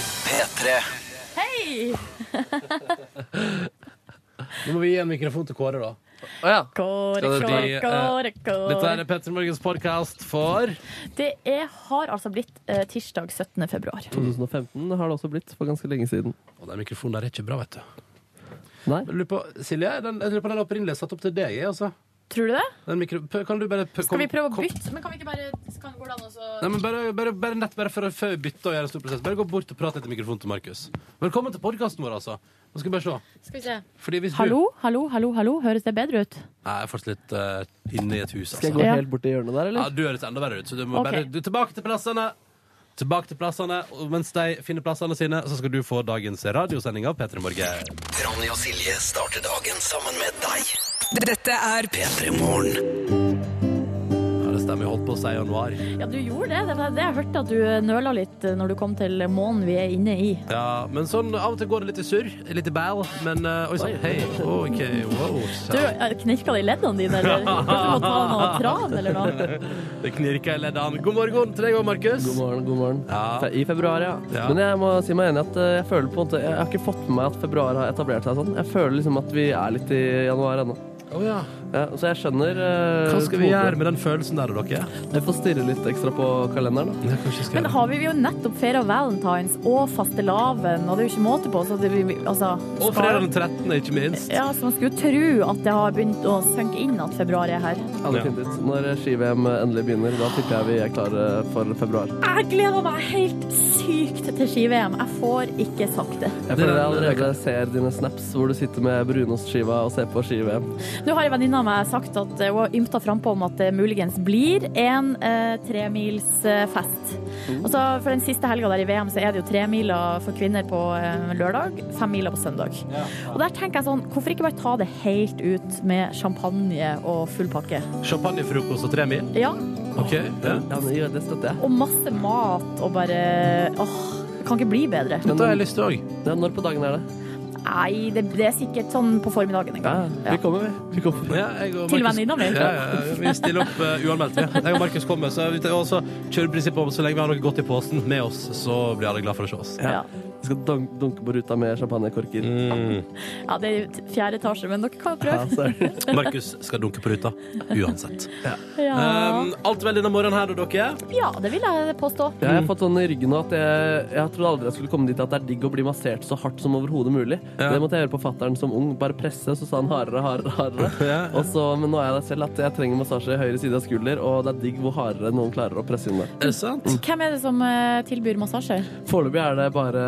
P3. Hei! Nå må vi gi en mikrofon til Kåre, da. Å ja. Kåre, Skal det kåre, bli, eh, kåre, Dette kåre. er Petter Morgens podkast for Det er, har altså blitt eh, tirsdag 17. februar. 2015 har det også blitt for ganske lenge siden. Å, den mikrofonen der er ikke bra, vet du. Nei. Jeg lurer på, Silje, den, jeg lurer på den opprinnelig er satt opp til deg, jeg, altså. Tror du det? Den mikro... p- Kan du bare p- Skal vi kom- prøve å kom- bytte? Men kan vi ikke bare kan, Går det an å så- Nei, men bare, bare, bare nett bare for å før vi bytter og gjøre en stor prosess. Bare gå bort og prat litt i mikrofonen til Markus. Velkommen til podkasten vår, altså. Nå skal vi bare se. Skal vi se. Fordi hvis Hallo, hallo, hallo, hallo. Høres det bedre ut? du Nei, Jeg er fortsatt litt eh, inne i et hus, Skal jeg altså. gå Ja. helt bort i hjørnet der, Ja, eller? du høres enda verre ut, så du må Ok. bare du, Tilbake til plassene! Tilbake til plassene, og Mens de finner plassene sine, så skal du få dagens radiosending av P3 Morgen. Ronny og Silje starter dagen sammen med deg. Dette er P3 Morgen. Ja, det stemmer. Jeg holdt på å si januar. Ja, du gjorde det. Det var det jeg hørte at du nøla litt eh, når du kom til månen vi er inne i. Ja, men sånn av og til går det litt i surr. Litt i bæl. Men eh, oi sann, hei. OK, wow. Du, eh, knirka det i leddene dine, eller? Kanskje du må ta noe tran eller noe? Det knirker i leddene. God morgen til deg òg, Markus. God morgen, god morgen. Ja. Fe- I februar, ja. Ja. Men jeg må si meg enig i at eh, jeg føler på en måte Jeg har ikke fått med meg at februar har etablert seg sånn. Jeg føler liksom at vi er litt i januar ennå. Å, ja. Ja, så jeg skjønner eh, Hva skal vi hodet. gjøre med den følelsen der, da, dere? Jeg får stirre litt ekstra på kalenderen, da. Ja, kanskje skal Men jeg- har vi vi jo nettopp feira valentines og fastelavn, og det er jo ikke måte på, så det vi, altså Og skal- fredag den 13., ikke minst. Ja, så man skulle jo tro at det har begynt å synke inn at februar er her. Ja, det er fint ut. Når ski-VM endelig begynner, da tipper jeg vi er klare for februar. Jeg gleder meg helt sykt til ski-VM. Jeg får ikke sagt det. Jeg Det er- føler jeg allerede ser dine snaps hvor du sitter med brunostskiva og ser på ski-VM. Nå har en venninne av meg sagt at eh, hun har ymta frampå om at det muligens blir en eh, tremilsfest. Altså, for den siste helga der i VM så er det jo tremiler for kvinner på eh, lørdag, fem miler på søndag. Og der tenker jeg sånn, hvorfor ikke bare ta det helt ut med champagne og full pakke? Champagnefrokost og tre mil. Ja, OK. Ja. Ja, men ja, det støtter jeg. og masse mat og bare Åh, det kan ikke bli bedre. Dette har jeg lyst til òg. Ja, når på dagen er det? Nei, det, det er sikkert sånn på formiddagen en Ja, gang. vi kommer, vi. vi kommer. Ja, jeg og Til Markus- venninna mi. Ja, ja, ja, vi stiller opp eh, uanmeldt. vi. Jeg og Markus kommer, så vi tar- og så kjører prinsippet om så lenge vi har noe godt i posen med oss, så blir alle glad for å se oss. Ja. Vi skal dun- dunke på ruta med champagnekorker. Mm. ja, det er jo t- fjerde etasje, men dere kan jo Ja, prøve. så er det. Markus skal dunke på ruta uansett. Ja. Um, alt vel denne morgenen her, da, dere? ja, det vil jeg påstå. Jeg har fått sånn i ryggen nå at jeg, jeg trodde aldri jeg skulle komme dit at det er digg å bli massert så hardt som overhodet mulig. Ja. Det måtte jeg gjøre på fattern som ung. Bare presse, så sa han hardere, hardere, hardere. Ja, ja. Og så, men nå er jeg der selv at jeg trenger massasje i høyre side av skulder, og det er digg hvor hardere noen klarer å presse inn det. Er det sant? Hvem er det som eh, tilbyr massasjer? Foreløpig er det bare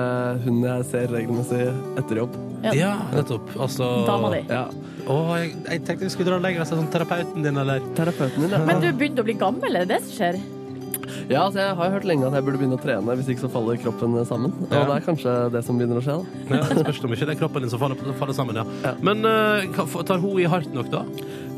hun jeg ser regelmessig etter jobb. Ja. Ja, nettopp. Altså Dama di. Ja. Å, jeg, jeg tenkte jeg skulle dra den lenger og si sånn terapeuten din, eller? Terapeuten din, ja. Men du er begynt å bli gammel, er det det som skjer? Ja, altså jeg har hørt lenge at jeg burde begynne å trene, hvis ikke så faller kroppen sammen. Ja. Og det er kanskje det som begynner å skje, da. Ja, det spørs om ikke det er kroppen din som faller, faller sammen, ja. Men eh, hva- tar hun i hardt nok, da?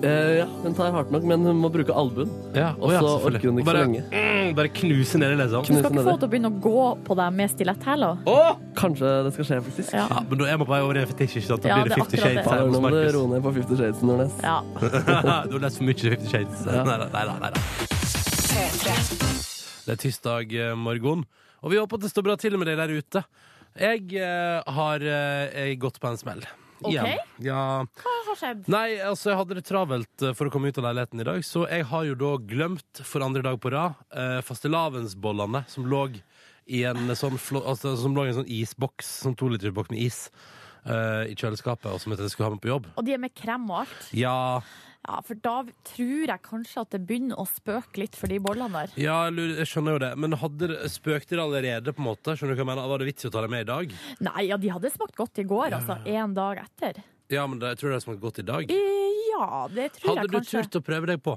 Eh, ja, hun tar hardt nok, men hun må bruke albuen. Ja, Og så orker hun ikke bare, så lenge. Mm, bare knuse nedi, liksom. Du Knuse skal ikke få nedover. til å begynne å gå på deg med stiletthæler. Åh! Kanskje det skal skje, faktisk. Ja. Ja, men da er man på vei over i en fetisj, ikke sant? Da Ja, blir det det er 50 akkurat Shades det. her Bare hos nå må du Markus. roe ned på Fifty Shades, Nordnes. Ja. du har lest for mye til 50 Shades. Ja. Nei da, nei da. nei da. Det er tirsdag eh, morgen, og vi håper at det står bra til med deg der ute. Jeg eh, har eh, jeg gått på en smell. Ok. Igjen. Ja. Hva har skjedd? Nei, altså jeg hadde det travelt eh, for å komme ut av leiligheten i dag, så jeg har jo da glemt for andre dag på rad eh, fastelavnsbollene som lå i en sånn, flå, altså, som lå i en sånn isboks, sånn tolitersboks med is eh, i kjøleskapet, og som jeg tenkte jeg skulle ha med på jobb. Og de er med krem og alt. Ja, Ja, for da tror jeg kanskje at det begynner å spøke litt for de bollene der. ja jeg lurer- jeg skjønner jo det, men hadde, det- spøkte det allerede på en måte? Skjønner du hva jeg mener? Var det vits i å ta det med i dag? Nei, ja, de hadde smakt godt i går, altså. Én dag etter. Ja, men det, jeg tror det har smakt godt i dag. Eh, Ja, det tror Hadde jeg du kanskje. turt å prøve deg på?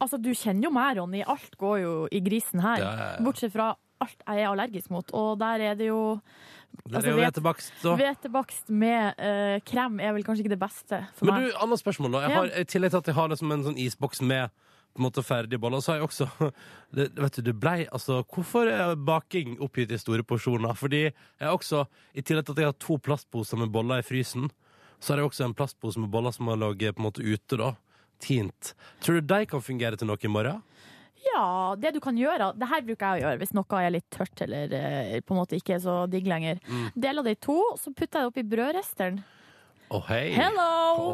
Altså, du kjenner jo meg, Ronny. Alt går jo i grisen her. Ja, ja, ja. Bortsett fra alt jeg er allergisk mot, og der er det jo Der Altså, er jo vet- hvetebakst, da. Hvetebakst med eh, krem er vel kanskje ikke det beste for Men du, meg. annet spørsmål da. Jeg Ja. har, I tillegg til at jeg har liksom en sånn isboks med på en måte ferdige boller, så har jeg også det, Vet du, det blei altså Hvorfor er baking oppgitt i store porsjoner? Fordi jeg har også, i tillegg til at jeg har to plastposer med boller i frysen, så har jeg også en plastpose med boller som har ligget på en måte ute, da. Tint. Tror du de kan fungere til noe i morgen? Ja, det du kan gjøre Det her bruker jeg å gjøre hvis noe er litt tørt eller eh, på en måte ikke er så digg lenger. Mm. Deler det i to, så putter jeg det oppi brødristeren. Å, hei. Hello!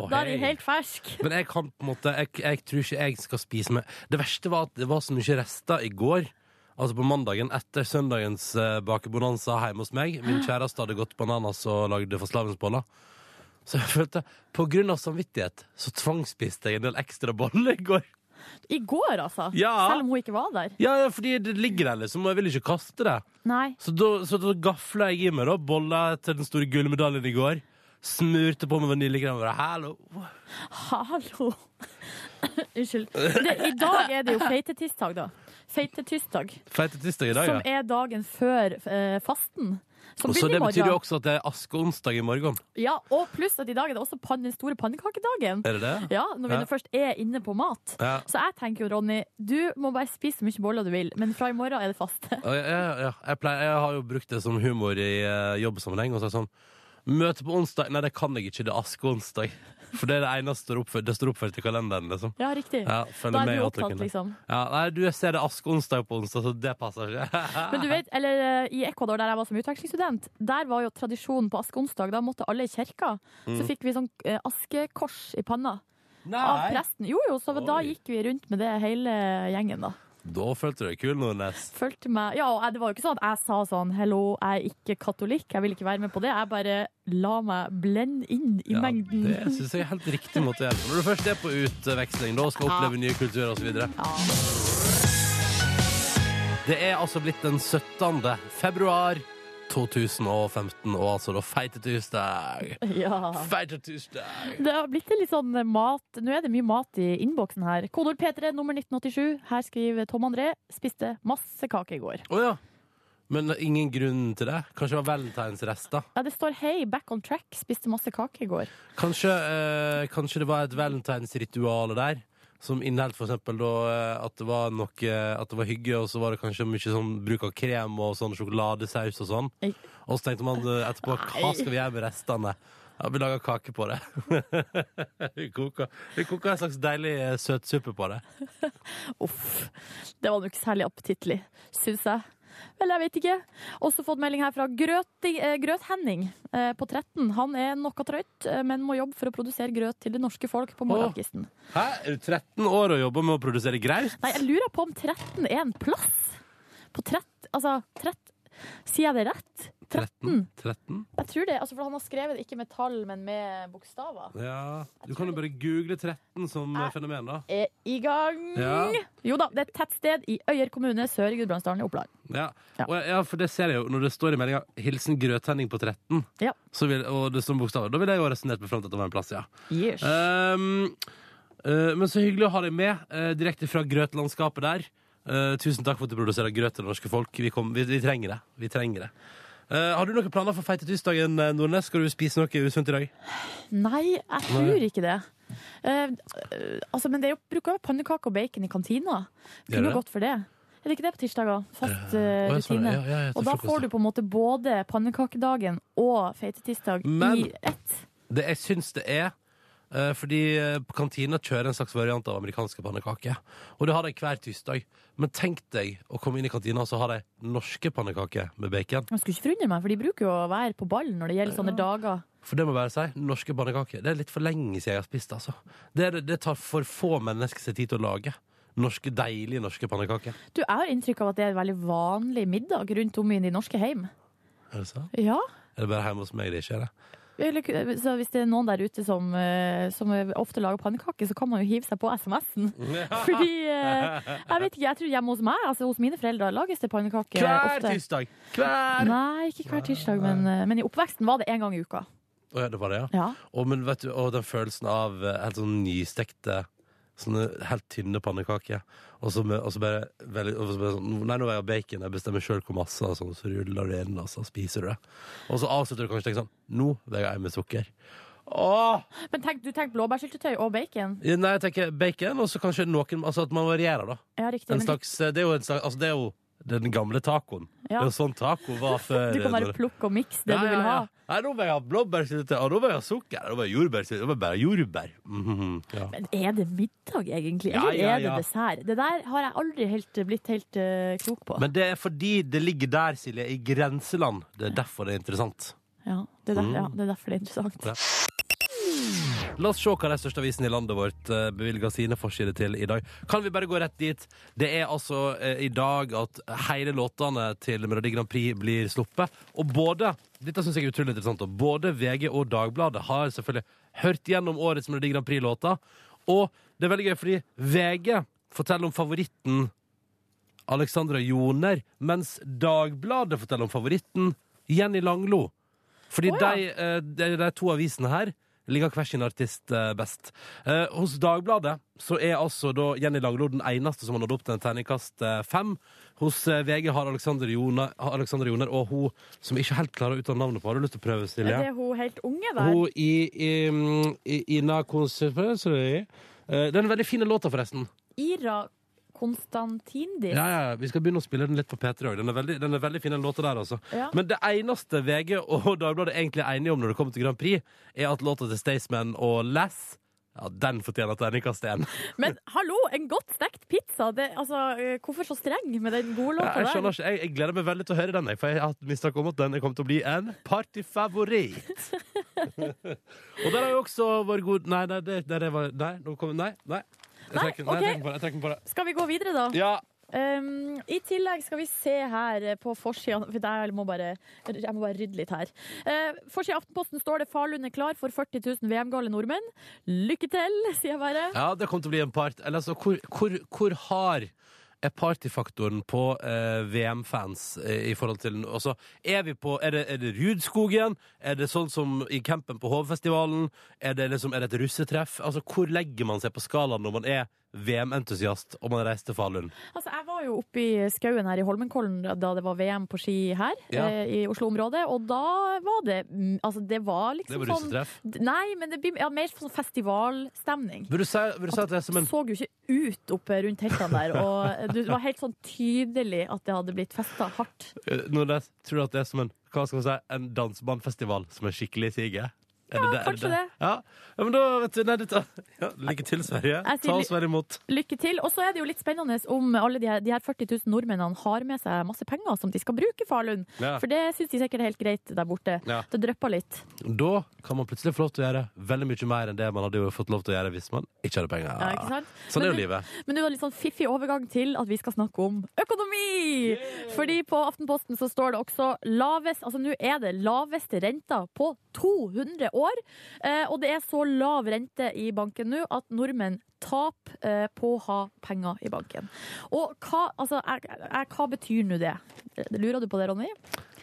Å, Da er den hei. helt fersk. Men jeg kan på en måte jeg, jeg tror ikke jeg skal spise med Det verste var at det var så mye rester i går. Altså på mandagen etter søndagens eh, bakebonanza hjemme hos meg. Min kjæreste hadde gått bananas og lagde fastelavnsboller. Så jeg følte På grunn av samvittighet så tvangsspiste jeg en del ekstra boller i går. I går, altså. Ja. Selv om hun ikke var der. Ja, ja, fordi det ligger der, liksom, og jeg vil ikke kaste det. Nei. Så da, så da gafla jeg i meg da boller til den store gullmedaljen i går. Smurte på med vaniljekrem og bare 'hallo'. Hallo. Unnskyld. Det, I dag er det jo feitetirsdag, da. Feitetirsdag. Feite tirsdag i dag, Som ja. er dagen før eh, fasten. Som Og så begynner det i betyr jo morgen. også at det er askeonsdag i morgen. Ja, og pluss at i dag er det også pan den store pannekakedagen. Er det det? Ja, når vi Ja. nå først er inne på mat. Ja. Så jeg tenker jo, Ronny, du må bare spise så mye boller du vil, men fra i morgen er det faste. Ja, ja, ja. Jeg, pleier, jeg har jo brukt det som humor i eh, jobbsammenheng. Og sagt sånn Møte på onsdag Nei, det kan jeg ikke. Det er askeonsdag. For det er det eneste står oppført, det står oppført i kalenderen, liksom. Ja, riktig. Ja, da følger er med i du opptatt, outlookene. liksom. Ja, nei, du, jeg ser det er askeonsdag på onsdag, så det passer ikke. Men du vet, eller eh, I Ecuador, der jeg var som utvekslingsstudent, der var jo tradisjonen på askeonsdag. Da måtte alle i kirka. Mm. Så fikk vi sånn eh, askekors i panna av presten. Jo jo, så da Oi. gikk vi rundt med det hele gjengen, da. Da følte du deg kul, Nordnes. Følte meg Ja, og jeg- det var jo ikke sånn at jeg sa sånn Hello, jeg er ikke katolikk, jeg vil ikke være med på det. Jeg bare la meg blende inn i Ja, mengden. det syns jeg er helt riktig måte å gjøre det på. Når du først er på utveksling da, og skal oppleve nye kulturer osv. Det er altså blitt den 17. februar 2015, og altså da feite tirsdag. Ja. Feite tirsdag. Det har blitt litt sånn mat Nå er det mye mat i innboksen her. Kodord P3, nummer 1987. Her skriver Tom André spiste masse kake i går. Å ja. Men ingen grunn til det? Kanskje det var valentinsrester? Ja, det står 'Hei, back on track. Spiste masse kake i går'. Kanskje, eh, kanskje det var et valentinsritual der? Som inneholdt for eksempel da eh, at det var noe At det var hygge, og så var det kanskje mye sånn bruk av krem og sånn sjokoladesaus og sånn. Jeg- Og så tenkte man eh, etterpå hva Nei. skal vi gjøre med restene? Ja, Vi lager kake på det. vi koker vi koker en slags deilig eh, søtsuppe på det. Uff. Det var nok ikke særlig appetittlig, syns jeg. Vel, jeg vet ikke. Også fått melding her fra Grøti, eh, Grøt-Henning eh, på 13. Han er noe trøyt, eh, men må jobbe for å produsere grøt til det norske folk på morgenkvisten. Hæ? Er du 13 år og jobber med å produsere graut? Nei, jeg lurer på om 13 er en plass. På 13 Altså, 13 Sier jeg det rett? 13? 13? Jeg tror det. Altså, for han har skrevet det ikke med tall, men med bokstaver. Ja, Du kan jo bare google 13 som eh, Jeg- fenomen, da. Er i gang! Ja. Jo da, det er et tettsted i Øyer kommune, sør i Gudbrandsdalen i Oppland. Ja. Ja. Og, ja, for det ser jeg jo når det står i meldinga 'Hilsen grøttenning på 13', Ja. så vil, og det står bokstaver. Da ville jeg jo ha resonnert meg fram til at det var en plass, ja. Yes. Ehm, eh, men så hyggelig å ha deg med eh, direkte fra grøtlandskapet der. Eh, tusen takk for at du produserer grøt til det norske folk. Vi, kom, vi, vi trenger det. Vi trenger det. Eh, har du noen planer for feite tirsdagen, eh, Nordnes? Skal du spise noe usunt i dag? Nei, jeg tror ikke det. Eh, eh, altså, men det er jo, bruker jo pannekake og bacon i kantina. Gjør Kunne det? jo gått for det. Er det ikke det på tirsdager? Fast eh, Å, jeg sa det. rutine. Ja, ja, ja, til og da frokost, får ja. du på en måte både pannekakedagen og feitetirsdag i Men- ett. Det jeg syns det er eh, fordi eh, kantina kjører en slags variant av amerikanske pannekaker. Og det har de hver tirsdag. Men tenk deg å komme inn i kantina, og så har de norske pannekaker med bacon. Jeg skulle ikke forundre meg, for de bruker jo å være på ballen når det gjelder sånne dager. For det må jeg bare si, norske pannekaker Det er litt for lenge siden jeg har spist, altså. Det, er- det tar for få mennesker seg tid til å lage. Norske, deilige norske pannekaker. Du, Jeg har inntrykk av at det er en veldig vanlig middag rundt om i de norske heim. Er det sant? Ja, Er det bare hjemme hos meg det ikke er det? eller, så Hvis det er noen der ute som, eh, som ofte lager pannekaker, så kan man jo hive seg på SMS-en. Fordi eh, Jeg vet ikke, jeg tror hjemme hos meg, altså hos mine foreldre, lages det pannekaker Hver ofte. tirsdag! Hver! Nei, ikke hver tirsdag, men, eh, men i oppveksten var det én gang i uka. Å ja, det var det, ja. Ja. Og, men vet du, og den følelsen av eh, helt sånn nystekte Sånne helt tynne pannekaker. Og så, med, og så bare, veldig, og så bare sånn, Nei, nå vil jeg ha bacon. Jeg bestemmer sjøl hvor masse. Og sånn, så ruller du inn, og så spiser du det. Og så avslutter du kanskje tenker sånn Nå vil jeg ha en med sukker. Åh! Men tenk, du tenker blåbærsyltetøy og bacon? Nei, jeg tenker bacon, og så kanskje noen Altså at man varierer, da. Ja, riktig. En eh, Men, slags, det er jo en slags altså, det, er jo, den gamle tacoen. Ja. Det er jo sånn taco var før. Du kan bare når- plukke og mikse det Ja, du ja, vil ha. ja. Nei, nå vil jeg ha blåbærsyltetøy, og nå vil jeg ha sukker, og nå vil jeg ha jordbærsyltetøy, og nå vil jeg bare ha jordbær. Mhm, ja. Men er det middag, egentlig? Ja, Eller ja, er det ja. dessert? Det der har jeg aldri helt blitt helt eh, klok på. Men det er fordi det ligger der, Silje, i grenseland. Det er derfor det er interessant. ja, det er der, Mm. ja, det er derfor det er interessant. Ja. La oss se hva de største avisene i landet vårt eh, bevilger sine forsider til i dag. Kan vi bare gå rett dit? Det er altså eh, i dag at hele låtene til Melodi Grand Prix blir sluppet. Og både dette synes jeg er utrolig interessant, og både VG og Dagbladet har selvfølgelig hørt gjennom årets Melodi Grand Prix-låter. Og det er veldig gøy, fordi VG forteller om favoritten Alexandra Joner, mens Dagbladet forteller om favoritten Jenny Langlo. Fordi Å, ja. de, eh, de, de to avisene her ligger hver sin artist eh, best. Eh, hos Dagbladet så er altså da Jenny Langlo den eneste som har nådd opp til en terningkast eh, fem. Hos eh, VG har Alexander Joner, har Alexander Joner og hun som ikke helt klarer å uttale navnet på. Har du lyst til å prøve, Silje? Er det hun helt unge der? Hun i, i, mm, i Ina Konservatory. Det er en veldig fin låt, da, forresten. Ira Konstantindis? Ja, ja, ja. Vi skal begynne å spille den litt på P3 òg. Den er veldig, den er veldig fin, den låta der, altså. Ja. Men det eneste VG og Dagbladet egentlig er enige om når det kommer til Grand Prix, er at låta til Staysman og Lass ja, den fortjener terningkast én. Men hallo, en godt stekt pizza! Det, altså, eh, hvorfor så streng med den gode Ja, låta Jeg skjønner der? ikke, jeg, jeg gleder meg veldig til å høre den, jeg, for jeg har hatt mistanke om at den kommer til å bli en partyfavoritt. og der har jo også vår gode Nei, nei, det, det, det var, nei, nå kommer, nei, nei. Jeg Nei, trekker, nei, jeg ok. trekker på det. Jeg trekker på det. Skal vi gå videre, da? Ja, Um, I tillegg skal vi se her eh, på forsida For der må bare, jeg må bare rydde litt her. Uh, forsida av Aftenposten står det 'Falun er klar for 40 000 VM-gale nordmenn'. Lykke til, sier jeg bare. Ja, det kommer til å bli en part Eller altså, hvor, hvor, hvor hard er partyfaktoren på eh, VM-fans eh, i forhold til Altså, er vi på Er det, er det Rudskogen? Er det sånn som i campen på Hovfestivalen? Er det liksom Er det et russetreff? Altså, hvor legger man seg på skalaen når man er VM-entusiast og man reiser til Falun? Altså, jeg var jo oppe i skauen her i Holmenkollen da det var VM på ski her Ja. eh, i Oslo-området, og da var det mm, Altså, det var Det liksom var sånn russetreff. D- Nei, men det blir ja, mer sånn festivalstemning. Vil du si, vil du si at det er som en så jo ikke ut oppe rundt teltene der, og det var helt sånn tydelig at det hadde blitt festa hardt. eh, når det, Tror du at det er som en Hva skal man si? En dansebandfestival som er skikkelig siger? Ja, kanskje det. Ja. ja, men da vet du, nei, dette, ja, Lykke til, Sverige. Jeg sier Ta ly- oss vel imot. Lykke til. Og så er det jo litt spennende om alle de her, de her 40 000 nordmennene har med seg masse penger som de skal bruke i Falun, Ja. for det syns de sikkert er helt greit der borte. Ja. Det drypper litt. Da kan man plutselig få lov til å gjøre veldig mye mer enn det man hadde jo fått lov til å gjøre hvis man ikke hadde penger. Ja, ikke sant? Sånn Men er jo du- livet. Men nå er det litt sånn fiffig overgang til at vi skal snakke om økonomi! Fordi på Aftenposten så står det også lavest, altså nå er det laveste renta på 200 år. Eh, og det er så lav rente i banken nå at nordmenn taper eh, på å ha penger i banken. Og hva, altså, er, er, hva betyr nå det? Eh, Lurer du på det, Ronny?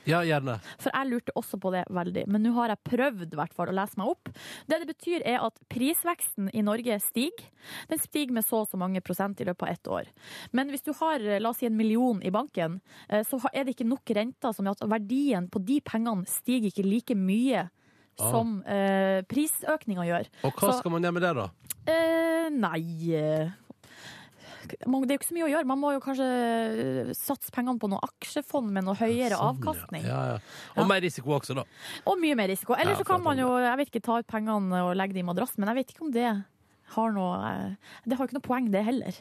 Ja, gjerne. For jeg lurte også på det veldig. Men nå har jeg prøvd i hvert fall å lese meg opp. Det det betyr er at prisveksten i Norge stiger. Den stiger med så og så mange prosent i løpet av ett år. Men hvis du har eh, la oss si en million i banken, eh, så ha- er det ikke nok renter som gjør at verdien på de pengene stiger ikke like mye. Ah. Som eh, prisøkninga gjør. Og hva Så- skal man gjøre med det, da? Eh, nei eh, man- Det er jo ikke så mye å gjøre. Man må jo kanskje eh, satse pengene på noe aksjefond med noe høyere avkastning. sånn, Ja, ja. Og Ja. mer risiko også, da. Og mye mer risiko. Eller Ja, så kan for man at jo jeg vet ikke, ta ut pengene og legge det i madrassen, men jeg vet ikke om det har noe eh, Det har jo ikke noe poeng, det heller.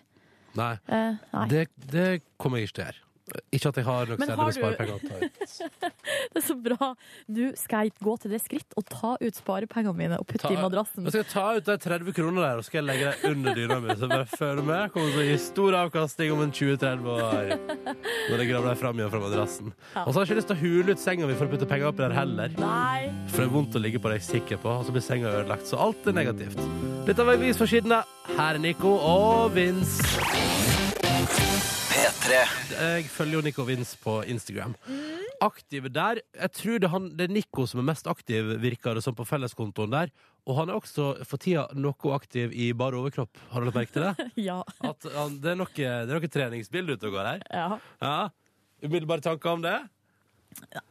Nei, Eh, nei. Det... det, det kommer jeg ikke til å gjøre. Ikke at jeg har noe Men særlig har med sparepenger å ta ut. er så bra. Nå skal jeg gå til det skritt og ta ut sparepengene mine og putte Ta- Altså- i madrassen. Jeg skal ta ut de 30 kronene der og skal jeg legge dem under dyna mi. Så bare følg med. Kommer til å gi stor avkasting om en 20-30 år. Når jeg graver dem fram igjen fra madrassen. Ja. Og så har jeg ikke lyst til å hule ut senga mi for å putte penger oppi der heller. Nei. For det er vondt å ligge på deg sikker på, og så blir senga ødelagt. Så alt er negativt. Dette var Vis for sidene. Her er Nico og Vince. P3. Jeg følger jo Nico og Vince på Instagram. Aktive der. Jeg tror det, er han, det er Nico som er mest aktiv, virker det som, på felleskontoen der. Og han er også for tida noe aktiv i bar overkropp. Har du lagt merke til det? Ja. At han, det er noe, det er noe treningsbilde ute og går her. ja. Ja. Umiddelbare tanker om det?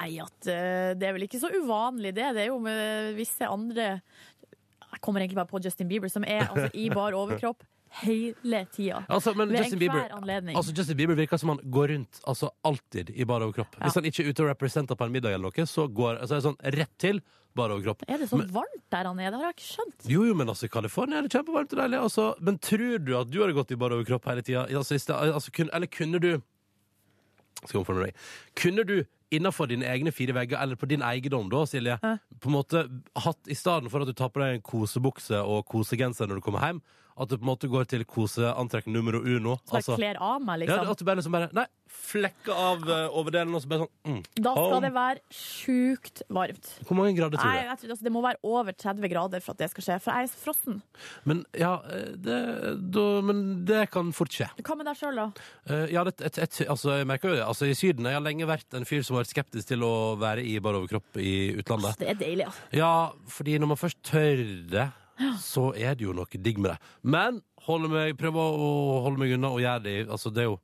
Nei, at eh, det er vel ikke så uvanlig, det. Det er jo med visse andre Jeg kommer egentlig bare på Justin Bieber, som er altså, i bar overkropp hele tida. Altså, men Ved Justin Bieber, enhver anledning. altså, Justin Bieber virker som han går rundt altså, alltid i bar overkropp. Hvis han ikke er ute og representer på en middag, eller noe, så går, altså, er det sånn rett til bar overkropp. Er det så Men- varmt der han er? Det har jeg ikke skjønt. Jo, jo, men altså, i California er det kjempevarmt og deilig. Altså. Men tror du at du hadde gått i bar overkropp hele tida? Altså, i sted- altså, kun- eller kunne du Skal omforme deg. Kunne du innafor dine egne fire vegger, eller på din eiendom da, Silje, på en måte hatt i stedet for at du tar på deg en kosebukse og kosegenser når du kommer hjem, at du på en måte går til koseantrekk nummer uno? Så altså, jeg kler av meg, ja, liksom. at du bare liksom bare Nei, flekker av eh, overdelen, og så bare sånn mm. Da skal home. det være sjukt varmt. Hvor mange grader tror Nei, du? jeg tror, altså, det må være over 30 grader for at det skal skje, for jeg er så frossen. Men ja, eh, det, da, men det kan fort skje. Hva med deg sjøl, da? Eh, ja, det, et, et, altså, jeg merker jo det. Altså, I Syden jeg har lenge vært en fyr som har vært skeptisk til å være i bar overkropp i utlandet. Det er deilig, altså. Ja, fordi når man først tør det, så er det jo noe digg med det. Men holde meg, prøve å å holde meg unna og gjøre det. i- Altså, det er jo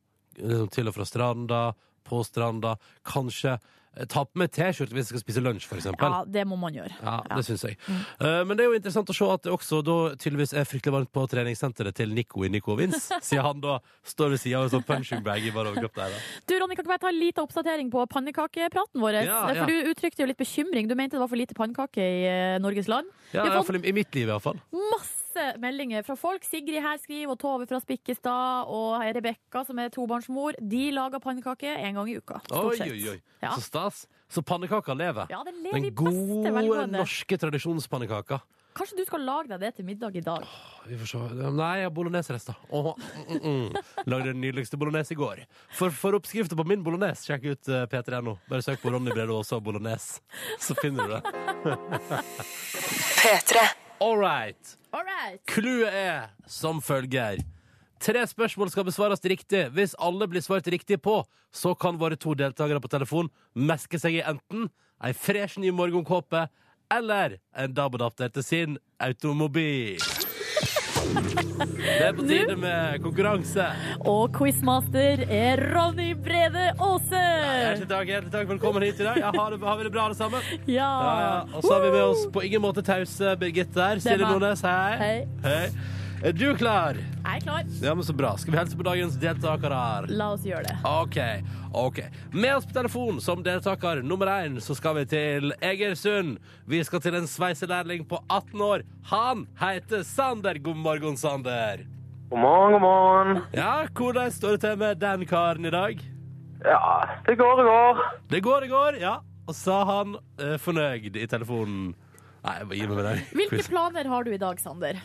liksom, til og fra stranda, på stranda, kanskje eh, ta på meg T-skjorte hvis jeg skal spise lunsj, for eksempel. Ja, Mm. det må man gjøre. Ja, det syns jeg. Eh, men det er jo interessant å se at det også da tydeligvis er fryktelig varmt på treningssenteret til Nico i Nico Vins, siden han da står ved sida av en sånn punching bag i bare overkropp der. Da. Du, Ronny, kan ikke bare ta en liten oppdatering på pannekakepraten vår? Ja, ja. For du uttrykte jo litt bekymring. Du mente det var for lite pannekake i eh, Norges land. Ja, Vi i, har hvert fått fall i, I mitt liv, iallfall. masse meldinger fra folk. Sigrid her skriver, og Tove fra Spikkestad, og Rebekka, som er tobarnsmor. De lager pannekake en gang i uka. Oi, stort sett. oi, oi. Ja. Så stas. Så pannekaka lever. Ja, den lever Den i beste gode velgående. norske tradisjonspannekaka. Kanskje du skal lage deg det til middag i dag? Vi får se. Nei, jeg har bolognesrester. Åh, mm, mm, mm. Lagde den nydeligste bolognese i går. For, for oppskrifter på min bolognese, sjekk ut eh, p3.no. Bare søk på Ronny Brede Aase og bolognese, så finner du det. P3. All right. All right. Clouet er som følger. Tre spørsmål skal besvares riktig. Hvis alle blir svart riktig på, så kan våre to deltakere på telefon meske seg i enten ei fresh ny morgenkåpe eller en DAB-adapter til sin automobil. Det er på tide med konkurranse. Og quizmaster er Ronny Brede Aase! Hjertelig takk, hjertelig takk. Velkommen hit i dag. Ja, har, det, har vi det bra, alle sammen? Ja. Ja, ja. Ah. Og så har vi med oss på ingen måte tause Birgitte der. Silje meg. Nordnes, hei. Hei. hei. Er du klar? Jeg er klar. Ja, men så bra. Skal vi hilse på dagens deltakere? La oss gjøre det. OK. ok. Med oss på telefon som deltaker nummer én så skal vi til Egersund. Vi skal til en sveiselærling på 18 år. Han heter Sander. God morgen, Sander. God morgen, god morgen. Ja, Hvordan står det til med den karen i dag? Ja, det går, det går. Det går, det går. ja. Og sa han eh, fornøyd i telefonen. Nei, jeg må gi meg med den. Hvilke Quiz. planer har du i dag, Sander?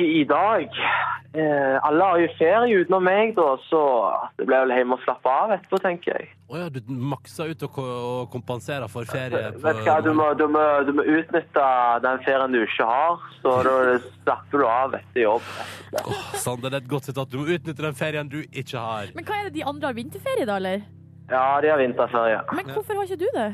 I dag eh, Alle har jo ferie utenom meg, da, så det blir vel hjemme og slappe av etterpå, tenker jeg. Å ja, du maksa ut og, ko og kompenserer for ferie. på- Vet du hva, du må, du, må, du må utnytte den ferien du ikke har, så da slapper du av etter jobb. Åh, Sander, det er et godt sitat. Du må utnytte den ferien du ikke har. Men hva er det de andre har vinterferie, da, eller? Ja, de har vinterferie. Men hvorfor har ikke du det?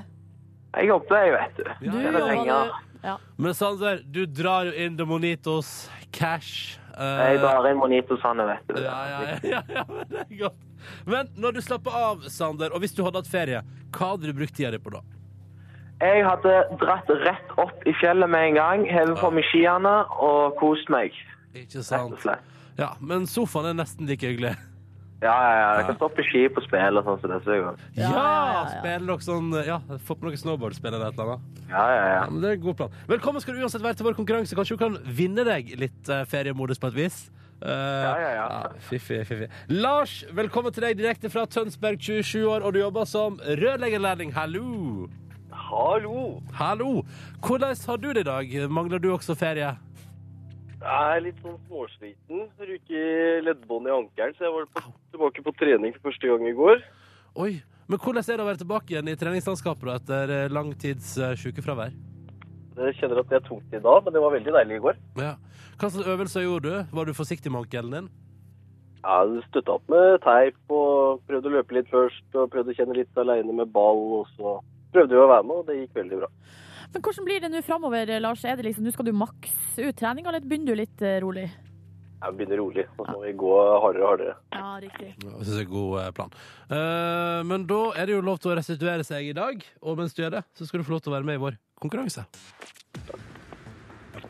Jeg jobber, jeg, vet du. Ja, Du ja, det trenger jeg. du ja. Men Sander, du drar jo inn Demonitos, cash eh, Jeg drar inn Monitos han, vet du. ja, ja, ja, ja, ja, men det er godt. Men når du slapper av, Sander, og hvis du hadde hatt ferie, hva hadde du brukt tida di på da? Jeg hadde dratt rett opp i fjellet med en gang, hevet på meg skiene og kost meg. Ikke Rett og sant? slett. Ja, Men sofaen er nesten like hyggelig. Ja, ja, ja. Jeg kan stå på ski på spill og sånn som det. Så jeg går. Ja, ja, ja. spille noe sånn Ja, få på noe snowboardspill eller et eller annet. Ja, ja, ja. Ja, men det er en god plan. Velkommen skal du uansett være til vår konkurranse. Kanskje du kan vinne deg litt eh, feriemodus på et vis? Eh, ja, ja. Fiffig, fiffig. Lars, velkommen til deg direkte fra Tønsberg, 27 år, og du jobber som rørleggerlærling. Hallo! Hallo! Hallo! Hvordan har du det i dag? Mangler du også ferie? Jeg er litt sånn småsliten. Røyk i leddbåndet i ankelen, så jeg var på, tilbake på trening for første gang i går. Oi, men hvordan er det å være tilbake igjen i treningslandskapet da, etter eh, lang tids eh, sykefravær? Jeg kjenner at det er tungt i dag, men det var veldig deilig i går. Ja. Hva slags øvelser gjorde du? Var du forsiktig med ankelen din? Jeg støtta opp med teip og prøvde å løpe litt først. Og prøvde å kjenne litt aleine med ball, og så prøvde vi å være med, og det gikk veldig bra. Men hvordan blir det nå framover, Lars? Er det liksom, Nå skal du makse ut treninga, eller begynner du litt eh, rolig? Jeg begynner rolig, og så må vi gå hardere og hardere. Ja, riktig. Ja, Jeg synes det er en god eh, plan. Eh, men da er det jo lov til å restituere seg i dag, og mens du gjør det, så skal du få lov til å være med i vår konkurranse.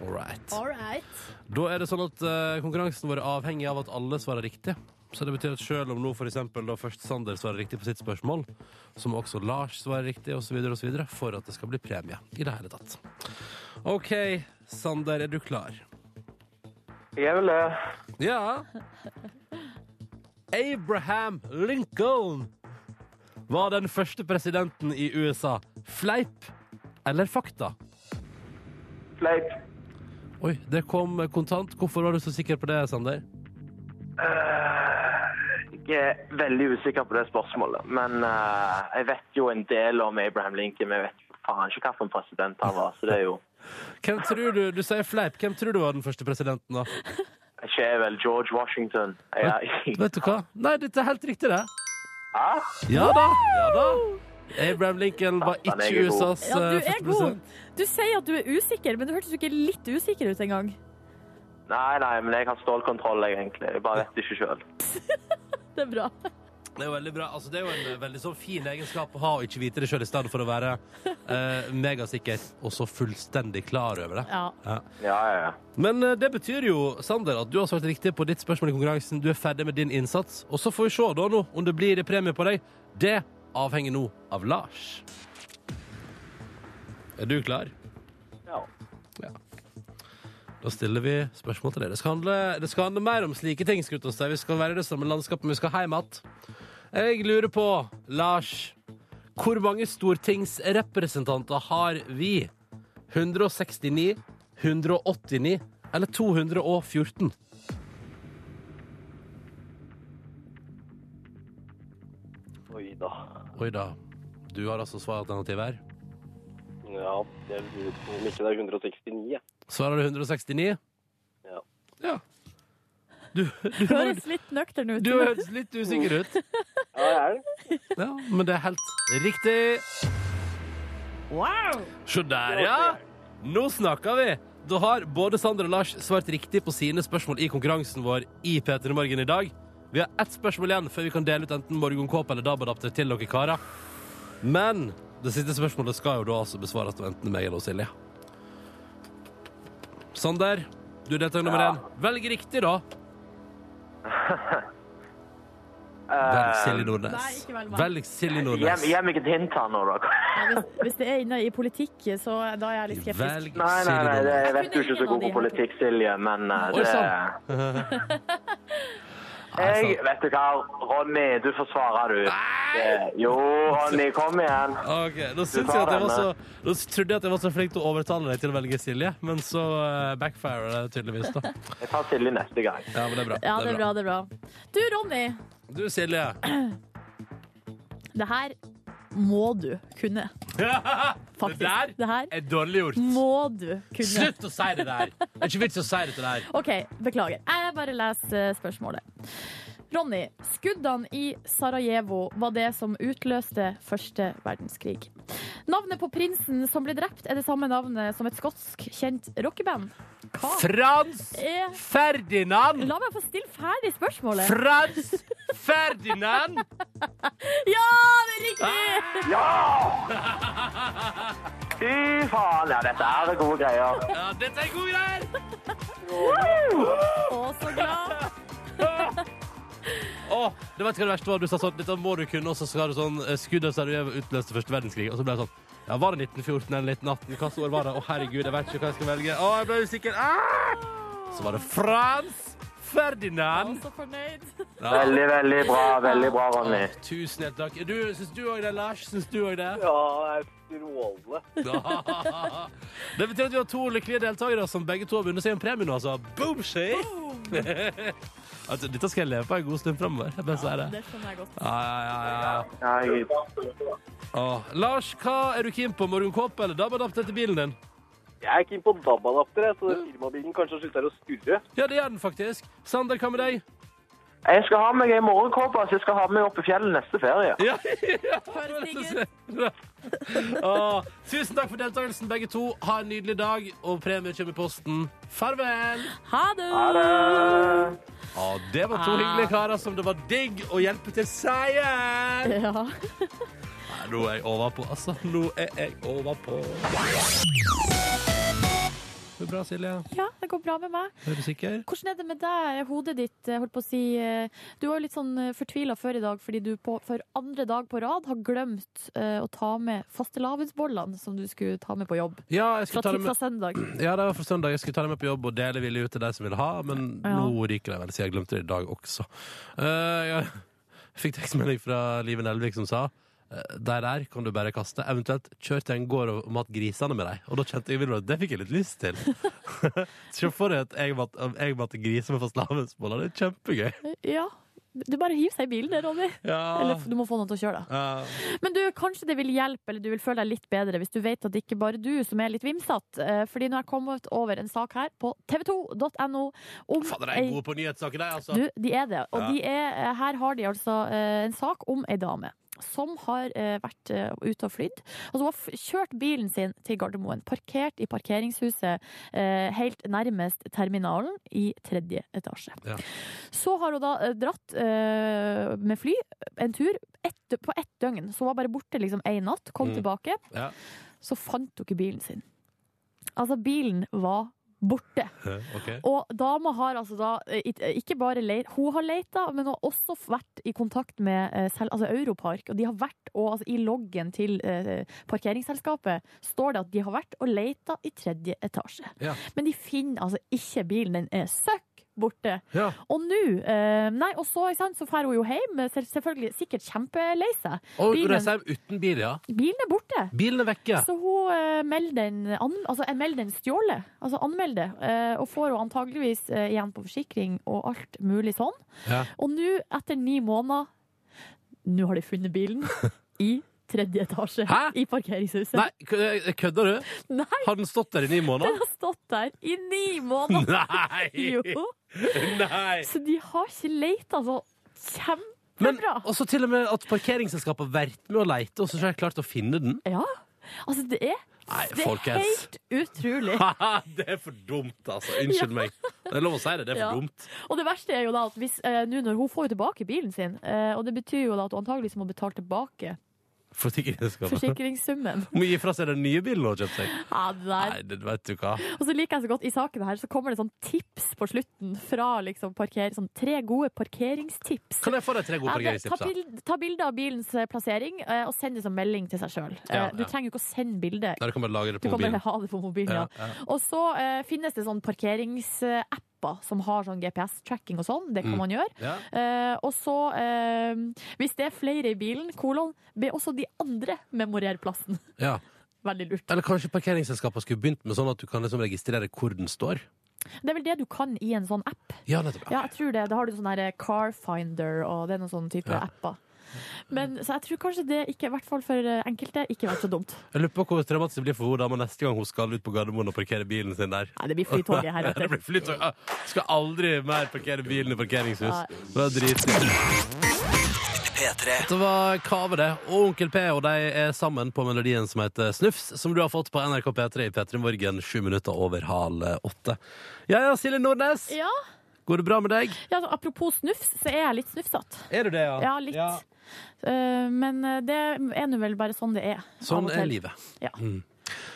All right. All right. Da er det sånn at eh, konkurransen vår er avhengig av at alle svarer riktig. Så det betyr at selv om nå for eksempel da først Sander svarer riktig på sitt spørsmål, så må også Lars svare riktig osv., osv. for at det skal bli premie i det hele tatt. OK, Sander, er du klar? Jeg vil det. Ja. Abraham Lincoln var den første presidenten i USA. Fleip eller fakta? Fleip. Oi, det kom kontant. Hvorfor var du så sikker på det, Sander? Jeg er Eh, veldig usikker på det spørsmålet, men eh, jeg vet jo en del om Abraham Lincoln, men jeg vet faen ikke hvilken president han var, så det er jo Hvem tror du, du sier fleip, hvem tror du var den første presidenten da? Ikke er vel George Washington. Jeg, Vet du hva? Nei, dette er helt riktig det. Hæ? Ja da, ja da. Abraham Lincoln var Han er ikke god. USAs Ja, du eh, er første god. president. Du sier at du er usikker, men du hørtes jo ikke litt usikker ut engang. Nei, nei, men jeg har stålkontroll, jeg, egentlig. Jeg bare vet ikke sjøl. Det er bra. Det er jo veldig bra. Altså, det er jo en eh, veldig sånn fin egenskap å ha og ikke vite det sjøl, i stedet for å være eh, megasikker og så fullstendig klar over det. Ja. Ja, ja, ja. Men eh, det betyr jo, Sander, at du har svart riktig på ditt spørsmål i konkurransen. Du er ferdig med din innsats. Og så får vi se da nå om det blir premie på deg. Det avhenger nå av Lars. Er du klar? Ja. Da stiller vi spørsmål til dere. Det skal handle, det skal handle mer om slike ting. skutt oss der. Vi skal være i det samme landskapet, men vi skal hjem igjen. Jeg lurer på, Lars Hvor mange stortingsrepresentanter har vi? 169, 189 eller 214? Oi da. Oi da. Du har altså svaralternativ her. Ja, jeg lurer på om ikke det er 169, jeg. Svarer du 169? Ja. Ja. Du, du, Høres litt nøktern ut. du høres litt usikker ut. Ja, jeg er det. Ja, men det er helt riktig. Wow! Se der, ja! Nå snakker vi! Da har både Sander og Lars svart riktig på sine spørsmål i konkurransen vår i P3 Morgen i dag. Vi har ett spørsmål igjen før vi kan dele ut enten morgenkåpe eller DAB-adapter til dere karer. Men det siste spørsmålet skal jo da altså besvares av enten meg eller Silje. Sander, du er deltaker nummer én. Velg riktig, da. Velg Um, Silje Nei, Nordnes. ikke velg meg. Velg Silje Gi Nordnes. gi meg et hint her nå, da. Ja, hvis, hvis det er inne i politikk, så da er jeg litt skeptisk. Velg Nei, nei, Silje nei, det, Nordnes. jeg vet jo ikke så god på politikk, Silje, men Oi, eh, sann. det Jeg, vet du hva, Ronny, du får svare, du. Det- Jo, Ronny, kom igjen. Ok, Da syns tar jeg at jeg var denne. så Da trodde jeg at jeg var så flink til å overtale deg til å velge Silje, men så uh, backfirer det tydeligvis, da. Jeg tar Silje neste gang. Ja, men det er bra. Ja, det er bra, det er bra. Du, Ronny, Du, Silje. det her må du kunne, det faktisk. der Det her er dårlig gjort. må du kunne. Slutt å si det der! Det er ikke vits å si det til deg. OK, beklager. Jeg bare leser eh, spørsmålet. Ronny, skuddene i Sarajevo var det som utløste første verdenskrig. Navnet på prinsen som ble drept, er det samme navnet som et skotsk kjent rockeband. Hva Frans er Ferdinand! La meg få stille ferdig spørsmålet. Frans Ferdinand! Ja, det er Ah! riktig! Ja! Fy faen, ja, dette er gode greier. Ja, dette er gode greier! Å, så glad. Åh, det vet du hva det verste var? Du sa sånn Dette må du kunne, og så skal du sånn eh, Skudd av Sarajevo utløste første verdenskrig. Og så ble jeg sånn Ja, var det 1914 eller 1918? Hvilket år var det? Å, herregud, jeg vet ikke hva jeg skal velge. Å, jeg ble usikker. Ah! Så var det Frans Å, Ferdinand. så fornøyd. Veldig, veldig bra, veldig bra, Ronny. Tusen hjertelig takk. Du, syns du òg det, Lars? Syns du òg det? Ja, det er strålende. Det betyr at vi har to lykkelige deltakere som begge to har vunnet seg en premie nå, altså. Boom, shake! altså, dette skal jeg leve på en god stund framover. Jeg bare sier det. Det skjønner jeg godt. Ja, ja, ja, ja, ja. Ja, jeg- Åh, Ah. Lars, hva er du keen på? Morgenkåpe eller DAB-adapter til bilen din? Jeg er keen på DAB-adapter, jeg, så den firmabilen kanskje slutter å skurre. Ja, det gjør den faktisk. Sander, hva med deg? Jeg skal ha meg ei morgenkåpe, så jeg skal ha meg opp i fjellet neste ferie. Ja, Høres digg ut. Åh, Ah. tusen takk for deltakelsen, begge to. Ha en nydelig dag, og premie kommer i posten. Farvel! Ha det. Åh, det var to Ah. hyggelige karer som det var digg å hjelpe til seier! Ja. Nei, Nå er jeg overpå, altså. Nå er jeg overpå. går bra, Silje? Ja, det går bra med meg. Er du sikker? Hvordan er det med deg, hodet ditt? eh, Holdt på å si, eh, du var jo litt sånn eh, fortvila før i dag fordi du på, for andre dag på rad har glemt eh, å ta med fastelavnsbollene som du skulle ta med på jobb. Ja, Fra, jeg skulle ta det fra med, søndag. ja, det var for søndag. Jeg skulle ta det med på jobb og dele villig ut til de som ville ha, men Ja. nå ryker de vel, så jeg glemte det i dag også. Eh, jeg fikk tekstmelding fra Liven Elvik som sa eh, de der kan du bare kaste. Eventuelt kjør til en gård og mat grisene med deg. Og da kjente jeg umiddelbart at det fikk jeg litt lyst til. Se for deg at jeg mat- jeg matte griser med fastelavnsboller. Det er kjempegøy. Ja. Du bare hiver seg i bilen, det, Ronny. Ah. Eller du må få noen til å kjøre deg. Ja. Men du, kanskje det vil hjelpe, eller du vil føle deg litt bedre hvis du vet at det ikke bare er du som er litt vimsatt. Eh, Fordi nå har jeg kommet over en sak her på tv2.no om Fader, de ei- er gode på nyhetssaker, de, altså. Du, de er det. Og Ja. de er, her har de altså eh, en sak om ei dame. Som har eh, vært eh, ute og flydd. Altså, hun har f kjørt bilen sin til Gardermoen. Parkert i parkeringshuset eh, helt nærmest terminalen i tredje etasje. Ja. Så har hun da eh, dratt eh, med fly en tur ett- på ett døgn. Så hun var bare borte liksom én natt, kom Mm. tilbake. Ja. Så fant hun ikke bilen sin. Altså, bilen var borte. Ok. Og dama har altså da eh, it- ikke bare leit, Hun har leita, men hun har også vært i kontakt med eh, selv, altså Europark. Og de har vært, og altså i loggen til eh, parkeringsselskapet står det at de har vært og leita i tredje etasje. Ja. Men de finner altså ikke bilen. Den er søkk borte. Ja. Og nå eh, Nei, og så, ikke sant, så drar hun jo hjem. selv- Selvfølgelig sikkert kjempelei seg. Og Bilen- reise hjem uten bil, ja. Bilen er borte. Bilen er vekke. Så hun eh, melder den, an, altså, eh, melder den stjålet, altså anmelder, eh, og får hun antageligvis eh, igjen på forsikring og alt mulig sånn. Ja. Og nå, etter ni måneder, nå har de funnet bilen i tredje etasje Hæ? i parkeringshuset. Nei, kø- eh, kødder du? Nei, Har den stått der i ni den måneder? har stått der i ni måneder! Nei! Jo, Nei. så de har ikke leita så Men kjempebra. også til og med at parkeringsselskapet har vært med å leite, og så har jeg klart å finne den. Ja, altså det er, Nei, det er folkens. helt utrolig. Haha, det er for dumt, altså. Unnskyld meg. Det er lov å si det. Det er Ja. for dumt. Og det verste er jo da at hvis, eh, nå når hun får jo tilbake bilen sin, eh, og det betyr jo da at hun antageligvis må betale tilbake Forsikringsselskapet. forsikringssummen. Må gi fra seg den nye bilen hun har kjøpt seg. Ja, det der. Nei, det vet du hva. Og så liker jeg så godt i saken her, så kommer det sånn tips på slutten fra liksom parker, sånn tre gode parkeringstips. Kan jeg få de tre gode Ja, det- ta, parkeringstipsa? bild, ta bilde av bilens eh, plassering eh, og send det som melding til seg sjøl. Ja, Du ja. trenger jo ikke å sende bilde. Nei, du kan bare lagre det Du kan på bare mobilen. ha det på mobilen. Ja. Ja, ja. Og så eh, finnes det sånn parkeringsapper som har sånn GPS-tracking og sånn. Det kan Mm. man gjøre. Ja. Eh, og så, eh, hvis det er flere i bilen, kolon, be også de andre memorere plassen. Ja. Veldig lurt. Eller kanskje parkeringsselskapet skulle begynt med sånn at du kan liksom registrere hvor den står? Det er vel det du kan i en sånn app. Ja, nettopp. Ja, jeg tror det. Da har du sånn her Car Finder og det er noen sånne type Ja. apper. Men, så jeg tror kanskje det, ikke, i hvert fall for eh, enkelte, ikke vært så dumt. Jeg lurer på hvor traumatisk det blir for henne dama neste gang hun skal ut på Gardermoen og parkere bilen sin der. Nei, det blir flytoget her Det etter. blir flytog. Ah, Skal aldri mer parkere bilen i Nei. parkeringshus. Det var dritfint. P3. Det var Kave, det. Og Onkel P og de er sammen på melodien som heter Snufs, som du har fått på NRK P3 i P3 Morgen sju minutter over halv eh, åtte. Ja ja, Silje Nordnes. Ja, Går det bra med deg? ja, så apropos snufs, så er jeg litt snufsete. Er du det, Ja, litt. Eh, men eh, det er nå vel bare sånn det er. av Sånn og er Mm. til. livet.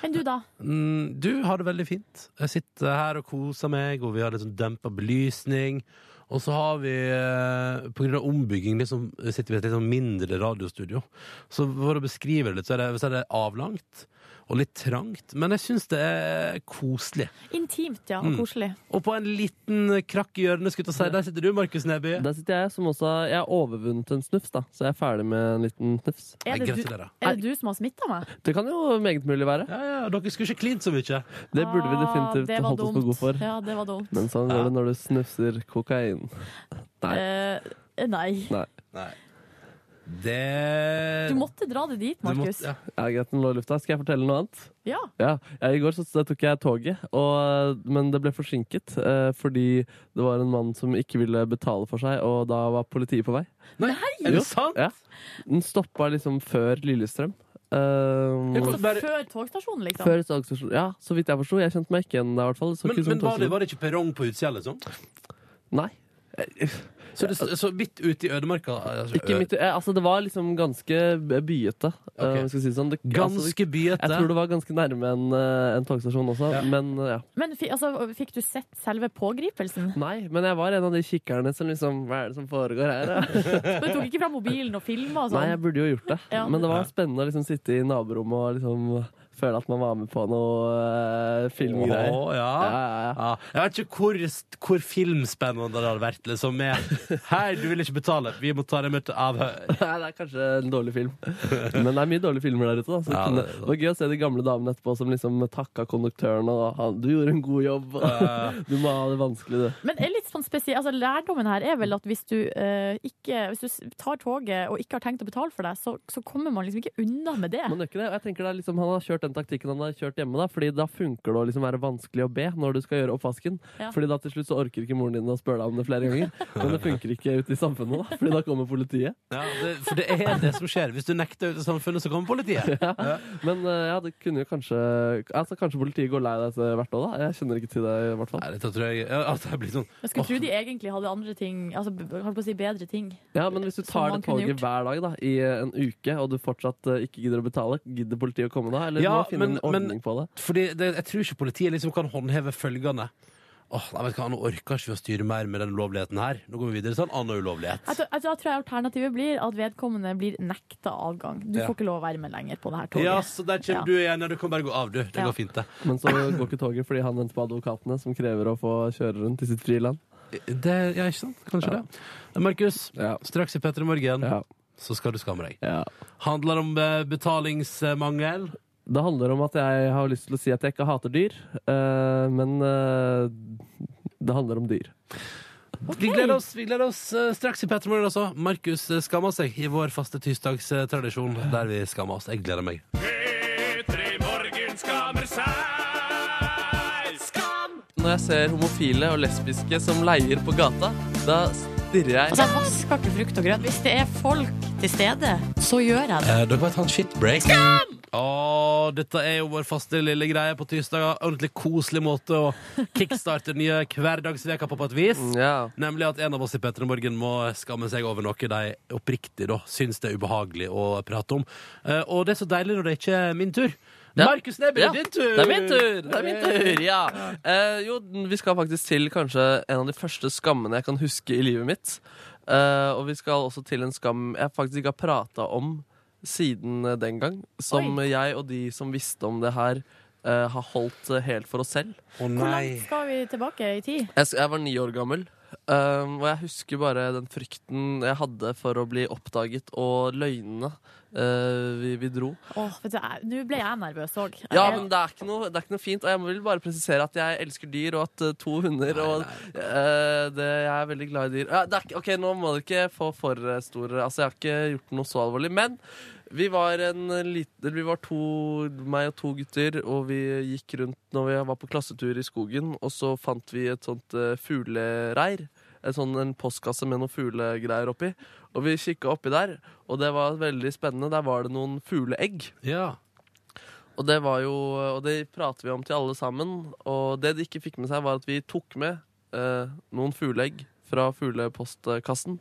Men du, da? Mm, Du har det veldig fint. Jeg sitter her og koser meg, og vi har liksom dempa belysning. Og så har vi, eh, på grunn av ombygging, liksom, sitter vi i et litt sånn mindre radiostudio. Så for å beskrive det litt, så er det, så er det avlangt og litt trangt. Men jeg syns det er koselig. Intimt, ja. Mm. Og koselig. Og på en liten krakk i hjørnet, skulle jeg til å si, der sitter du, Markus Neby. Der sitter jeg, som også Jeg har overvunnet en snufs, da, så jeg er ferdig med en liten snufs. Er Nei, det, du, gratulerer. er det du som har smitta meg? Det kan jo meget mulig være. Ja, ja, dere skulle ikke klint så mye. Det burde vi Ah, det definitivt var holdt oss for dumt. gode for. Ja, det var dumt. Men sånn går det når du snufser kokain. Nei. Eh, nei. Nei. Nei. Det Du måtte dra det dit, Du måtte- Markus. ja. Ja, greit, den lå i lufta. Skal jeg fortelle noe annet? Ja. Ja, ja I går så, så tok jeg toget, og, men det ble forsinket eh, fordi det var en mann som ikke ville betale for seg, og da var politiet på vei. Nei, er Jo. det sant? Ja. Den stoppa liksom før Lillestrøm. Eh, Ja, Altså, Bare- Før togstasjonen, liksom. før togstasjonen. Ja, så vidt jeg forsto. Jeg kjente meg ikke igjen der, i hvert fall. Så Men, ikke som men var, det, togstasjon. var det ikke perrong på utsida, liksom? Nei. Jeg, Så, det, så midt ute i ødemarka? altså, Ikke midt, i- eh, altså, det var liksom ganske b- byete. eh, Ok. om jeg skal si det sånn. Det, altså, det- Ganske byete. jeg tror det var ganske nærme en, eh, en togstasjon også, Ja. men eh, ja. Men fi- altså, fikk du sett selve pågripelsen? Nei, men jeg var en av de kikkerne som liksom Hva er det som foregår her, da? Du tok ikke fra mobilen og filma og Nei, sånn? jeg burde jo gjort det. Ja. Men det var spennende å liksom sitte i naborommet og liksom føle at man var med på noe eh, filmgreier. Åh, ja. Ja, ja, ja. Ja. Jeg vet ikke hvor, hvor filmspennende det hadde vært. Liksom, med Hei, du vil ikke betale. Vi må ta det møtet av Nei, det er kanskje en dårlig film. Men det er mye dårlige filmer der ute. Da, så det, Ja, kunne, det er det. det var gøy å se de gamle damene etterpå som liksom takka konduktøren og han, 'Du gjorde en god jobb', Ja. og 'Du må ha det vanskelig, du'. Men er litt sånn spesiell, altså, lærdommen her er vel at hvis du, eh, ikke, hvis du s- tar toget og ikke har tenkt å betale for deg, så, så kommer man liksom ikke unna med det. Man gjør ikke det. og Jeg tenker det er liksom, Han har kjørt den taktikken han har kjørt hjemme, da, Fordi da funker det å liksom være vanskelig å be når du skal gjøre oppvasken. Ja. Fordi da til slutt så orker ikke moren din å spørre deg om det flere ganger. Men det funker ikke ute i samfunnet, da Fordi da kommer politiet. ja, det, For det er det som skjer. Hvis du nekter ut i samfunnet, så kommer politiet. Men eh, ja, det kunne jo kanskje Altså Kanskje politiet går lei deg etter hvert òg, da. Jeg kjenner ikke til det, i hvert fall. Nei, dette tror jeg, ja, at jeg blir sånn Jeg skulle Åh. tro de egentlig hadde andre ting, altså, b- holdt på å si bedre ting. Ja, Men hvis du Som tar man det kunne toget hver dag da i eh, en uke, og du fortsatt eh, ikke gidder å betale, gidder politiet å komme da? Eller Ja, må finne men- en ordning men- på det? Fordi det, jeg tror ikke politiet liksom kan håndheve følgende. Åh, nei, vet du hva, Nå orker ikke vi å styre mer med den ulovligheten her. Nå går vi videre til en annen ulovlighet. Jeg tror, jeg Altså, tror alternativet blir at vedkommende blir nekta avgang. Du Ja. får ikke lov å være med lenger på det her toget. Ja, så Der kommer Ja. du igjen. Ja, du kan bare gå av, du. Det Ja. går fint, det. Men så går ikke toget fordi han venter på advokatene, som krever å få kjøre rundt i sitt frie land. det ja, ikke sant? Kanskje det. Markus, Ja. straks i P3 Morgen Ja. så skal du skamme deg. ja. Handler om eh, betalingsmangel. Det handler om at jeg har lyst til å si at jeg ikke hater dyr, eh, men eh, det handler om dyr. Vi gleder oss, vi gleder oss eh, straks i P3 Morgen også. Markus eh, skammer seg i vår faste tirsdagstradisjon der vi skammer oss. Jeg gleder meg. Når jeg ser homofile og lesbiske som leier på gata, da stirrer jeg Altså, jeg vasker ikke frukt og grønt. Hvis det er folk til stede, så gjør jeg det. Eh, dere må ta en shitbreak. Åh, dette er jo vår faste lille greie på tirsdager. Ordentlig koselig måte å kickstarte den nye hverdagsveka på på et vis. Ja. Nemlig at en av oss i Petter Morgen må skamme seg over noe de oppriktig da, syns det er ubehagelig å prate om. Eh, og det er så deilig når det ikke er min tur. Ja. Markus Neby, Ja, det er din tur! Det er min tur! Det er min tur, ja Eh, Jo, vi skal faktisk til kanskje en av de første skammene jeg kan huske i livet mitt. Eh, og vi skal også til en skam jeg faktisk ikke har prata om siden eh, den gang. Som jeg og de som visste om det her, eh, har holdt eh, helt for oss selv. Å Hvor nei. langt skal vi tilbake i tid? Jeg, s- jeg var ni år gammel, ehm, og jeg husker bare den frykten jeg hadde for å bli oppdaget, og løgnene eh, vi, vi dro. Åh, vet du, jeg- Nå ble jeg nervøs òg. Ja, men det er, ikke noe, det er ikke noe fint, og jeg vil bare presisere at jeg elsker dyr, og at eh, to hunder og eh, det, Jeg er veldig glad i dyr. Ja, det er, ikke- ok, nå må dere ikke få for eh, store Altså, jeg har ikke gjort noe så alvorlig, men vi var, en liten, vi var to, meg og to gutter, og vi gikk rundt når vi var på klassetur i skogen, og så fant vi et sånt eh, fuglereir. En sånn en postkasse med noen fuglegreier oppi. Og vi kikka oppi der, og det var veldig spennende. Der var det noen fugleegg. Ja. Og det var jo, og det prater vi om til alle sammen. Og det de ikke fikk med seg, var at vi tok med eh, noen fugleegg fra fuglepostkassen.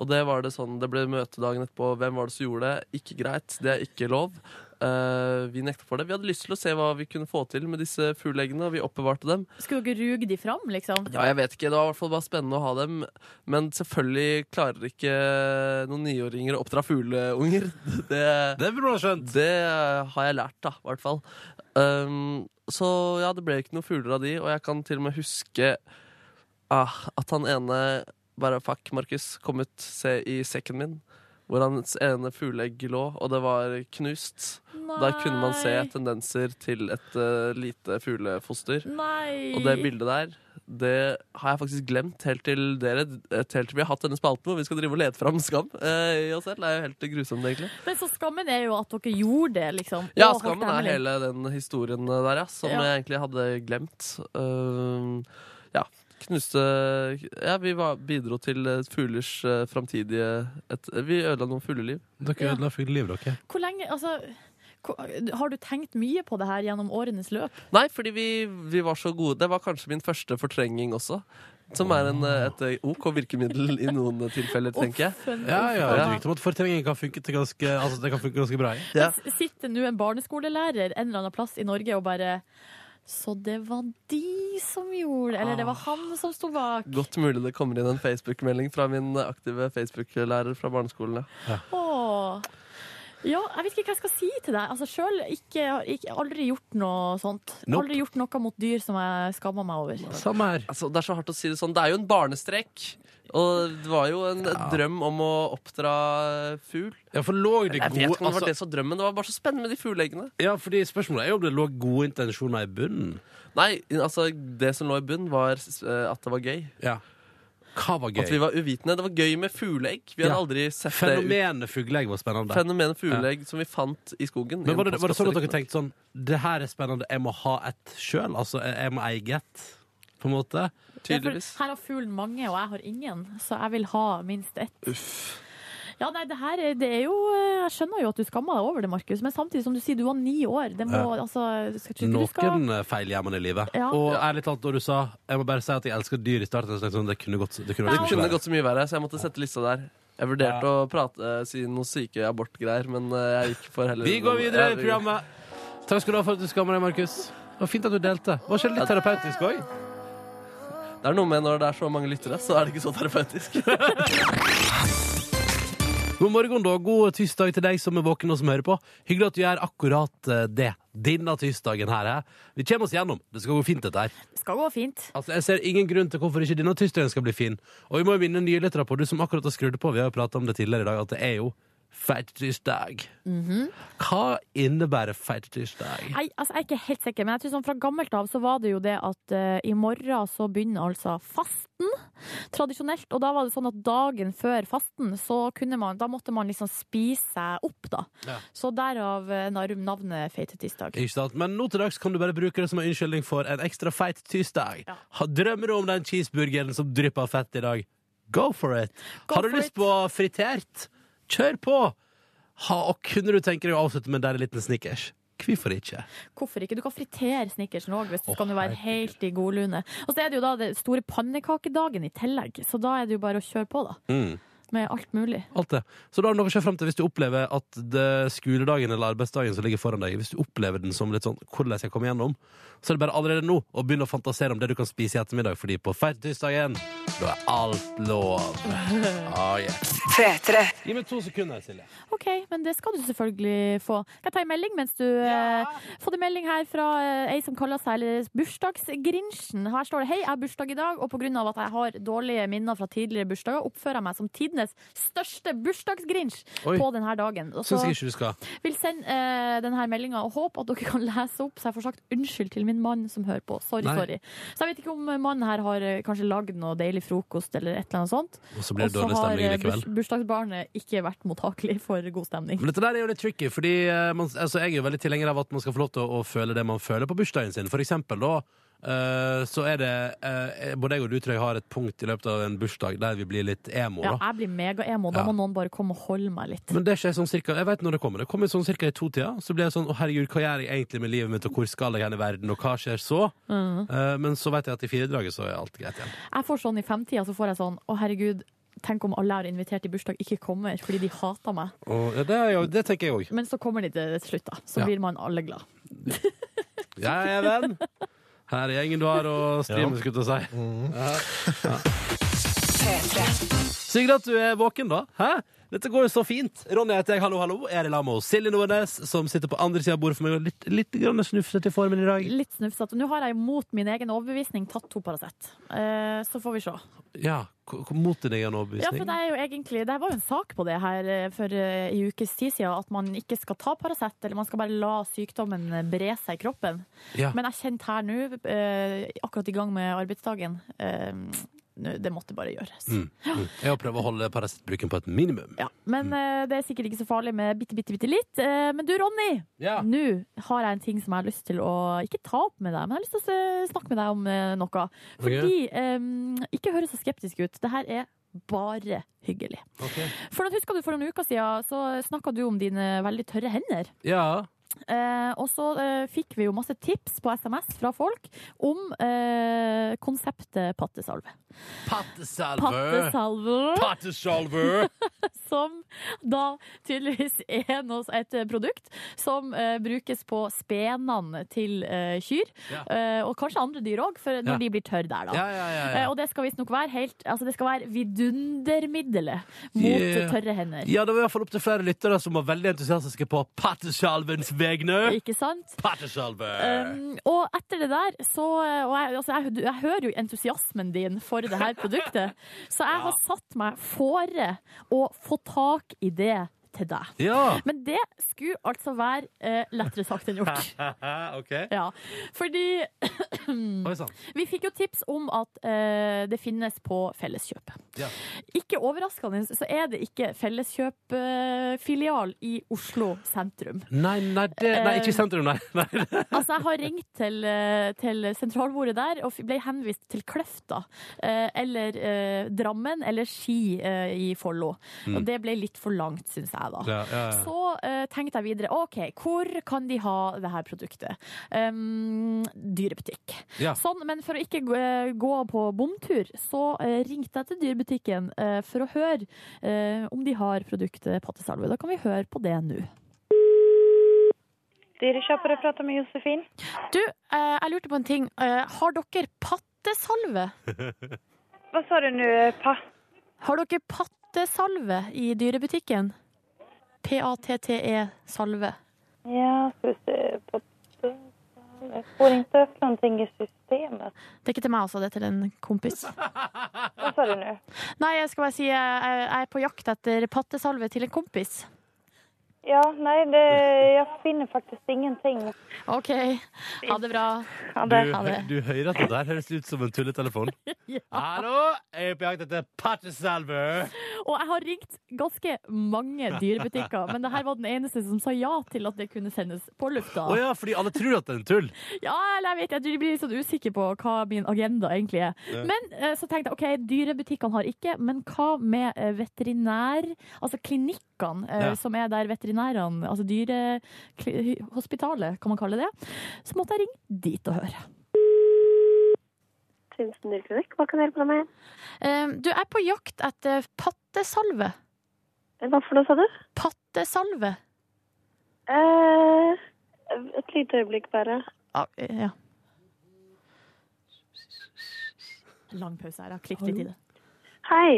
Og det var det sånn, det ble møte dagen etterpå. Hvem var det som gjorde det? Ikke greit. Det er ikke lov. Eh, vi nekta for det. Vi hadde lyst til å se hva vi kunne få til med disse fugleeggene, og vi oppbevarte dem. Skulle dere ruge de fram, liksom? Ja, jeg vet ikke. Det var i hvert fall bare spennende å ha dem. Men selvfølgelig klarer ikke noen niåringer å oppdra fugleunger. Det, Det burde du ha skjønt. det har jeg lært, da, i hvert fall. Um, så ja, det ble ikke noen fugler av de, og jeg kan til og med huske ah, at han ene bare Fuck, Markus, kom ut, se i sekken min. Hvor hans ene fugleegg lå, og det var knust. Der kunne man se tendenser til et eh, lite fuglefoster. Nei. Og det bildet der, det har jeg faktisk glemt helt til dere Helt til vi har hatt denne spalten hvor vi skal drive og lete fram skam eh, i oss selv. Det er jo helt grusomt, egentlig. Men så skammen er jo at dere gjorde det, liksom. og Ja, holdt skammen det er hemmelig. hele den historien der, ja, som Ja. jeg egentlig hadde glemt. Ehm, ja, knuste Ja, vi var, bidro til eh, fuglers eh, framtidige et, Vi ødela noen fugleliv. Dere ødela fuglelivet, dere. Hvor lenge, altså Ko- Har du tenkt mye på det her gjennom årenes løp? Nei, fordi vi, vi var så gode. Det var kanskje min første fortrengning også. Som er en, eh, et eh, OK virkemiddel i noen tilfeller, tenker jeg. Ja, ja, det er Ja. rykte om at fortrengning kan funke til ganske, altså, det kan funke ganske bra. jeg. Ja. S- Sitter nå en barneskolelærer en eller annen plass i Norge og bare Så det var de som gjorde det, eller det var han som sto bak. Godt mulig det kommer inn en Facebook-melding fra min aktive Facebook-lærer fra barneskolen. ja. Åh. Ja, jeg vet ikke hva jeg skal si til deg. Altså, Sjøl ikke, ikke Aldri gjort noe sånt. Nope. Aldri gjort noe mot dyr som jeg skammer meg over. Samme her. Altså, det er så hardt å si det sånn. Det er jo en barnestrek. Og det var jo en drøm om å oppdra fugl. Ja, for lå det Jeg vet gode ikke om det var altså, det som var drømmen. Det var bare så spennende med de fugleeggene. Ja, fordi spørsmålet er jo om det lå gode intensjoner i bunnen. Nei, altså, det som lå i bunnen, var eh, at det var gøy. Ja. Hva var At vi gøy? var uvitende. Det var gøy med fugleegg. Vi hadde Ja. aldri sett det ut. Fenomenet fugleegg var spennende. Fenomenet fugleegg som vi fant i skogen. Men i var en det, var det sånn at dere postkasse, tenkte sånn Det her er spennende, jeg må ha et sjøl? Altså, jeg jeg må eie et, på en måte? Det er for- Tydeligvis. Her har fuglen mange, og jeg har ingen, så jeg vil ha minst ett. Ja, nei, det her er- det er jo eh, Jeg skjønner jo at du skammer deg over det, Markus, men samtidig som du sier du var ni år. Det må, altså, skal, ikke du skal, Noen eh, feil gjør man i livet. Ja. Og ærlig talt, når du sa Jeg må bare si at jeg elsker dyr i starten, så tenkte jeg sånn, det kunne gått det kunne Det vært så mye kunne verre. gått så mye verre, så jeg måtte sette lista der. Jeg vurderte å prate, eh, si noe syke abortgreier, men eh, jeg gikk for heller Vi går videre Ja, i vi- programmet. Takk skal du ha for at du skammer deg, Markus. Det var fint at du delte. Var ikke det litt terapeutisk òg? Det er noe med når det er så mange lyttere, så er det ikke så terapeutisk. God morgen da, god tirsdag til deg som er våken og som hører på. Hyggelig at du gjør akkurat eh, det. Denne tirsdagen her. eh. Vi kommer oss gjennom. Det skal gå fint, dette her. skal gå fint. Altså, Jeg ser ingen grunn til hvorfor ikke denne tirsdagen skal bli fin. Og vi må jo minne nye lyttere på, du som akkurat har skrudd på, vi har jo prata om det tidligere i dag, at det er jo feit tirsdag. Mhm. Hva innebærer feit tirsdag? Nei, altså, jeg er ikke helt sikker, men jeg tror sånn fra gammelt av så var det jo det at eh, i morgen så begynner altså fasten, tradisjonelt. Og da var det sånn at dagen før fasten, så kunne man, da måtte man liksom spise seg opp, da. Ja. Så derav eh, navnet Feite tirsdag. Ikke sant? Men nå til dags kan du bare bruke det som en unnskyldning for en ekstra feit tirsdag. Ja. Ha Drømmer du om den cheeseburgeren som drypper av fett i dag? Go for it! Go Har du for lyst it. på fritert? Kjør på! Ha, og kunne du tenke deg å avslutte med en deilig liten snickers? Hvorfor ikke? Hvorfor ikke? Du kan fritere snickersen òg, hvis du Åh, skal nå være herregud. helt i godlune. Og så er det jo da den store pannekakedagen i tillegg, så da er det jo bare å kjøre på, da. Mm. Med alt mulig. Alt det. Så da har du noe å se frem til hvis du opplever at det skoledagen eller arbeidsdagen som ligger foran deg, hvis du opplever den som litt sånn hvordan jeg skal komme gjennom, så er det bare allerede nå å begynne å fantasere om det du kan spise i ettermiddag, fordi på feittirsdagen, da er alt lov. Ah, yeah. Gi meg to sekunder, Silje. OK, men det skal du selvfølgelig få. Kan jeg ta en melding mens du eh, Fått en melding her fra eh, ei som kaller seg eller Bursdagsgrinchen. Her står det 'Hei, jeg har bursdag i dag, og pga. at jeg har dårlige minner fra tidligere bursdager, oppfører jeg meg som tidenes største bursdagsgrinch Oi. på denne dagen'. Og så- Syns jeg ikke du skal. vil sende eh, denne meldinga og håpe at dere kan lese opp, så jeg får sagt unnskyld til min mann som hører på. Sorry, Nei. sorry. Så jeg vet ikke om mannen her har eh, kanskje lagd noe deilig frokost eller et eller annet sånt. Og så blir Og det så dårlig har stemning eh, likevel. burs bursdagsbarnet ikke vært mottakelig for god stemning. Men dette der er jo litt tricky, fordi eh, man, altså, jeg er jo veldig tilhenger av at man skal få lov til å, å føle det man føler på bursdagen sin. For eksempel da, eh, så er det eh, Både jeg og du, tror jeg, har et punkt i løpet av en bursdag der vi blir litt emo, Ja, da. jeg blir mega-emo. Da Ja. må noen bare komme og holde meg litt. Men det skjer sånn cirka, jeg vet når det kommer. Det kommer sånn cirka i to-tida. Så blir jeg sånn, å herregud, hva gjør jeg egentlig med livet mitt, og hvor skal jeg hen i verden, og hva skjer så? Eh, men så vet jeg at i firedraget så er alt greit igjen. Jeg får sånn i femtida, så får jeg sånn å herregud, tenk om alle jeg har invitert i bursdag, ikke kommer fordi de hater meg. Og, ja, det, er jo- det tenker jeg òg. Men så kommer de til slutt, da. Så Ja. blir man alle glad. Jeg er venn. Her er gjengen du har å stri med, skulle jeg til å si. Ja. Ja. Sigrid, at du er våken, da. Hæ? Dette går jo så fint. Ronny heter jeg, hallo, hallo. Jeg er i lag med Silje Nordnes, som sitter på andre sida av bordet for meg og litt, litt grann snufsete i formen i dag. Litt snufsete. Nå har jeg mot min egen overbevisning tatt to Paracet. Eh, så får vi se. Ja, k- k- Mot din egen overbevisning. Ja, for det, er jo egentlig, det var jo en sak på det her eh, for eh, en ukes tid siden, at man ikke skal ta Paracet, eller man skal bare la sykdommen eh, bre seg i kroppen. Ja. Men jeg kjente her nå, eh, akkurat i gang med arbeidsdagen, eh, nå, det måtte bare gjøres. Jeg prøver å holde Paracet-bruken på et minimum. Ja, men eh, det er sikkert ikke så farlig med bitte, bitte, bitte litt. Eh, men du, Ronny, nå har jeg en ting som jeg har lyst til å ikke ta opp med deg, men jeg har lyst til å eh, snakke med deg om eh, noe. Fordi eh, Ikke høres så skeptisk ut. Det her er bare hyggelig. Ok. For at Husker du for noen uker siden så snakka du om dine veldig tørre hender? Ja. Eh, og så eh, fikk vi jo masse tips på SMS fra folk om eh, konseptet pattesalve. Pattesalve! Pattesalve, Pattesalve! som da tydeligvis er noe, et produkt som eh, brukes på spenene til eh, kyr. Ja. Eh, og kanskje andre dyr òg, når Ja. de blir tørre der, da. Ja, ja, ja, Eh, ja. og det skal visstnok være helt Altså det skal være vidundermiddelet mot Yeah. tørre hender. ja, det var i hvert fall opp til flere lyttere som var veldig entusiastiske på pattesalvens vegne. Ikke sant? Pattesalve! Um, og etter det der, så og jeg, altså, jeg, du- jeg hører jo entusiasmen din for det her produktet, så jeg har satt meg fore å få tak i det til deg. Ja, Men det skulle altså være eh, lettere sagt enn gjort. ok. Ja. Fordi Mm. Oi sann. vi fikk jo tips om at eh, det finnes på Felleskjøpet. Ja. Ikke overraskende så er det ikke Felleskjøp-filial eh, i Oslo sentrum. Nei, nei, det, nei, ikke i sentrum, nei. nei. Altså, jeg har ringt til, eh, til sentralbordet der og f- ble henvist til Kløfta. eh, Eller eh, Drammen eller Ski eh, i Follo. Og det ble litt for langt, syns jeg, da. Ja, ja, ja. Så eh, tenkte jeg videre. OK, hvor kan de ha det her produktet? Um, dyrebutikk. Ja. Sånn, men for å ikke gå, eh, gå på bomtur, så eh, ringte jeg til dyrebutikken eh, for å høre eh, om de har produktet pattesalve. Da kan vi høre på det nå. Dyrekjøpere prater med Josefin. Du, eh, jeg lurte på en ting. Eh, Har dere pattesalve? Hva sa du nå, Pa? Har dere pattesalve i dyrebutikken? E P-A-T-T-E-salve. Ja, skal vi se på Jeg får ikke opp noe i systemet. Det er ikke til meg, altså. Det er til en kompis. Hva sa du nå? Nei, jeg skal bare si eh, jeg jeg er på jakt etter pattesalve til en kompis. Ja, nei, det, jeg finner faktisk ingenting. OK. Ha det bra. Ja, Du, det. Ja, det- du hører at det der høres ut som en tulletelefon. Hallo, jeg er på jakt etter pattesalve! Og jeg har ringt ganske mange dyrebutikker, men det her var den eneste som sa ja til at det kunne sendes på lufta. Å ja, fordi alle tror at det er en tull. Ja, eller jeg vet jeg tror de blir litt sånn usikre på hva min agenda egentlig er. Men eh, så tenkte jeg, ok, dyrebutikkene har ikke, men hva med eh, veterinær, altså klinikkene, eh, Ja. som er der veterinærene, altså dyrehospitalet, kan man kalle det, så måtte jeg ringe dit og høre. Tusen dyrklinikk, hva kan jeg hjelpe deg med? Eh, Du, jeg er på jakt etter pattesalve. Eh, Hva for noe, sa du? Pattesalve. Eh, et lite øyeblikk, bare. Ja, Ja. Lang pause her, jeg har klippet litt i det. Hei.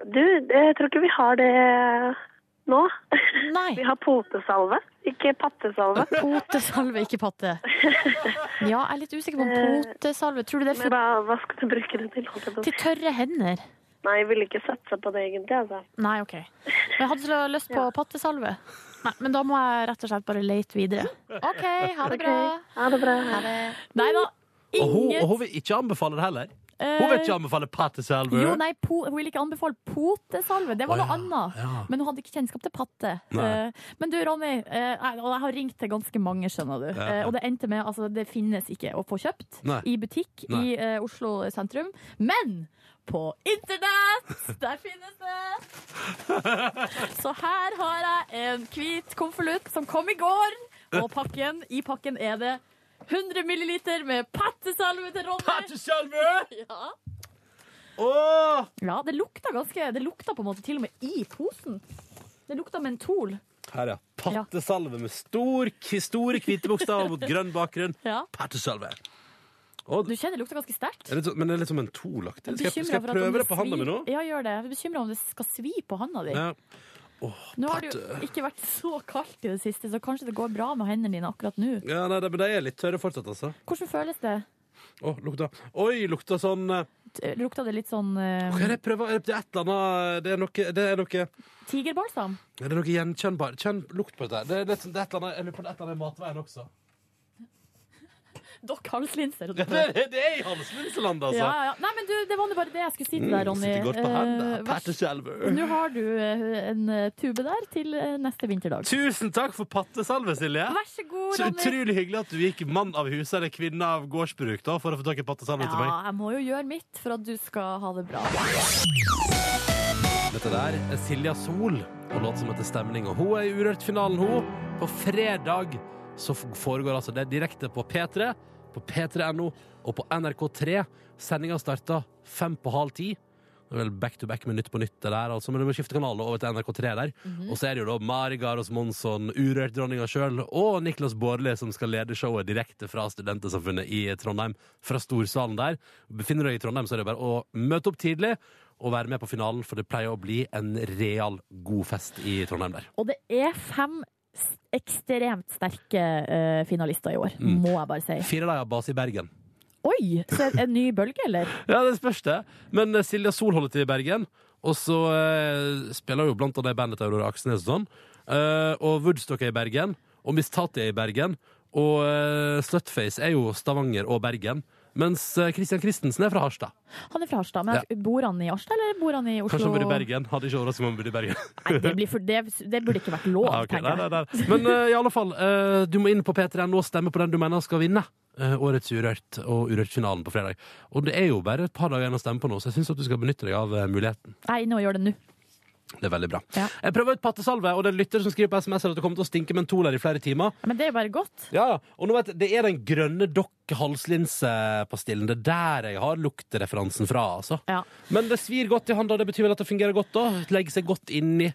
Du, jeg tror ikke vi har det nå. Nei. har potesalve, ikke pattesalve. Potesalve, ikke patte. Ja, jeg er litt usikker på om Eh, potesalve. Tror du det er for, hva skal du bruke det til? til tørre hender? Nei, jeg ville ikke satse på det egentlig, altså. Nei, OK. Men jeg hadde så lyst på pattesalve. Nei, men da må jeg rett og slett bare lete videre. OK, ha det bra. Ha det bra. Ha det. Nei da, Og hun, og inget... hun vil ikke anbefale det heller. Hun eh, vil ikke anbefale pattesalve. Eh. Jo, nei, po hun ville ikke anbefale potesalve. Det var Å, noe ja, annet. ja. Men hun hadde ikke kjennskap til patte. Nei. Eh, Men du, Ronny, eh, jeg- og jeg har ringt til ganske mange, skjønner du. Ja. Eh, Og det endte med altså, det finnes ikke å få kjøpt Nei. i butikk Nei. i eh, Oslo sentrum. Men på internett! Der finnes det! Så her har jeg en hvit konvolutt som kom i går, og pakken, i pakken er det 100 milliliter med pattesalve til Ronny. Pattesalve! Ja. Åh! Ja, det lukta ganske Det lukta på en måte til og med i posen. Det lukta mentol. Her, ja. Pattesalve med stor, store hvite bokstaver mot grønn bakgrunn. Ja. Pattesalve. Du kjenner det lukta ganske sterkt. Er det så- Men det er litt som en tolaktig. Skal, jeg- skal jeg Bekymret for at om prøve det på handa mi svir- nå? Ja, gjør det. Jeg er bekymra om det skal svi på handa di. Ja. nå har det eh, jo ikke vært så kaldt i det siste, så kanskje det går bra med hendene dine akkurat nå. Ja, nei, det- men de er litt tørre fortsatt, altså. Hvordan føles det? Åh, lukta. Oi, lukta sånn eh, T- Lukta det litt sånn eh, Hva er det jeg prøver? Er det et eller annet eh, Det er noe, det er noe tigerbalsam? Er det noe gjenkjennbar Kjenn lukt på dette. her. Det er, litt sånn- det er et eller annet, jeg lurer på om det er et eller annet i matveien også. Dokk halslinser. Ja, det, er- det er i Halsmundsland, altså. Mm, Ja, ja. Nei, men du, det var nå bare det jeg skulle si til deg, Ronny. Sitter godt på Eh, hendene. vær- Pattesalve. Nå har du eh, en eh, tube der til eh, neste vinterdag. Tusen takk for pattesalve, Silje. Vær så god, Så Ronny. utrolig hyggelig at du gikk mann av huset eller kvinne av gårdsbruk da, for å få tak i pattesalve Ja, til meg. jeg må jo gjøre mitt for at du skal ha det bra. Dette der er Silja Sol og låt som heter Stemning. Og hun er i Urørt-finalen, hun. På fredag så f- foregår altså det direkte på P3, på p3.no og på NRK3. Sendinga starter fem på halv ti. Det er vel back to back med Nytt på nytt, det der, altså, men du må skifte kanal over til NRK3 der. Og så er det jo da Mari Garos Monsson, Urørt-dronninga sjøl, og Niklas Baarli som skal lede showet direkte fra Studentersamfunnet i Trondheim, fra storsalen der. Befinner du deg i Trondheim, så er det bare å møte opp tidlig og være med på finalen, for det pleier å bli en real god fest i Trondheim der. Og det er fem s- ekstremt sterke eh, finalister i år, Mm. må jeg bare si. Fire dager base i Bergen. Oi, så er det en ny bølge, eller? Ja, det spørs det. Men eh, Silja Sol holder til i Bergen, og så eh, spiller hun jo blant annet i bandet til Aurora Aksnes og sånn. Eh, og Woodstock er i Bergen, og Miss Tati er i Bergen, og eh, Slutface er jo Stavanger og Bergen. Mens eh, Christian Christensen er fra Harstad. Han er fra Harstad, men bor han i Harstad, eller bor han i Oslo? Kanskje han bor i Bergen. Hadde ikke overrasket meg om han bodde i Bergen. Nei, det, blir for, det, det burde ikke vært lov, Ja, Ah, ok. tenker jeg. Nei, nei, nei. Men eh, i alle fall, eh, du må inn på P3N og stemme på den du mener skal vinne. eh, årets Urørt og Urørt-finalen på fredag. Og det er jo bare et par dager igjen å stemme på nå, så jeg syns du skal benytte deg av eh, muligheten. Jeg er inne og gjør det nå. Det er veldig bra. Ja. Jeg prøver ut pattesalve, og det er en lytter som skriver på SMS at det kommer til å stinke mentoler i flere timer. Men det er jo bare godt. Ja, ja. Og nå vet jeg, det er den grønne dokk-halslinsepastillen. Det er der jeg har luktereferansen fra, altså. Ja. Men det svir godt i handa, det betyr vel at det fungerer godt da. Legger seg godt inni.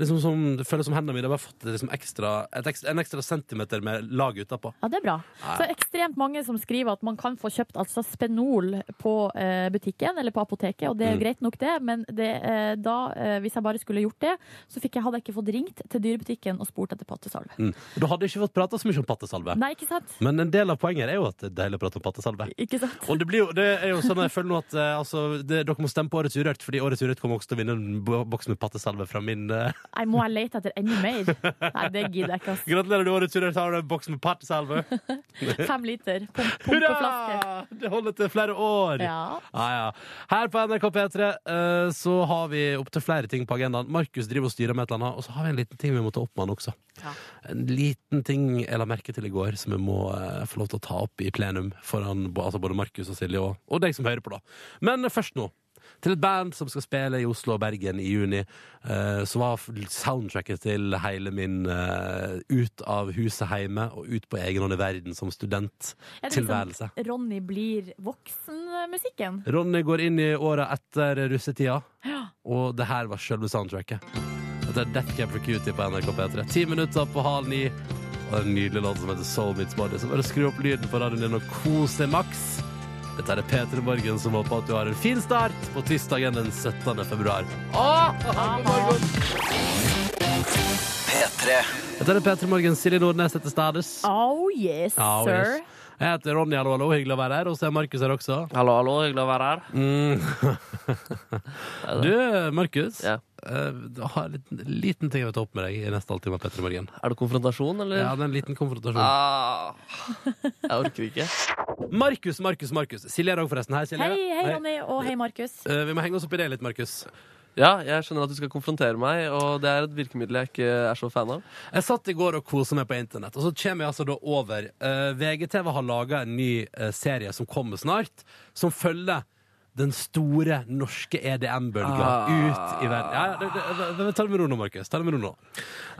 Liksom som, det føles som hendene mine har bare fått liksom ekstra, et ekstra, en ekstra centimeter med lag utapå. Ja, det er bra. Så ekstremt mange som skriver at man kan få kjøpt altså Spenol på eh, butikken eller på apoteket, og det Mm. er jo greit nok det, men det, eh, da, eh, hvis jeg bare skulle gjort det, så fikk jeg, hadde jeg ikke fått ringt til dyrebutikken og spurt etter pattesalve. Mm. Du hadde ikke fått prata så mye om pattesalve. Nei, ikke sant? Men en del av poenget er jo at det er deilig å prate om pattesalve. Ikke sant? Og det, blir jo, det er jo sånn jeg føler nå at eh, altså, det, Dere må stemme på Årets Urørt, fordi Årets Urørt kommer også til å vinne en bo- boks med pattesalve fra min eh, Nei, må jeg lete etter enda mer? Nei, det gidder jeg ikke, ass. Gratulerer, du, Årets Urørt har du en boks med pattesalve! Fem liter. Pump, pump på flaske. Hurra! Det holder til flere år! Ja. Ja, ja. Her på NRK P3 eh, så har vi opptil flere ting på agendaen. Markus driver og styrer med et eller annet, og så har vi en liten ting vi må ta opp med han også. En liten ting jeg la merke til i går, som jeg må eh, få lov til å ta opp i plenum foran bo- altså både Markus og Silje og, og deg som hører på, da. Men først nå. Til et band som skal spille i Oslo og Bergen i juni. eh, Så var soundtracket til hele min eh, ut av huset hjemme og ut på egen hånd i verden som Er det studenttilværelse. liksom Ronny blir voksen-musikken? Ronny går inn i åra etter russetida, og det her var sjølve soundtracket. Dette er Death Cab for Cutie på NRK P3. Ti minutter på halv ni. Og en nydelig låt som heter Soul Meets Body. Så bare skru opp lyden på radioen din og kos deg maks. Dette er P3 Morgen som håper at du har en fin start på tirsdagen den 17. februar. P3. Dette er P3 Morgen. Silje Nordnes heter Stades. Oh yes, Ah, sir. Ja, yes. Jeg heter Ronny, hallo, hallo. Hyggelig å være her. Og så er Markus her også. Hallo, hallo, hyggelig å være her. Mm. Du, Markus. Ja. eh, du har en liten, liten ting jeg vil ta opp med deg i neste halvtime av P3 Morgen. Er det konfrontasjon, eller? Ja, det er en liten konfrontasjon. Ah, jeg orker ikke. Markus, Markus, Markus. Silje er òg forresten her. Silje. Hei, hei, Ronny, og hei, Markus. Eh, vi må henge oss opp i det litt, Markus. Ja, jeg skjønner at du skal konfrontere meg, og det er et virkemiddel jeg ikke er så fan av. Jeg satt i går og kosa meg på internett, og så kommer jeg altså da over eh, VGTV har laga en ny eh, serie som kommer snart, som følger den store norske EDM-bølga ut i verden. Ja, ja, det, det, det, det, ta det med ro nå, Markus. Ta det med ro nå.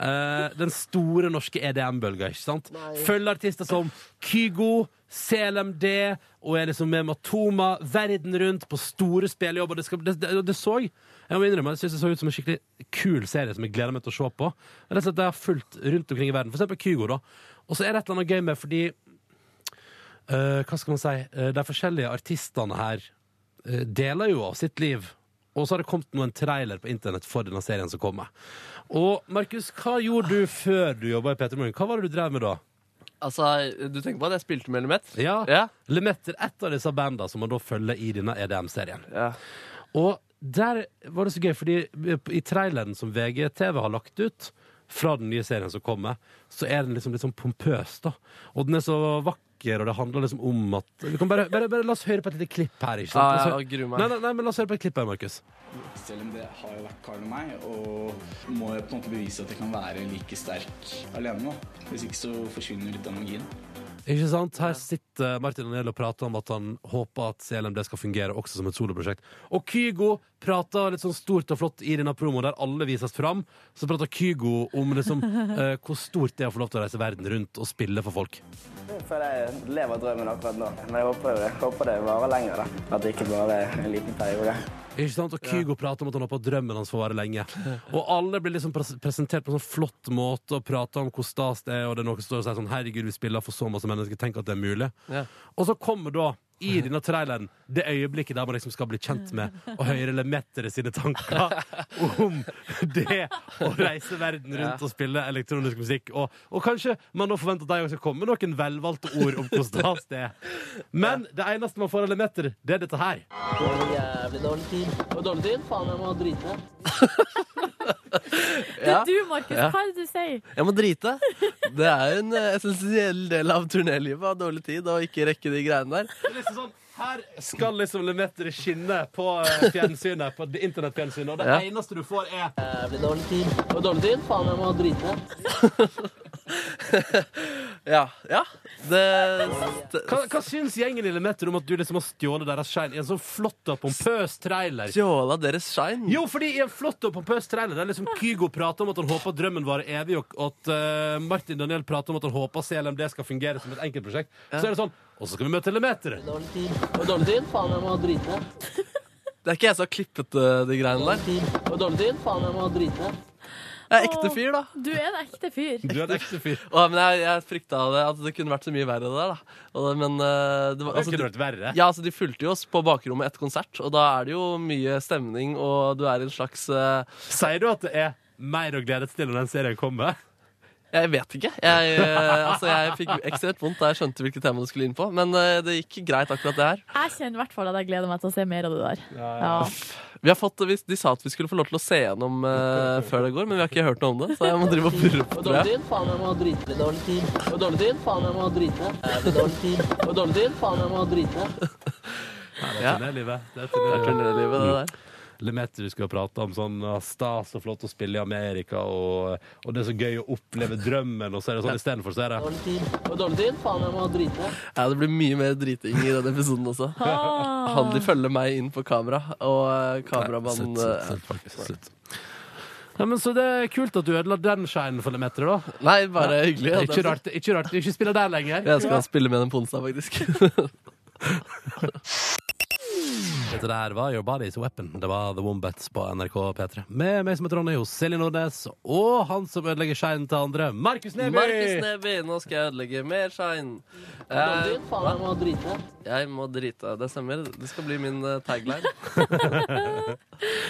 Eh, den store norske EDM-bølga, ikke sant? Følger artister som Kygo, CLMD og er liksom med Matoma verden rundt på store spillejobber. Det, skal, det, det, det så jeg må innrømme, jeg synes det så ut som en skikkelig kul serie som jeg gleder meg til å se på. Rett og slett, det har fulgt rundt omkring i verden. For eksempel Kygo, da. Og så er det et eller annet gøy med fordi eh, Hva skal man si? eh, de forskjellige artistene her eh, deler jo av sitt liv. Og så har det kommet noen trailer på internett for denne serien som kommer. Og Markus, hva gjorde du før du jobba i P3 Morgen? Hva var det du drev med da? Altså, du tenker på at jeg spilte med Element? Ja, Ja. Lemaitre, ett av disse bandene som man da følger i denne EDM-serien. Ja. Og der var det så gøy, fordi i traileren som VGTV har lagt ut, fra den nye serien som kommer, så er den liksom litt sånn pompøs, da. Og den er så vakker, og det handler liksom om at Vi kan bare, bare, bare la oss høre på et lite klipp her, ikke sant? Ah, La oss ja, høre- jeg gruer meg. nei, nei, nei, men la oss høre på et klipp her, Markus. Selv om det har jo vært Karl og meg, og må jeg på en måte bevise at jeg kan være like sterk alene. da. Hvis ikke så forsvinner litt av magien. Ikke sant? Her sitter Martin Anel og prater om at han håper at CLMD skal fungere også som et soloprosjekt. Og Kygo prater litt sånn stort og flott i denne promoen der alle vises fram. Så prater Kygo om liksom, eh, hvor stort det er å få lov til å reise verden rundt og spille for folk. For jeg lever drømmen akkurat nå. Men jeg håper, jeg håper det varer lenger. da. At det ikke bare er en liten periode. Ikke sant? Og Kygo prater om at han håper drømmen hans får vare lenge. Og alle blir liksom pres- presentert på en sånn flott måte og prater om hvor stas det er, og det er noen som står og sier sånn Herregud, vi spiller for så masse mennesker, tenk at det er mulig. Ja. Og så kommer da, i denne traileren, det øyeblikket der man liksom skal bli kjent med og høre Lemettere sine tanker om det å reise verden rundt Ja. og spille elektronisk musikk. Og, og kanskje man nå forventer at de også skal komme med noen velvalgte ord om hvor stas det er. Men det eneste man får av Lemetter, det er dette her. Jævlig dårlig tid. Og dårlig tid? Faen, jeg må drite. Det er du, Markus. Ja. Hva er det du sier? Jeg må drite. Det er jo en eh, essensiell del av turnélivet. Ha dårlig tid og ikke rekke de greiene der. Liksom sånn, her skal liksom Lemetter skinne på eh, fjernsynet, på det internettfjernsynet, og det Ja. eneste du får, er Jævlig dårlig tid. Og dårlig tid? Faen, jeg må drite. Ja. ja. hva, hva syns gjengen i Lemetter om at du liksom har stjålet deres shine i en sånn flott og pompøs trailer? Stjåla deres shine? Jo, fordi i en flott og pompøs trailer der liksom Kygo prater om at han håper drømmen varer evig, og at eh, Martin Daniel prater om at han håper CLMD skal fungere som et enkeltprosjekt, så er det sånn Og så skal vi møte Lemetter! Dårlig tid. Og dårlig tid? Faen, jeg må drite. Det er ikke jeg som har klippet eh, de greiene der. Dårlig tid. Og dårlig tid? Faen, jeg må drite. Jeg er ekte fyr, da. Du er en ekte fyr. Du er en ekte fyr. Å, men jeg, jeg frykta det, at det kunne vært så mye verre det der, da. Og, det- men eh, det var Det kunne de- vært verre. Ja, altså, de fulgte jo oss på bakrommet etter konsert, og da er det jo mye stemning, og du er i en slags eh, Sier du at det er mer å glede seg til når den serien kommer? Jeg vet ikke. Jeg, eh, altså, jeg fikk ekstremt vondt da jeg skjønte hvilket tema det skulle inn på, men eh, det gikk greit akkurat det her. Jeg kjenner i hvert fall at jeg gleder meg til å se mer av det der. ja. Vi har fått, vi- de sa at vi skulle få lov til å se gjennom eh, før det går, men vi har ikke hørt noe om det, så jeg må drive og purre på Og det. dårlig tid? Faen, jeg må drite. Dårlig tid. Og dårlig tid? Faen, jeg må drite. Jævlig dårlig tid. Og dårlig tid? Faen, jeg må drite. Det Ja. er turnélivet. Det er Det er turnélivet, det der. Lemeter du skulle ha pratet om sånn ah, stas og flott å spille i Amerika, og, og det er så gøy å oppleve drømmen, og så er det sånn istedenfor, så er det Dårlig tid. Og dårlig tid? Faen, jeg må drite. Ja, det blir mye mer driting i denne episoden også. Ah. Han de følger meg inn på kamera, og eh, kameramannen Slutt, slutt, slutt, Markus, slutt. Ja, men så det er kult at du ødela den shinen for Lemeter, da. eh, Nei, bare hyggelig. at Ikke jeg- rart, ikke rart du ikke spiller der lenger. Jeg skal spille med den på onsdag, faktisk. Dette der var Your Body's Weapon. Det var The Wombats på NRK P3. Med meg som er Ronny, hos Silje Nordnes, og han som ødelegger shinen til andre, Markus Neby! Markus Neby, nå skal jeg ødelegge mer shine. Dårlig tid? Faen, jeg må drite. Jeg må drite. Det stemmer. Det skal bli min eh, tagline.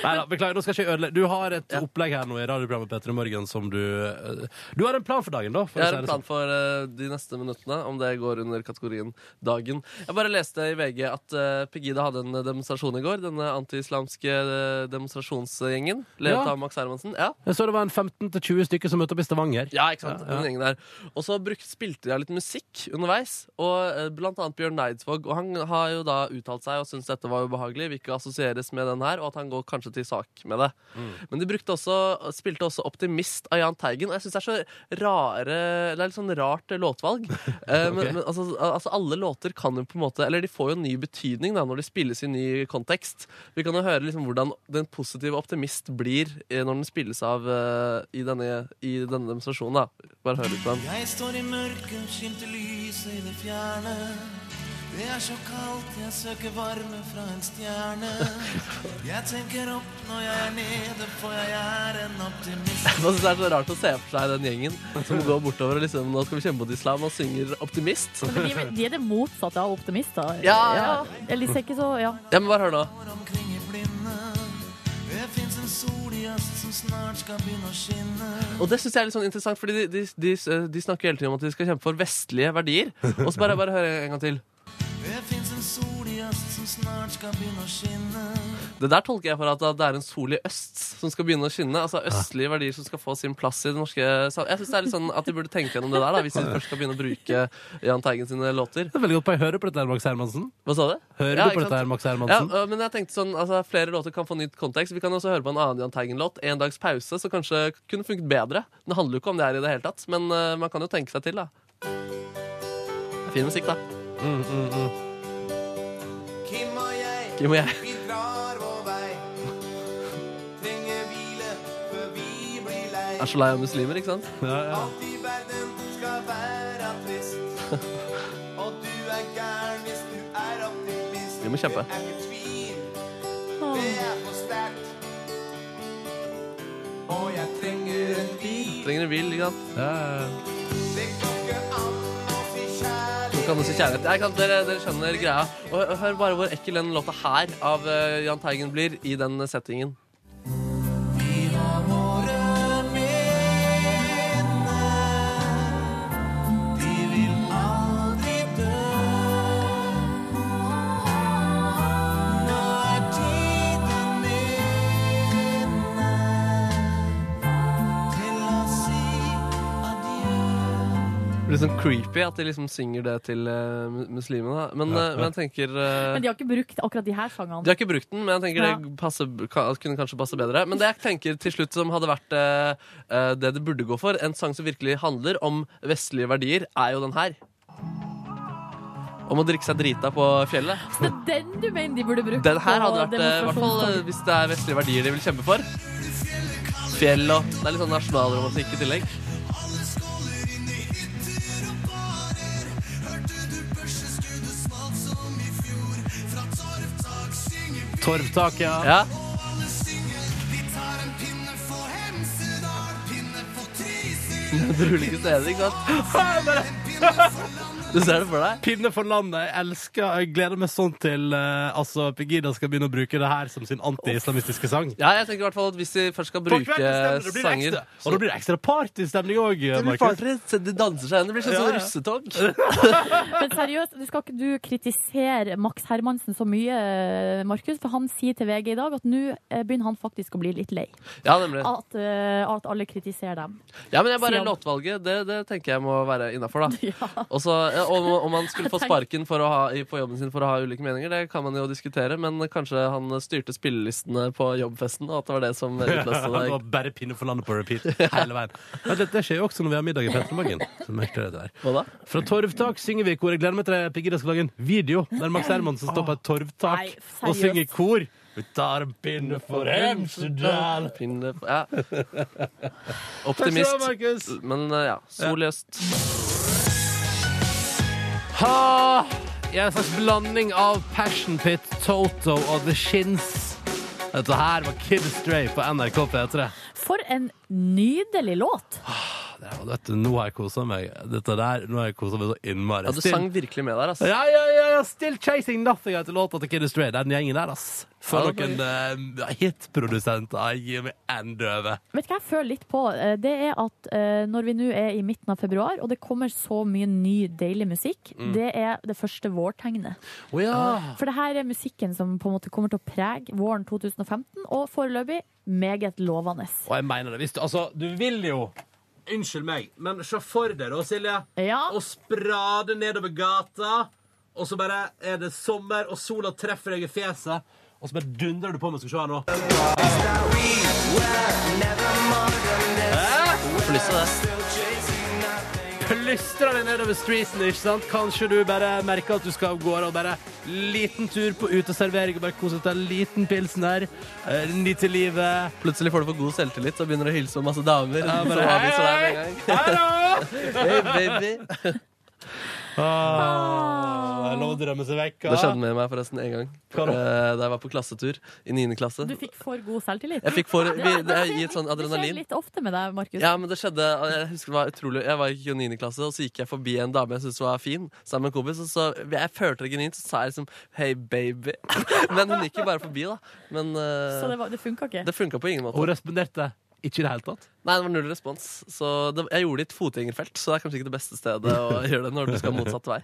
Nei da, beklager, nå skal ikke jeg ødelegge. Du har et opplegg her nå i radioprogrammet Petter i morgen som du eh, Du har en plan for dagen, da? for Jeg har en å si det plan sånn. for eh, de neste minuttene, om det går under kategorien dagen. Jeg bare leste i VG at eh, Pegida hadde en demonstrasjon i går. Denne antiislamske eh, demonstrasjonsgjengen, ledet Ja. av Max Hermansen. Ja. Jeg så det var en 15-20 stykker som møtte opp i Stavanger. Ja, ikke sant? Ja, ja. Den gjengen der. Og så bruk, spilte jeg litt musikk underveis, og eh, blant annet Bjørn Eidsvåg. Og han har jo da uttalt seg og syntes dette var ubehagelig, vil ikke assosieres med den her, og at han går kanskje til sak med det. Mm. Men de brukte også, spilte også Optimist av Jahn Teigen, og jeg syns det er så rare Det er litt sånn rart eh, låtvalg. Eh, men, Ok. men altså, al- altså, alle låter kan jo på en måte Eller de får jo en ny betydning da, når de spilles i ny kontekst. Vi kan jo høre liksom hvordan den positive optimist blir eh, når den spilles av eh, i, denne, i denne demonstrasjonen. da Bare hør litt på den. Jeg står i mørket, skimter lyset i det fjerne. Det er så kaldt, jeg søker varme fra en stjerne. Jeg tenker opp når jeg er nede, for jeg er en optimist. Jeg synes det er så rart å se for seg den gjengen som går bortover og liksom Nå skal vi kjempe mot islam og synger optimist. Men de, de er det motsatte av optimister. Ja, ja. Eller ser ikke så Ja. Ja, men bare hør nå. omkring i blinde. Det fins en sol i øst som snart skal begynne å skinne. Og det synes jeg er litt sånn interessant, fordi de, de, de, de snakker hele tiden om at de skal kjempe for vestlige verdier. Og så bare, bare hør en gang til. Det fins en sol i øst som snart skal begynne å skinne. Det der tolker jeg for at det er en sol i øst som skal begynne å skinne. Altså østlige verdier som skal få sin plass i det norske sam- Jeg synes det er litt sånn at de burde tenke gjennom det der, da, hvis de først skal begynne å bruke Jahn Teigen sine låter. Det er veldig godt på jeg hører på dette, her, Max Hermansen. Hva sa du? Hører Ja, du på ikke dette, her, sant? Max Ja, Hermansen? øh, men jeg tenkte sånn, altså Flere låter kan få nytt kontekst. Vi kan også høre på en annen Jahn Teigen-låt. En dags pause, så kanskje kunne eh, funket bedre. Den handler jo ikke om det her i det hele tatt, men øh, man kan jo tenke seg til, da. Fin musikk, da. Mm, mm, mm. Kim og jeg, Kim og jeg. vi drar vår vei. Trenger hvile før vi blir lei. Er så lei av muslimer, ikke sant? Alt i verden skal være trist. Og du er gæren hvis du er optimist. Vi må kjempe. Det er ikke tvil, Ah. det er for sterkt. Og jeg trenger en bil. Trenger en bil, ikke sant? Det går ikke an å si kjærlighet. Nå kan du si kjærlighet. Jeg kan, dere, dere skjønner greia. Og hø- hør bare hvor ekkel den låta her av eh, Jahn Teigen blir i den settingen. Det blir sånn creepy at de liksom synger det til eh, mu- muslimene. da. Men, eh, men jeg tenker eh, Men de har ikke brukt akkurat de her sangene. de har ikke brukt den, men jeg tenker det passer, ka- kunne kanskje passe bedre. Men det jeg tenker til slutt som hadde vært eh, eh, det det burde gå for, en sang som virkelig handler om vestlige verdier, er jo den her. Om å drikke seg drita på fjellet. Det er den du mener de burde bruke? Den her på hadde vært, eh, i hvert fall eh, demonstrasjonstog. hvis det er vestlige verdier de vil kjempe for. Fjell og Det er litt sånn nasjonalromantikk i tillegg. Torvtak, ja. ja. Det er ulike steder, ikke sant? Du ser det for deg? Pinne for landet. Jeg elsker Jeg gleder meg sånn til eh, altså, Pegida skal begynne å bruke det her som sin anti-islamistiske sang. Ja, jeg tenker i hvert fall at hvis de først skal bruke kvelden stemmer det, blir det sanger ekstra. Og da blir det ekstra partystemning òg, Det blir Markus. fartfritt, så De danser seg igjen. Det blir sånn Ja, som ja. russetog. Men seriøst, du skal ikke du kritisere Max Hermansen så mye, eh, Markus? For han sier til VG i dag at nå eh, begynner han faktisk å bli litt lei. Ja, nemlig. At, eh, at alle kritiserer dem. Ja, men jeg bare Sian. låtvalget, det, det tenker jeg må være innafor, da. Og så, eh, om, om han skulle få sparken for å ha, i- på jobben sin for å ha ulike meninger, det kan man jo diskutere, men kanskje han styrte spillelistene på jobbfesten, og at det var det som utløste det det. var bare pinne for landet på repeat hele veien. Men dette skjer jo også når vi har middag i Petremorgen. Så merker dere det der. Hva da? Fra torvtak synger vi i kor. Jeg gleder meg til det, Pegida skal lage en video der Max Hermansen står på et torvtak Nei, og seriøst. synger i kor. Vi tar en pinne for Hemsedal. Pinne for- Ja. Optimist. Takk skal du ha, Markus. Men eh, ja, sol i øst. Ha! I en slags blanding av Passion Pit, Toto og The Shins. Dette her var Kid Stray på NRK P3. For en nydelig låt! Ja, og dette, nå har jeg kosa meg. Dette der, nå har jeg koset meg så innmari. Ja, du Still- sang virkelig med der, altså. Ja, ja, ja, ja, Still Chasing Nothing heter låta til Kid Astray. Den gjengen der, ass. For Ja, det er noen eh, hitprodusenter. Gi meg enda over. Vet du hva jeg føler litt på? Eh, Det er at eh, når vi nå er i midten av februar, og det kommer så mye ny, deilig musikk, Mm. det er det første vårtegnet. Å ja. For det her er musikken som på en måte kommer til å prege våren 2015, og foreløpig meget lovende. Og jeg mener det. Hvis du, altså, du vil jo Unnskyld meg, men se for deg da, Silje, å sprade nedover gata, og så bare er det sommer, og sola treffer deg i fjeset, og så bare dundrer du på med Skal vi se her nå. Får lyst til det. plystrer deg nedover streeten, ikke sant? Kanskje du bare merker at du skal av gårde og bare liten tur på uteservering og bare kose deg en liten pilsen her. Eh, Nyte livet. Plutselig får du for god selvtillit, så begynner du å hilse på masse damer. Ja, bare, som hei, avviser deg med en gang. hei, hallo! Hey, baby. Ah, lov å drømme seg vekk. Det skjedde med meg forresten en gang Hva da? eh, da jeg var på klassetur i 9. klasse. Du fikk for god selvtillit. Jeg fikk for- vi- Ja, det skjer gir et sånn litt- Det adrenalin. skjer litt ofte med deg, Markus. Ja, men det skjedde Jeg husker det var utrolig Jeg var ikke i 9. klasse, og så gikk jeg forbi en dame jeg syntes var fin, sammen med en kompis, og så Jeg følte det genuint, så sa jeg liksom Hei, baby. Men hun gikk jo bare forbi, da. Men eh, Så det, var- det funka ikke? det funka på ingen måte. Og responderte ikke i det hele tatt. Nei, det var null respons. Så det, jeg gjorde det i et fotgjengerfelt, så det er kanskje ikke det beste stedet å gjøre det når du skal motsatt vei.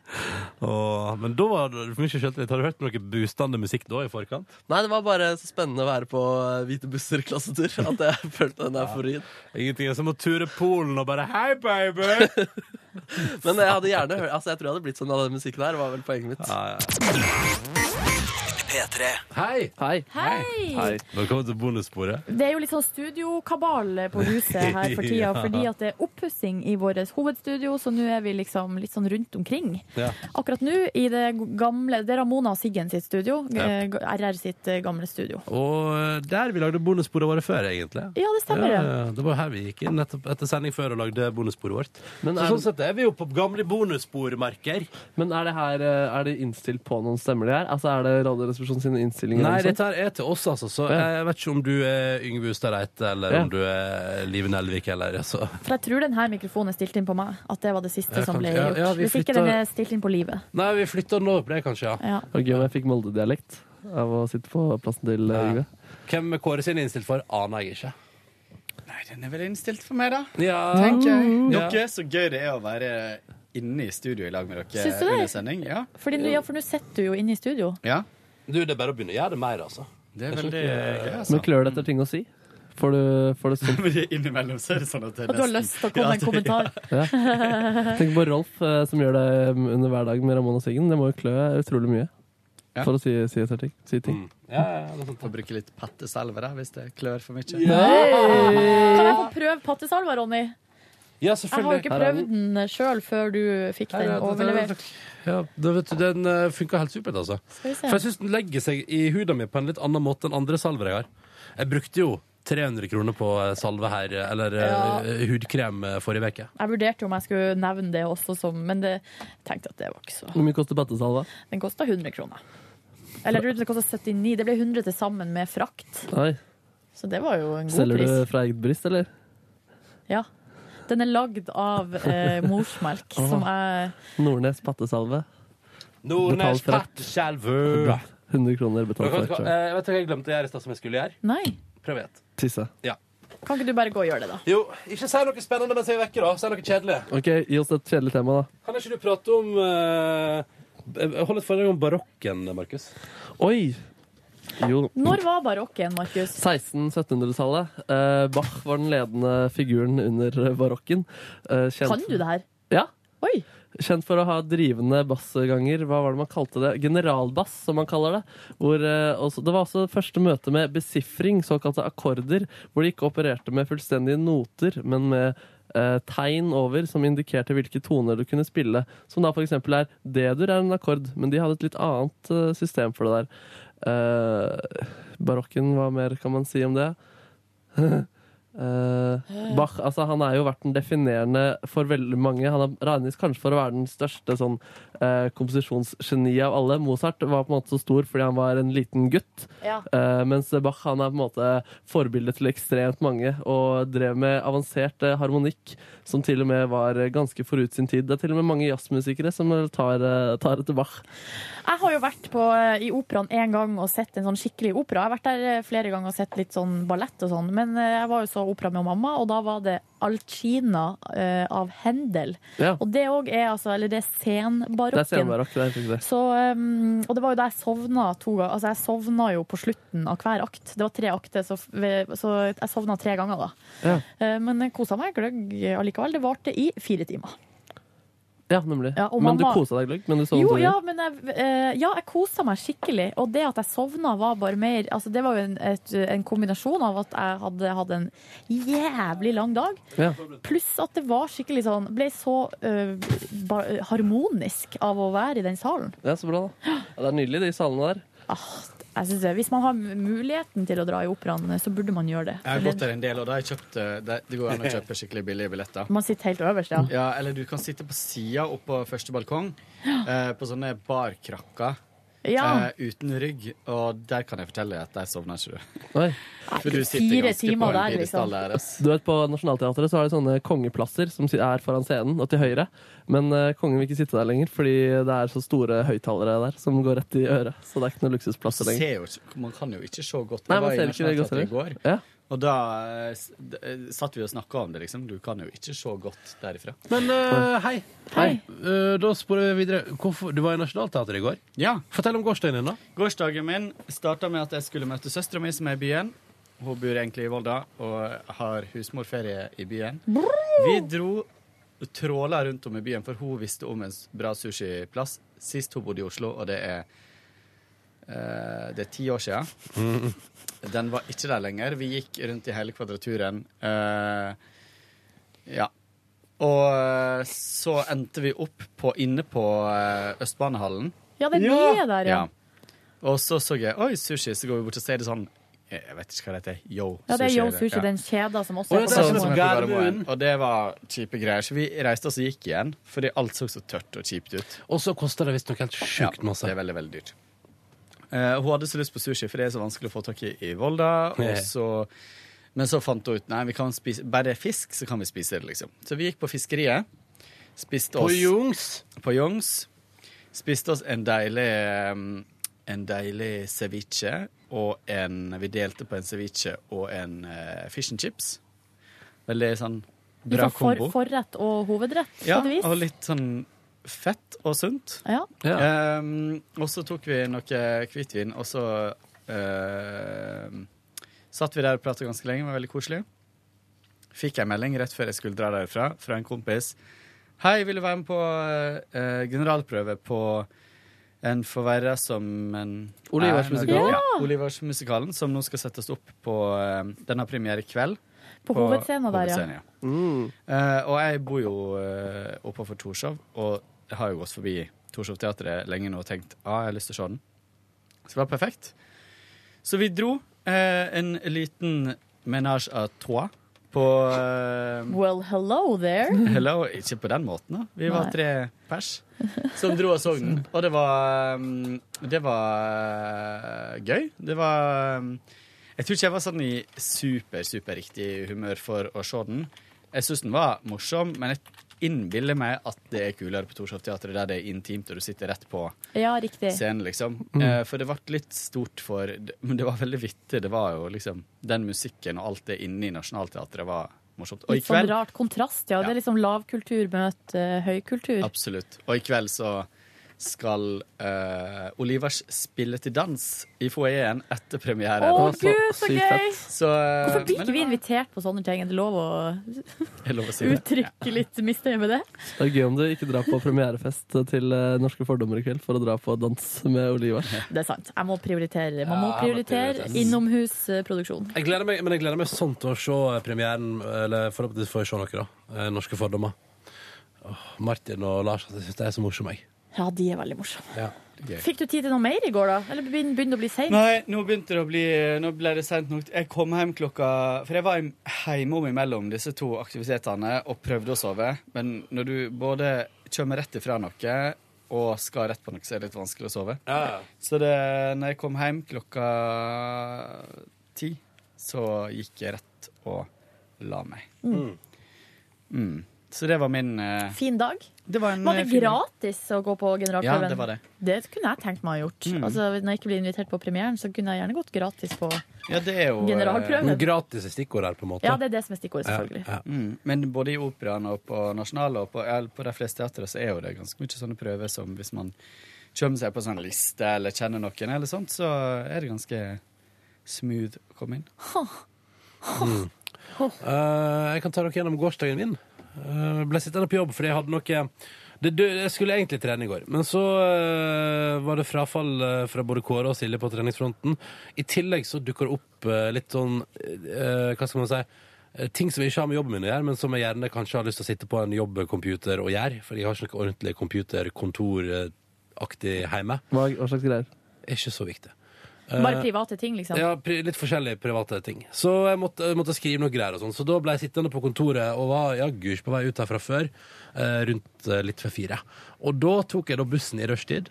Åh, men da var det for mye selvtillit. Har du hørt noe boostende musikk da i forkant? Nei, det var bare så spennende å være på eh, Hvite busser klassetur at jeg følte den euforien. Ingenting er som å ture Polen og bare Hei, baby! Men jeg hadde gjerne hørt Altså, jeg tror jeg hadde blitt sånn av den musikken der, var vel poenget mitt. P3. Hei! Hei. Hei. Hei. Velkommen til bonussporet. Det er jo litt sånn studiokabal på huset her for tida, Ja. fordi at det er oppussing i vårt hovedstudio, så nå er vi liksom litt sånn rundt omkring. Ja. Akkurat nå i det gamle Det er Ramona og Siggen sitt studio. eh, RR sitt eh, gamle studio. Og eh, der vi lagde bonussporet våre før, egentlig. Ja, det stemmer, Ja, det. ja, det var her vi gikk inn nettopp etter sending før og lagde bonussporet vårt. Men så er- sånn sett er vi jo på gamle bonusspormerker. Men er det her eh, Er det innstilt på noen stemmer, det her? Altså Er det Radioresepsjonen sine innstillinger? Nei, eller noe dette her er til oss, altså. Så Ja. jeg vet ikke om du er Yngve Ustad Reite, eller Ja. om du er Live Nelvik, eller altså. For jeg tror denne mikrofonen er stilt inn på meg. At det var det siste Ja, som kanskje. ble Ja, gjort. ja, vi Hvis ikke flytter- den er stilt inn på livet. Nei, vi flytter den over på det, kanskje, ja. Ja. sånt? Det var gøy om jeg fikk Molde-dialekt av å sitte på plassen til eh, Yngve. Hvem er Kåre sin innstilt for, aner jeg ikke. Nei, den er vel innstilt for meg, da. Mm. Ja. Tenker jeg. Ja. Dere, så gøy det er å være inne i studio i lag med dere Syns du det? under sending. Ja. Fordi, nå- ja, for nå sitter du jo inne i studio. ja. Du, det er bare å begynne å gjøre det mer, altså. Det er Jeg veldig skjønner ikke- gøy, Men altså. klør det etter ting å si? Får du, får du sånn Men Innimellom så er det sånn at det Og du har lyst til å komme med en kommentar. ja. Tenk på Rolf eh, som gjør det mm, under hver dag med Ramona Siggen. Det må jo klø utrolig mye Ja. for å si, si etter ting. Si ting. Mm. Ja, sånn Får bruke litt pattesalve da, hvis det klør for mye. Kan jeg få prøve pattesalva, Ronny? Ja, Jeg har jo selvfølgelig. ikke prøvd den sjøl før du fikk Her den er det- overlevert. Ja, da vet du, den eh, funker helt supert, altså. Skal vi se. For jeg syns den legger seg i huda mi på en litt annen måte enn andre salver jeg har. Jeg brukte jo 300 kroner på eh, salve her, eh, eller eh, Ja. hudkrem eh, forrige uke. Jeg vurderte jo om jeg skulle nevne det også, som, men det, jeg tenkte at det var ikke så Hvor mye koster pattesalva? Den kosta 100 kroner. Eller jeg tror det kosta 79. Det ble 100 til sammen med frakt. Oi. Så det var jo en god Selger du pris. fra eget bryst, eller? Ja. Den er lagd av eh, morsmelk, Åh. som jeg Nordnes pattesalve. Betalt Nordnes for rett. pattesalve! 100 kroner betalt for Vet du hvert hva kjøp. eh, vet du hva jeg glemte å gjøre i stad, som jeg skulle gjøre? Nei. Prøv igjen. Tisse. Ja. Kan ikke du bare gå og gjøre det, da? Jo, ikke si noe spennende mens jeg er vekke, da. Si noe kjedelig. Ok, gi oss et kjedelig tema, da. Kan ikke du prate om uh, Hold et foredrag om barokken, Markus. Oi! Jo. Når var barokken, Markus? 1600-1700-tallet. Eh, Bach var den ledende figuren under barokken. Eh, kjent- Kan du det her? Ja. Oi. Kjent for å ha drivende bassganger. Hva var det man kalte det? Generalbass, som man kaller det. Hvor, eh, også, det var også første møte med besifring, såkalte akkorder, hvor de ikke opererte med fullstendige noter, men med eh, tegn over som indikerte hvilke toner du kunne spille. Som da for eksempel er D-dur er en akkord, men de hadde et litt annet eh, system for det der. Eh, barokken, hva mer kan man si om det? Eh, Bach altså han er jo vært den definerende for veldig mange. Han er- regnes kanskje for å være den største sånn, eh, komposisjonsgeniet av alle. Mozart var på en måte så stor fordi han var en liten gutt. Ja. Eh, mens Bach han er på en måte forbildet til ekstremt mange og drev med avansert eh, harmonikk som til og med var eh, ganske forut sin tid. Det er til og med mange jazzmusikere som eh, tar, eh, tar etter Bach. Jeg har jo vært på, eh, i operaen en gang og sett en sånn skikkelig opera. Jeg har vært der eh, flere ganger og sett litt sånn ballett og sånn. Men eh, jeg var jo så opera med mamma, og da var det Alcina eh, av Händel. Ja. Og det òg er altså Eller det er Det er senbarokken. scenebarokk. det er helt riktig. Så, um, og det var jo da jeg sovna to ganger. Altså, jeg sovna jo på slutten av hver akt. Det var tre akter, så, f- ved- så jeg sovna tre ganger da. Ja. Eh, Men jeg kosa meg gløgg allikevel. Det varte i fire timer. ja, nemlig. Ja, og men du mamma- kosa deg, Gløgg? Men du så Jo, den ja, men jeg, eh, ja, jeg kosa meg skikkelig. Og det at jeg sovna, var bare mer altså, Det var jo en, et, en kombinasjon av at jeg hadde hatt en jævlig lang dag, Ja. pluss at det var skikkelig sånn Ble så eh, ba, harmonisk av å være i den salen. Ah, Ja, så bra, da. Ja, det er nydelig, de salene der. Jeg synes det, Hvis man har muligheten til å dra i operaen, eh, så burde man gjøre det. Jeg har For gått der en del, og da har jeg kjøpt eh, Det, det går an å kjøpe skikkelig billige billetter. Man sitter helt øverst, ja. Ja, eller du kan sitte på sida oppå første balkong, eh, på sånne barkrakker. Ja. Eh, uten rygg, og der kan jeg fortelle at der sovner ikke du. Oi. For du sitter fire ganske timer på en der, pidestall liksom. der, ass. Du vet, På Nationaltheatret så har de sånne kongeplasser som si- er foran scenen og til høyre. Men eh, kongen vil ikke sitte der lenger, fordi det er så store høyttalere der som går rett i øret. Så det er ikke noen luksusplasser lenger. ser jo ikke, man kan jo ikke se godt. Nei, Jeg man var i ser ikke det godt Nationaltheatret i går, Ja. og da eh, s- d- eh, satt vi og snakka om det, liksom. Du kan jo ikke se godt derifra. Men eh, hei. Hei. Eh, da sporer vi videre. Hvorfor, du var i Nationaltheatret i går. Ja. Fortell om gårsdagen din, da. Gårsdagen min starta med at jeg skulle møte søstera mi, som er i byen. Hun bor egentlig i Volda og har husmorferie i byen. Vi dro og tråla rundt om i byen, for hun visste om en s- bra sushiplass sist hun bodde i Oslo, og det er Eh, det er ti år siden. Den var ikke der lenger. Vi gikk rundt i hele kvadraturen. eh, ja. Og eh, så endte vi opp på, inne på eh, Østbanehallen. Ja, den Ja! nye der, ja. Og så så jeg Oi, sushi. Så går vi bort og ser det sånn Jeg jeg vet ikke hva det heter. Yo Ja, det er Sushi, Yo det. Sushi, Ja. sånn den kjeda som også Og, er på så, Gardermoen. og det var kjipe greier. Så vi reiste oss og gikk igjen, fordi alt så så tørt og kjipt ut. Og så koster det visstnok helt sjukt masse. Ja, det er veldig, veldig dyrt. Eh, hun hadde så lyst på sushi, for det er så vanskelig å få tak i i Volda. Og så, men så fant hun ut nei, vi kan spise, bare fisk, så kan vi spise det, liksom. Så vi gikk på fiskeriet. Spiste På oss Jungs? På Jungs. Spiste oss en deilig eh, En deilig ceviche og en Vi delte på en ceviche og en eh, fish and chips. Veldig sånn Du bra får for, kombo. forrett og hovedrett, på Ja, et vis. og litt sånn fett og sunt. Ja. Ehm, og så tok vi noe hvitvin, og så ehm, satt vi der og pratet ganske lenge, det var veldig koselig. Fikk jeg melding rett før jeg skulle dra derfra, fra en kompis. Hei, vil du være med på eh, generalprøve på en forverra som en Ole Ivars Nei, nå- musikal. Ja, Ole Ivars musikalen, som nå skal settes opp på eh, Den har premiere i kveld. På hovedscenen der, ja. hovedscenen, Eh, og jeg bor jo eh, oppe for Torshov, og jeg har jo gått forbi Torshov-teatret lenge nå og tenkt ah, jeg har lyst til å se den. Så det var perfekt. Så vi dro eh, en liten menage à trois på eh, Well, hello there. Hello, ikke på den måten, da. Vi var Nei. tre pers som dro og så den. Og det var um, Det var uh, gøy. Det var um, Jeg tror ikke jeg var sånn i super, super riktig humør for å se den. Jeg syns den var morsom, men jeg innbiller meg at det er kulere på Torshov Teatret, der det er intimt og du sitter rett på Ja, riktig. scenen, liksom. Mm. Eh, For det ble litt stort for Men det var veldig vittig. Det var jo liksom Den musikken og alt det inne i Nationaltheatret var morsomt. Og i Litt sånn kveld rart kontrast, ja. Det er liksom lavkultur møtt eh, høykultur. Absolutt. Og i kveld så skal eh, Olivers spille til dans i foajeen etter premieren. Å, Det var så Gud, så sykt gøy! fett. Så, eh, Hvorfor blir men ikke vi invitert på sånne ting? Er det lov å det er lov å si det. uttrykke litt misnøye med det? Det er gøy om du ikke drar på premierefest til eh, Norske fordommer i kveld for å dra på dans med Oliver. Det er sant. Jeg må prioritere. Man må Ja, jeg må prioritere prioritere. innomhusproduksjon. Jeg gleder meg, men jeg gleder meg sånn til å se premieren, eller forhåpentligvis får jeg se noe, da. Eh, Norske fordommer. Åh, Martin og Lars, jeg syns de er så morsomme, jeg. Ja, de er veldig morsomme. Ja. Fikk du tid til noe mer i går, da? Eller begyn- begynner det å bli seint? Nei, nå begynte det å bli Nå ble det sent nok. Jeg kom hjem klokka For jeg var hjem- hjemom imellom disse to aktivitetene og prøvde å sove. Men når du både kommer rett ifra noe og skal rett på noe, så er det litt vanskelig å sove. Ja. Så det, når jeg kom hjem klokka ti, så gikk jeg rett og la meg. Mm. Mm. Så det var min eh, Fin dag. Det var, en, det eh, fin dag. gratis å gå på generalprøven? Ja, det var det. kunne jeg tenkt meg å ha gjort. Mm. Altså, når jeg ikke blir invitert på premieren, så kunne jeg gjerne gått gratis på Ja, det er jo eh, Generalprøven. Men gratis er stikkord her, på en måte. Ja, det er det som er stikkordet, selvfølgelig. Mm. Men både i operaen og på Nasjonal og på, eller på de fleste teatre så er jo det ganske mye sånne prøver som hvis man kommer seg på sånn liste eller kjenner noen eller sånt, så er det ganske smooth å komme inn. Mm. Eh, jeg kan ta dere gjennom gårsdagen min. Eh, ble sittende på jobb fordi jeg hadde noe det, dø- Jeg skulle egentlig trene i går, men så eh, var det frafall eh, fra både Kåre og Silje på treningsfronten. I tillegg så dukker det opp eh, litt sånn eh, Hva skal man si? eh, Ting som jeg ikke har med jobben min å gjøre, men som jeg gjerne kanskje har lyst til å sitte på en jobbcomputer og gjøre. For jeg har ikke noe ordentlig computerkontoraktig hjemme. Hva, hva slags greier? Ikke så viktig. Bare Eh, private ting, liksom. ja, pri litt forskjellige private ting. Så jeg måtte, jeg måtte skrive noe greier og sånn. Så da ble jeg sittende på kontoret og var jaggu ikke på vei ut herfra før eh, rundt eh, litt før fire. Og da tok jeg da bussen i rushtid.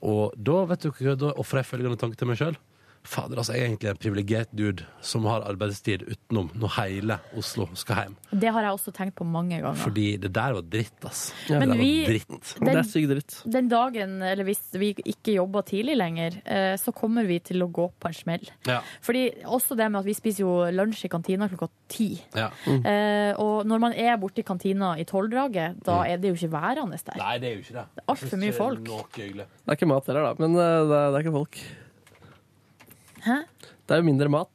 Og da vet du hva, da ofra jeg følgende tanke til meg sjøl. Fader, altså, jeg er egentlig en privilegert dude som har arbeidstid utenom når hele Oslo skal hjem. Det har jeg også tenkt på mange ganger. Fordi det der var dritt, ass. Ja. Men det der vi- var dritt. den- Det er syk dritt. Den dagen, eller hvis vi ikke jobber tidlig lenger, eh, så kommer vi til å gå på en smell. Ja. Fordi også det med at vi spiser jo lunsj i kantina klokka ti. ja. Eh, og når man er borte i kantina i tolvdraget, da er det jo ikke værende der. Mm. Nei, det er jo ikke det. Det er altfor mye folk. Det er ikke mat heller, da. Men eh, det er, det er ikke folk. Hæ? Det er jo mindre mat.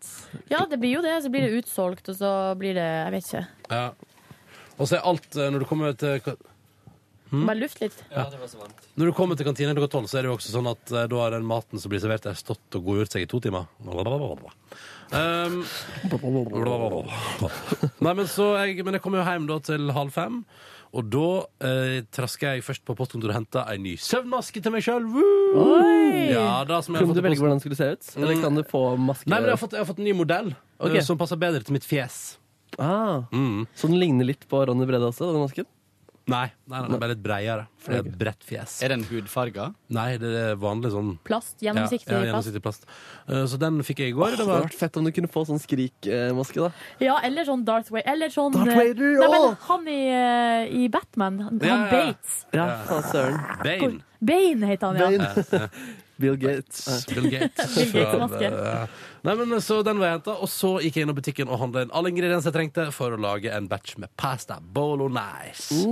Ja, det blir jo det. Så blir det utsolgt, og så blir det Jeg vet ikke. Ja. Og så er alt eh, Når du kommer til Hmm? Bare luft litt. Ja, det var så varmt. Når du kommer til kantina klokka tolv, så er det jo også sånn at eh, da har den maten som blir servert, der stått og godgjort seg i to timer. Blablabla. Um, blablabla. Nei, men, så jeg, men jeg kom jo hjem da til halv fem, og da eh, traska jeg først på postkontoret og henta ei ny søvnmaske til meg sjøl. Ja, da, som jeg Kunne har fått du velge i posten. hvordan den skulle se ut? Eller Mm. kan du få maske? Nei, men jeg har fått, jeg har fått en ny modell Ok. eh, som passer bedre til mitt fjes. ah, Så den ligner litt på Ronny Brede også, den masken? Nei, nei, den er bare litt breiere, for det er et bredt fjes. Er den hudfarga? Nei, det er vanlig sånn Plast, gjennomsiktig ja, ja, plast. gjennomsiktig plast. Eh, Så den fikk jeg i Åh, går. det hadde vært fett om du kunne få sånn skrikmaske, da. Ja, eller sånn Darth Vader. Eller sånn Darth Vader, Nei, men åh! han i, eh, i Batman. Han, Ja, han ja. Bates. Ja, faen søren. Bane. Bane heter han, ja. Bill Gates. Bill Gates. Bill Gates Fra- maske. Ja. Nei, men Så den var henta, og så gikk jeg innom butikken og handla inn alle ingredienser jeg trengte for å lage en batch med pasta bolognese.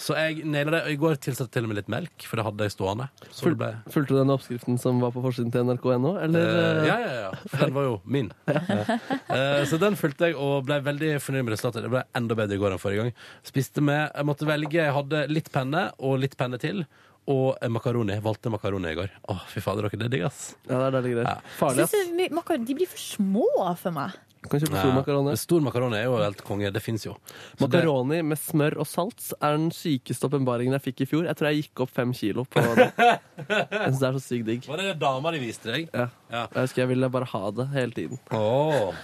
Så jeg naila det. Og i går tilsatte jeg til og med litt melk, for det hadde jeg stående. Så Ful, det ble fulgte du den oppskriften som var på forsiden til nrk.no? Eller? Eh, ja, ja, ja. For den var jo min. Eh, så den fulgte jeg og ble veldig fornøyd med resultatet. Det ble enda bedre i går enn forrige gang. Spiste med Jeg måtte velge. Jeg hadde litt penne og litt penne til. Og eh, makaroni. Valgte makaroni i går. Å, fy fader, dere, det er digg, ass. Ja, det er deilig greier. Farlig, Synes ass. du my- makaroni- De blir for små for meg. Kan kjøpe stor Ja. makaroni. Stor makaroni er jo helt konge. Det fins jo. Så det- Makaroni med smør og salt er den sykeste åpenbaringen jeg fikk i fjor. Jeg tror jeg gikk opp fem kilo på det. Jeg synes det er så sykt digg. Var det det dama de viste deg? Ja. Jeg husker jeg ville bare ha det hele tiden. Åh.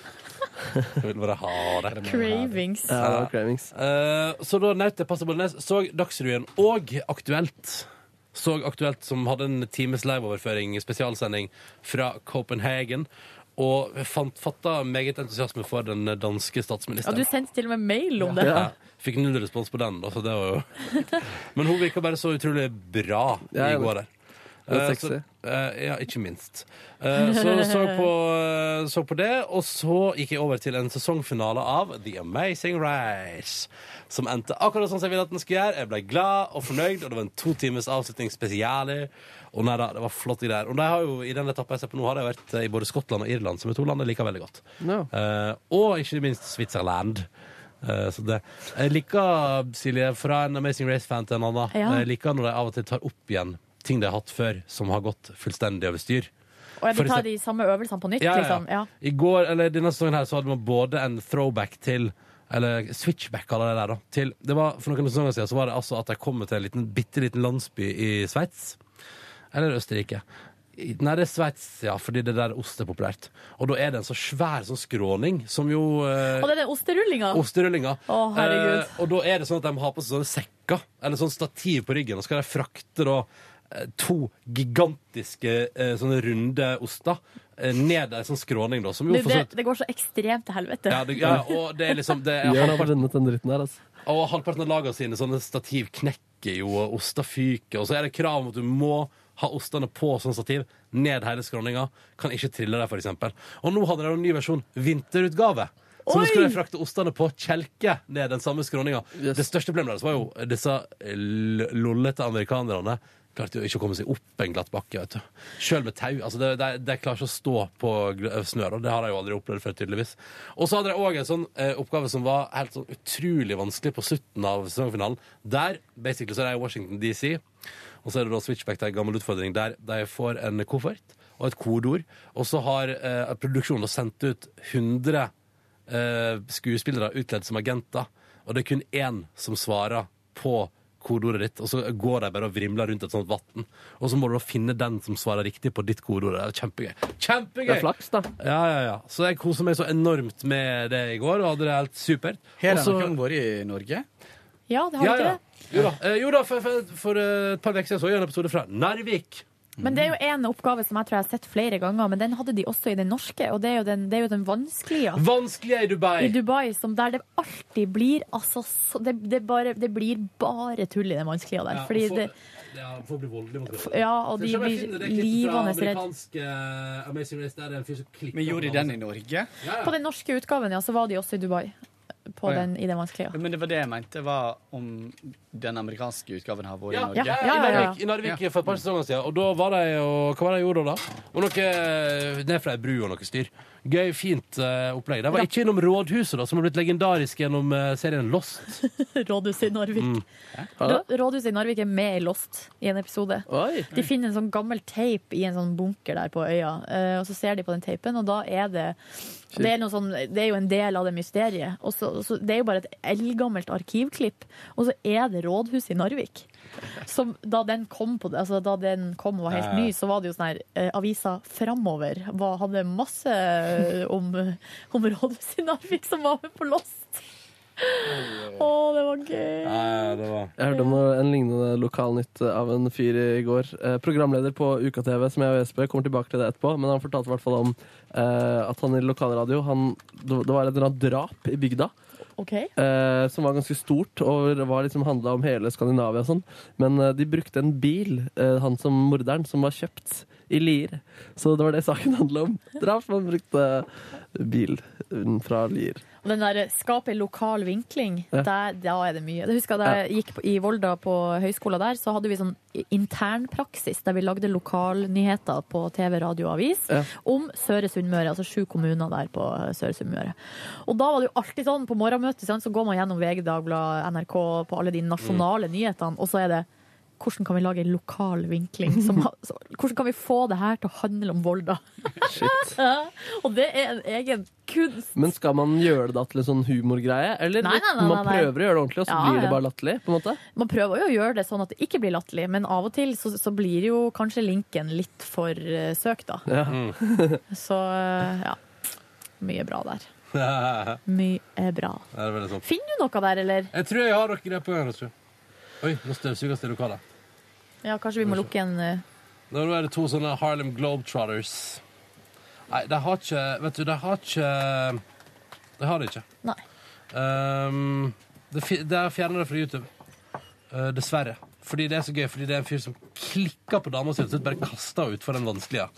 Jeg vil bare ha det. Cravings. Ja, det var cravings. Eh, så da nøt jeg pasta bolognese. Så Dagsrevyen og Aktuelt. Så Aktuelt som hadde en times liveoverføring, spesialsending, fra Copenhagen. Og fant, fatta meget entusiasme for den danske Ja, statsministeren. du sendte til og med mail om det. Ja. Fikk null respons på den, da, så det var jo Men hun virka bare så utrolig bra Ja, i ja, går der. det var Eh, sexy. Så, eh, ja, ikke minst. Eh, så så på, eh, så på det, og så gikk jeg over til en sesongfinale av The Amazing Race. Som endte akkurat sånn som jeg ville at den skulle gjøre. Jeg ble glad og fornøyd, og det var en to timers avslutning spesialer. Og nei da, det var flotte greier. Og de har jo, i den etappen jeg ser på nå, har de vært eh, i både Skottland og Irland, som er to land jeg liker veldig godt. Ja. Eh, og ikke minst Switzerland. Eh, så det. Jeg liker, Silje, fra en Amazing Race-fan til en annen, Ja. jeg liker når de av og til tar opp igjen ting de har hatt før, som har gått fullstendig over styr. Og jeg For vil ta eksempel- de samme øvelsene på nytt, Ja, ja, ja. liksom. Ja. I går, eller denne sesongen her, så hadde man både en throwback til eller switchback, kaller det der, da. Til, det var, for noen sesonger siden så var det altså at de kommer til en liten, bitte liten landsby i Sveits. Eller Østerrike. I- Nei, det er Sveits, ja, fordi det der ost er populært. Og da er det en så svær sånn skråning, som jo eh, Og det er den osterullinga. Osterullinga. Å, herregud. Eh, og da er det sånn at de har på seg sånne sekker, eller sånn stativ på ryggen, og skal de frakte da eh, to gigantiske eh, sånne runde oster eh, ned ei sånn skråning, da, som jo Det, for det, så vidt det går så ekstremt til helvete. ja, det, ja, og det er liksom det er Gjør noe halvparten- for denne den dritten her, altså. og halvparten av lagene sine sånne stativ knekker jo, og oster fyker. Og så er det krav om at du må ha ostene på sånn stativ, ned hele skråninga. Kan ikke trille deg, for eksempel. Og nå hadde de en ny versjon, vinterutgave. Så nå Oi! skulle de frakte ostene på kjelke ned den samme skråninga. Det største problemet deres var jo disse l- lollete amerikanerne. Klarte jo ikke å komme seg opp en glatt bakke. vet du. Sjøl med tau. altså De, de, de klarer ikke å stå på gl- snø. da. Det har jeg jo aldri opplevd før, tydeligvis. Og så hadde de òg en sånn eh, oppgave som var helt sånn utrolig vanskelig på slutten av sesongfinalen. Der basically så er det i Washington DC, og så er det da Switchback, det er en gammel utfordring, der de får en koffert og et kodeord, og så har eh, produksjonen da sendt ut 100 eh, skuespillere utkledd som agenter, og det er kun én som svarer på kodeordet ditt, og så går de bare og vrimler rundt et sånt vann. Og så må du da finne den som svarer riktig på ditt kodeord. Det er kjempegøy. Kjempegøy! Det er flaks, da. Ja, ja, ja. Så jeg koser meg så enormt med det i går, og hadde det helt supert. Her har Også- noen vært i Norge. Ja, det har Ja, ikke ja. det. Jo da, eh, jo da for, for, for eh, et par uker siden så jeg en episode fra Narvik. Men det er jo en oppgave som jeg tror jeg har sett flere ganger, men den hadde de også i den norske, og det er jo den, det er jo den vanskelige. Vanskelig er i Dubai. I Dubai, som der det alltid blir altså, så, det, det, bare, det blir bare tull i den vanskelige der. Ja, Fordi for- det, Ja, for å bli voldelig mot hverandre. ja, og Skal de vi se om jeg blir finner det klippet fra livende redd. amerikansk, eh, Amazing Race, der er en fyr som klipper Men gjorde de på den i hans- Norge? Ja, ja. På den norske utgaven, ja, så var de også i Dubai. På Å, ja. den, I den vanskelige. Men det var det jeg mente, var om den amerikanske utgaven har vært Ja, i Norge. ja, Ja, ja, I ja. Narvik, i Narvik for et eh, par sesonger siden. Og da var de og Hva var det de gjorde da? da? Og noe ned fra ei bru og noe styr. Gøy, fint eh, opplegg. De var ikke innom Rådhuset, da, som har blitt legendarisk gjennom eh, serien Lost. Rådhuset i Narvik. Mm. Rå- Rådhuset i Narvik er med i Lost i en episode. Oi. De finner en sånn gammel teip i en sånn bunker der på øya, eh, og så ser de på den teipen, og da er det det er, noe sånn, det er jo en del av det mysteriet. Og så, så det er jo bare et eldgammelt arkivklipp, og så er det rådhuset i Narvik. Som da den kom, på, altså da den kom og var helt ny, så var det jo sånn her eh, Avisa Framover var, hadde masse eh, om, om rådhuset i Narvik som var med på Lost. Å, det var gøy. Jeg hørte om noe- en lignende lokalnytt av en fyr i går. Eh, programleder på UKTV, som jeg og Jesper kommer tilbake til det etterpå, men han fortalte i hvert fall om eh, at han i lokalradio han, Det det var et eller annet drap i bygda. Ok. eh, som var ganske stort og var liksom handla om hele Skandinavia og sånn. Men eh, de brukte en bil, eh, han som morderen, som var kjøpt i Lier. Så det var det saken handla om. Drap. Man brukte bil eh, fra Lier. Og den der skape lokal vinkling, Ja. der, da er det mye. Jeg husker da jeg gikk på- i Volda på høyskolen der, så hadde vi sånn internpraksis der vi lagde lokalnyheter på TV, radio og avis Ja. om Søre Sunnmøre, altså sju kommuner der på Søre Sunnmøre. Og da var det jo alltid sånn på morgenmøtet, sant, så går man gjennom VG, Dagbladet, NRK, på alle de nasjonale Mm. nyhetene, og så er det hvordan kan vi lage en lokal vinkling? Som, har- så- hvordan kan vi få det her til å handle om Volda? Shit. og det er en egen kunst. Men skal man gjøre det da til en sånn humorgreie? Eller Nei, nei, nei, man nei, nei. prøver å gjøre det ordentlig, og så Ja, blir ja. det bare latterlig? på en måte? Man prøver jo å gjøre det sånn at det ikke blir latterlig, men av og til så, så blir jo kanskje linken litt for eh, søkt, da. Ja. Så eh, ja. Mye bra der. Ja, Mye bra. det er veldig sånn. Finner du noe der, eller? Jeg tror jeg har dere der på gang. Astrid. Oi, nå støvsuges det i lokalet. Ja, kanskje vi må lukke en eh, Nå er det to sånne Harlem Globetrotters. Nei, de har ikke Vet du, de har ikke De har det ikke. Nei. Um, det fi- de fjerner det fra YouTube. Eh, dessverre. Fordi det er så gøy, fordi det er en fyr som klikker på dama si og til slutt bare kaster henne utfor den vanskelige.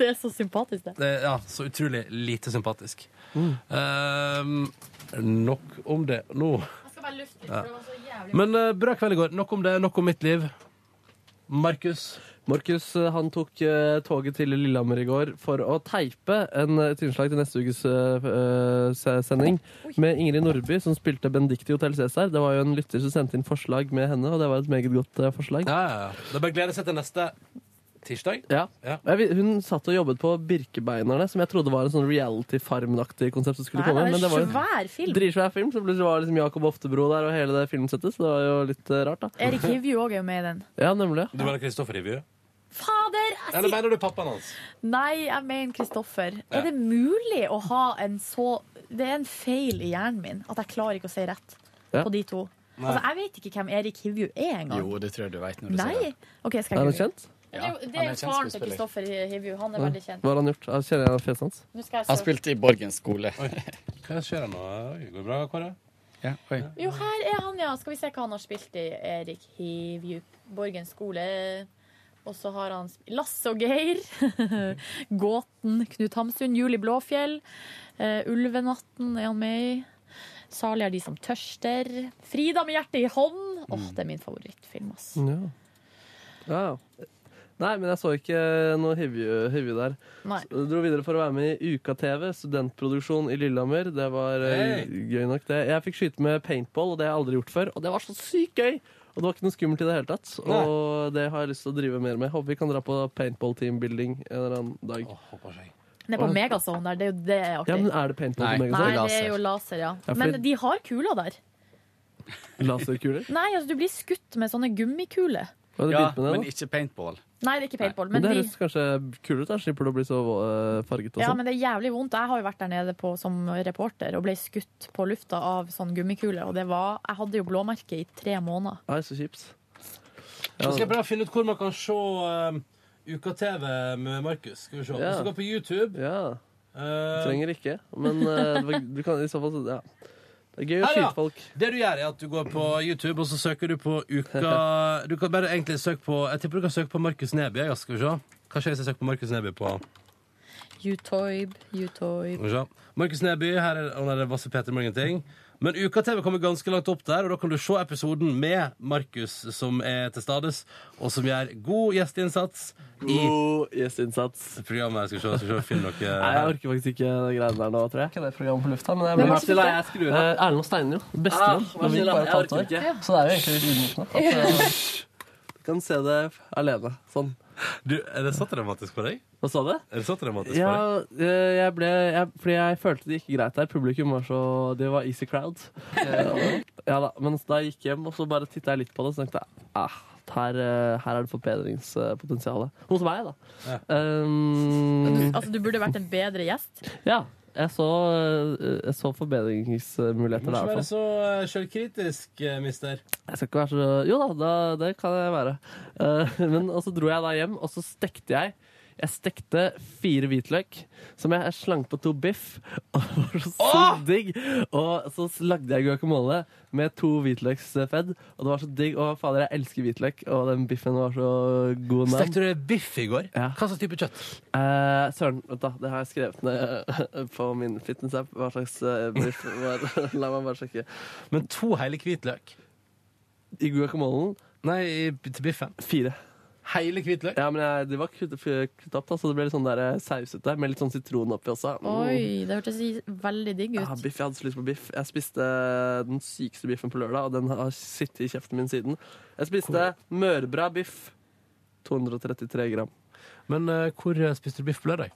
Det er så sympatisk, det. Det er, ja, så utrolig lite sympatisk. Um, nok om det nå. Ja. Men eh, bra kveld i går. Nok om det, nok om mitt liv. Markus? Markus eh, han tok eh, toget til Lillehammer i går for å teipe en, eh, et innslag til neste ukes eh, se- sending med Ingrid Nordby, som spilte Benedicte i Hotell Cæsar. Det var jo en lytter som sendte inn forslag med henne, og det var et meget godt eh, forslag. Ja, ja, ja. Det er bare å glede seg til neste tirsdag. Ja. Jeg vil- Hun satt og jobbet på Birkebeinerne, som jeg trodde var en sånn Reality Farmen-aktig konsept. som skulle Nei, komme. det er men det var jo- svær film. Dritsvær film. Så plutselig var liksom Jakob Oftebro der og hele det filmsettet, så det var jo litt eh, rart, da. Erik Hivju òg er jo med i den. Ja, nemlig. Du mener Kristoffer Hivju? Fader! jeg Eller sier- mener du pappaen hans? Nei, jeg mener Kristoffer. Ja. Er det mulig å ha en så Det er en feil i hjernen min at jeg klarer ikke å si rett Ja. på de to. Nei. Altså, Jeg vet ikke hvem Erik Hivju er engang. Jo, det tror jeg du vet når du ser Nei? det. Ok, skal jeg Er han google. kjent? Det er jo- det er han er jo en kjent faren til skuespiller. Kristoffer Hivju. Han er Ja. veldig kjent. Hva har han gjort? Ja, Kjenner jeg fjeset hans? Nå skal jeg Han søke. spilte i Borgen skole. Hva skjer nå? Oi, Går det bra, Kåre? Ja, oi. Jo, her er han, ja. Skal vi se hva han har spilt i. Erik Hivju. Borgen skole. Og så har han sp- Lasse og Geir. Gåten. Knut Hamsun. Juli Blåfjell. eh, Ulvenatten er han med i. Salig er de som tørster. Frida med hjertet i hånd. Åh, Mm. det er min favorittfilm, ass. Ja. ja. ja. Nei, men jeg så ikke noe Hivju der. Nei. Så jeg dro videre for å være med i Uka-TV, studentproduksjon i Lillehammer. Det var eh, gøy nok, det. Jeg fikk skyte med paintball, og det har jeg aldri gjort før. Og det var så sykt gøy! Og det var ikke noe skummelt i det hele tatt. Nei. Og det har jeg lyst til å drive mer med. Håper vi kan dra på paintball teambuilding en eller annen dag. Den er på Megazone der. Det er jo det er artig. Ja, men er det paintball Nei. på Nei, Megazone? det er jo laser, ja. Ja, fordi- Men de har kuler der. Laserkuler? Nei, altså, du blir skutt med sånne gummikuler. Hva har du Ja, begynt med det, men da? ikke paintball. Nei, det er ikke paintball. Men Men det de... høres kanskje kulere ut, da. Slipper du å bli så eh, farget og Ja, sånn. men det er jævlig vondt. Jeg har jo vært der nede på, som reporter og ble skutt på lufta av sånn gummikule. Og det var, jeg hadde jo blåmerke i tre måneder. Nei, så kjipt. Så skal jeg prøve å finne ut hvor man kan se um, UKTV med Markus. Skal vi se. Ja. Hvis du går på YouTube Ja. eh, Trenger ikke, men eh, det var- du kan i så fall ja. Det er gøy å Her, ja. skyte folk. Det du gjør, er at du går på YouTube, og så søker du på uka Du kan bare egentlig søke på Jeg tipper du kan søke på Markus Neby. Ja, skal vi se. Kanskje jeg skal søke på Markus Neby på Utoib, utoib. Skal vi se. Markus Neby, her er, og der er masse Peter Morgan-ting. Men Uka-TV kommer ganske langt opp der, og da kan du se episoden med Markus, som er til stades, og som gjør god gjesteinnsats i God gjesteinnsats. programmet. Jeg skal se, jeg skal se, finne noe Nei, jeg orker faktisk ikke de greiene der nå, tror jeg. Ikke det programmet på lufta, men jeg blir- Vær så snill, da, jeg skrur av. Eh, Erlend og Steinar, jo. Bestevenn. Ah, vær Når vi snill, da, bare jeg tatt orker over. ikke. Så det er jo egentlig litt ydmykende. eh, Du kan se det alene. Sånn. Du, er det så dramatisk for deg? Hva sa du? Er det så dramatisk Ja, for deg? eh, jeg ble jeg, Fordi jeg følte det gikk greit der. Publikum var så Det var easy crowd. Eh, Ja da, Men da jeg gikk hjem, og så bare titta jeg litt på det, og så tenkte jeg ah, her, eh, her er det forbedringspotensial. Hos meg, da. Um, Altså, du burde vært en bedre gjest. ja. Jeg så, eh, jeg så forbedringsmuligheter Du må der. i ikke hvert være fall. så eh, selvkritisk, eh, mister. Jeg skal ikke være så Jo da, da det kan jeg være. Eh, men og så dro jeg da hjem, og så stekte jeg. Jeg stekte fire hvitløk som jeg slang på to biff. Og det var så sykt digg! Og så lagde jeg guacamole med to hvitløksfedd, og det var så digg. Og fader, jeg elsker hvitløk, og den biffen var så god. nam. Stekte du biff i går? Ja. Hva slags type kjøtt? Eh, søren, vent da, det har jeg skrevet ned på min fitness-app. Hva slags eh, biff var La meg bare sjekke. Men to hele hvitløk? I guacamolen? Nei, i- til biffen. Fire. Hele hvitløk? Ja, men jeg, det var kutt, kutt opp, da, så det ble litt sånn der eh, sausete, med litt sånn sitron oppi også. Mm. Oi, det hørtes i- veldig digg Ja, ut. biff, Jeg hadde så lyst på biff. Jeg spiste eh, den sykeste biffen på lørdag, og den har sittet i kjeften min siden. Jeg spiste mørbra biff. 233 gram. Men eh, hvor eh, spiste du biff på lørdag?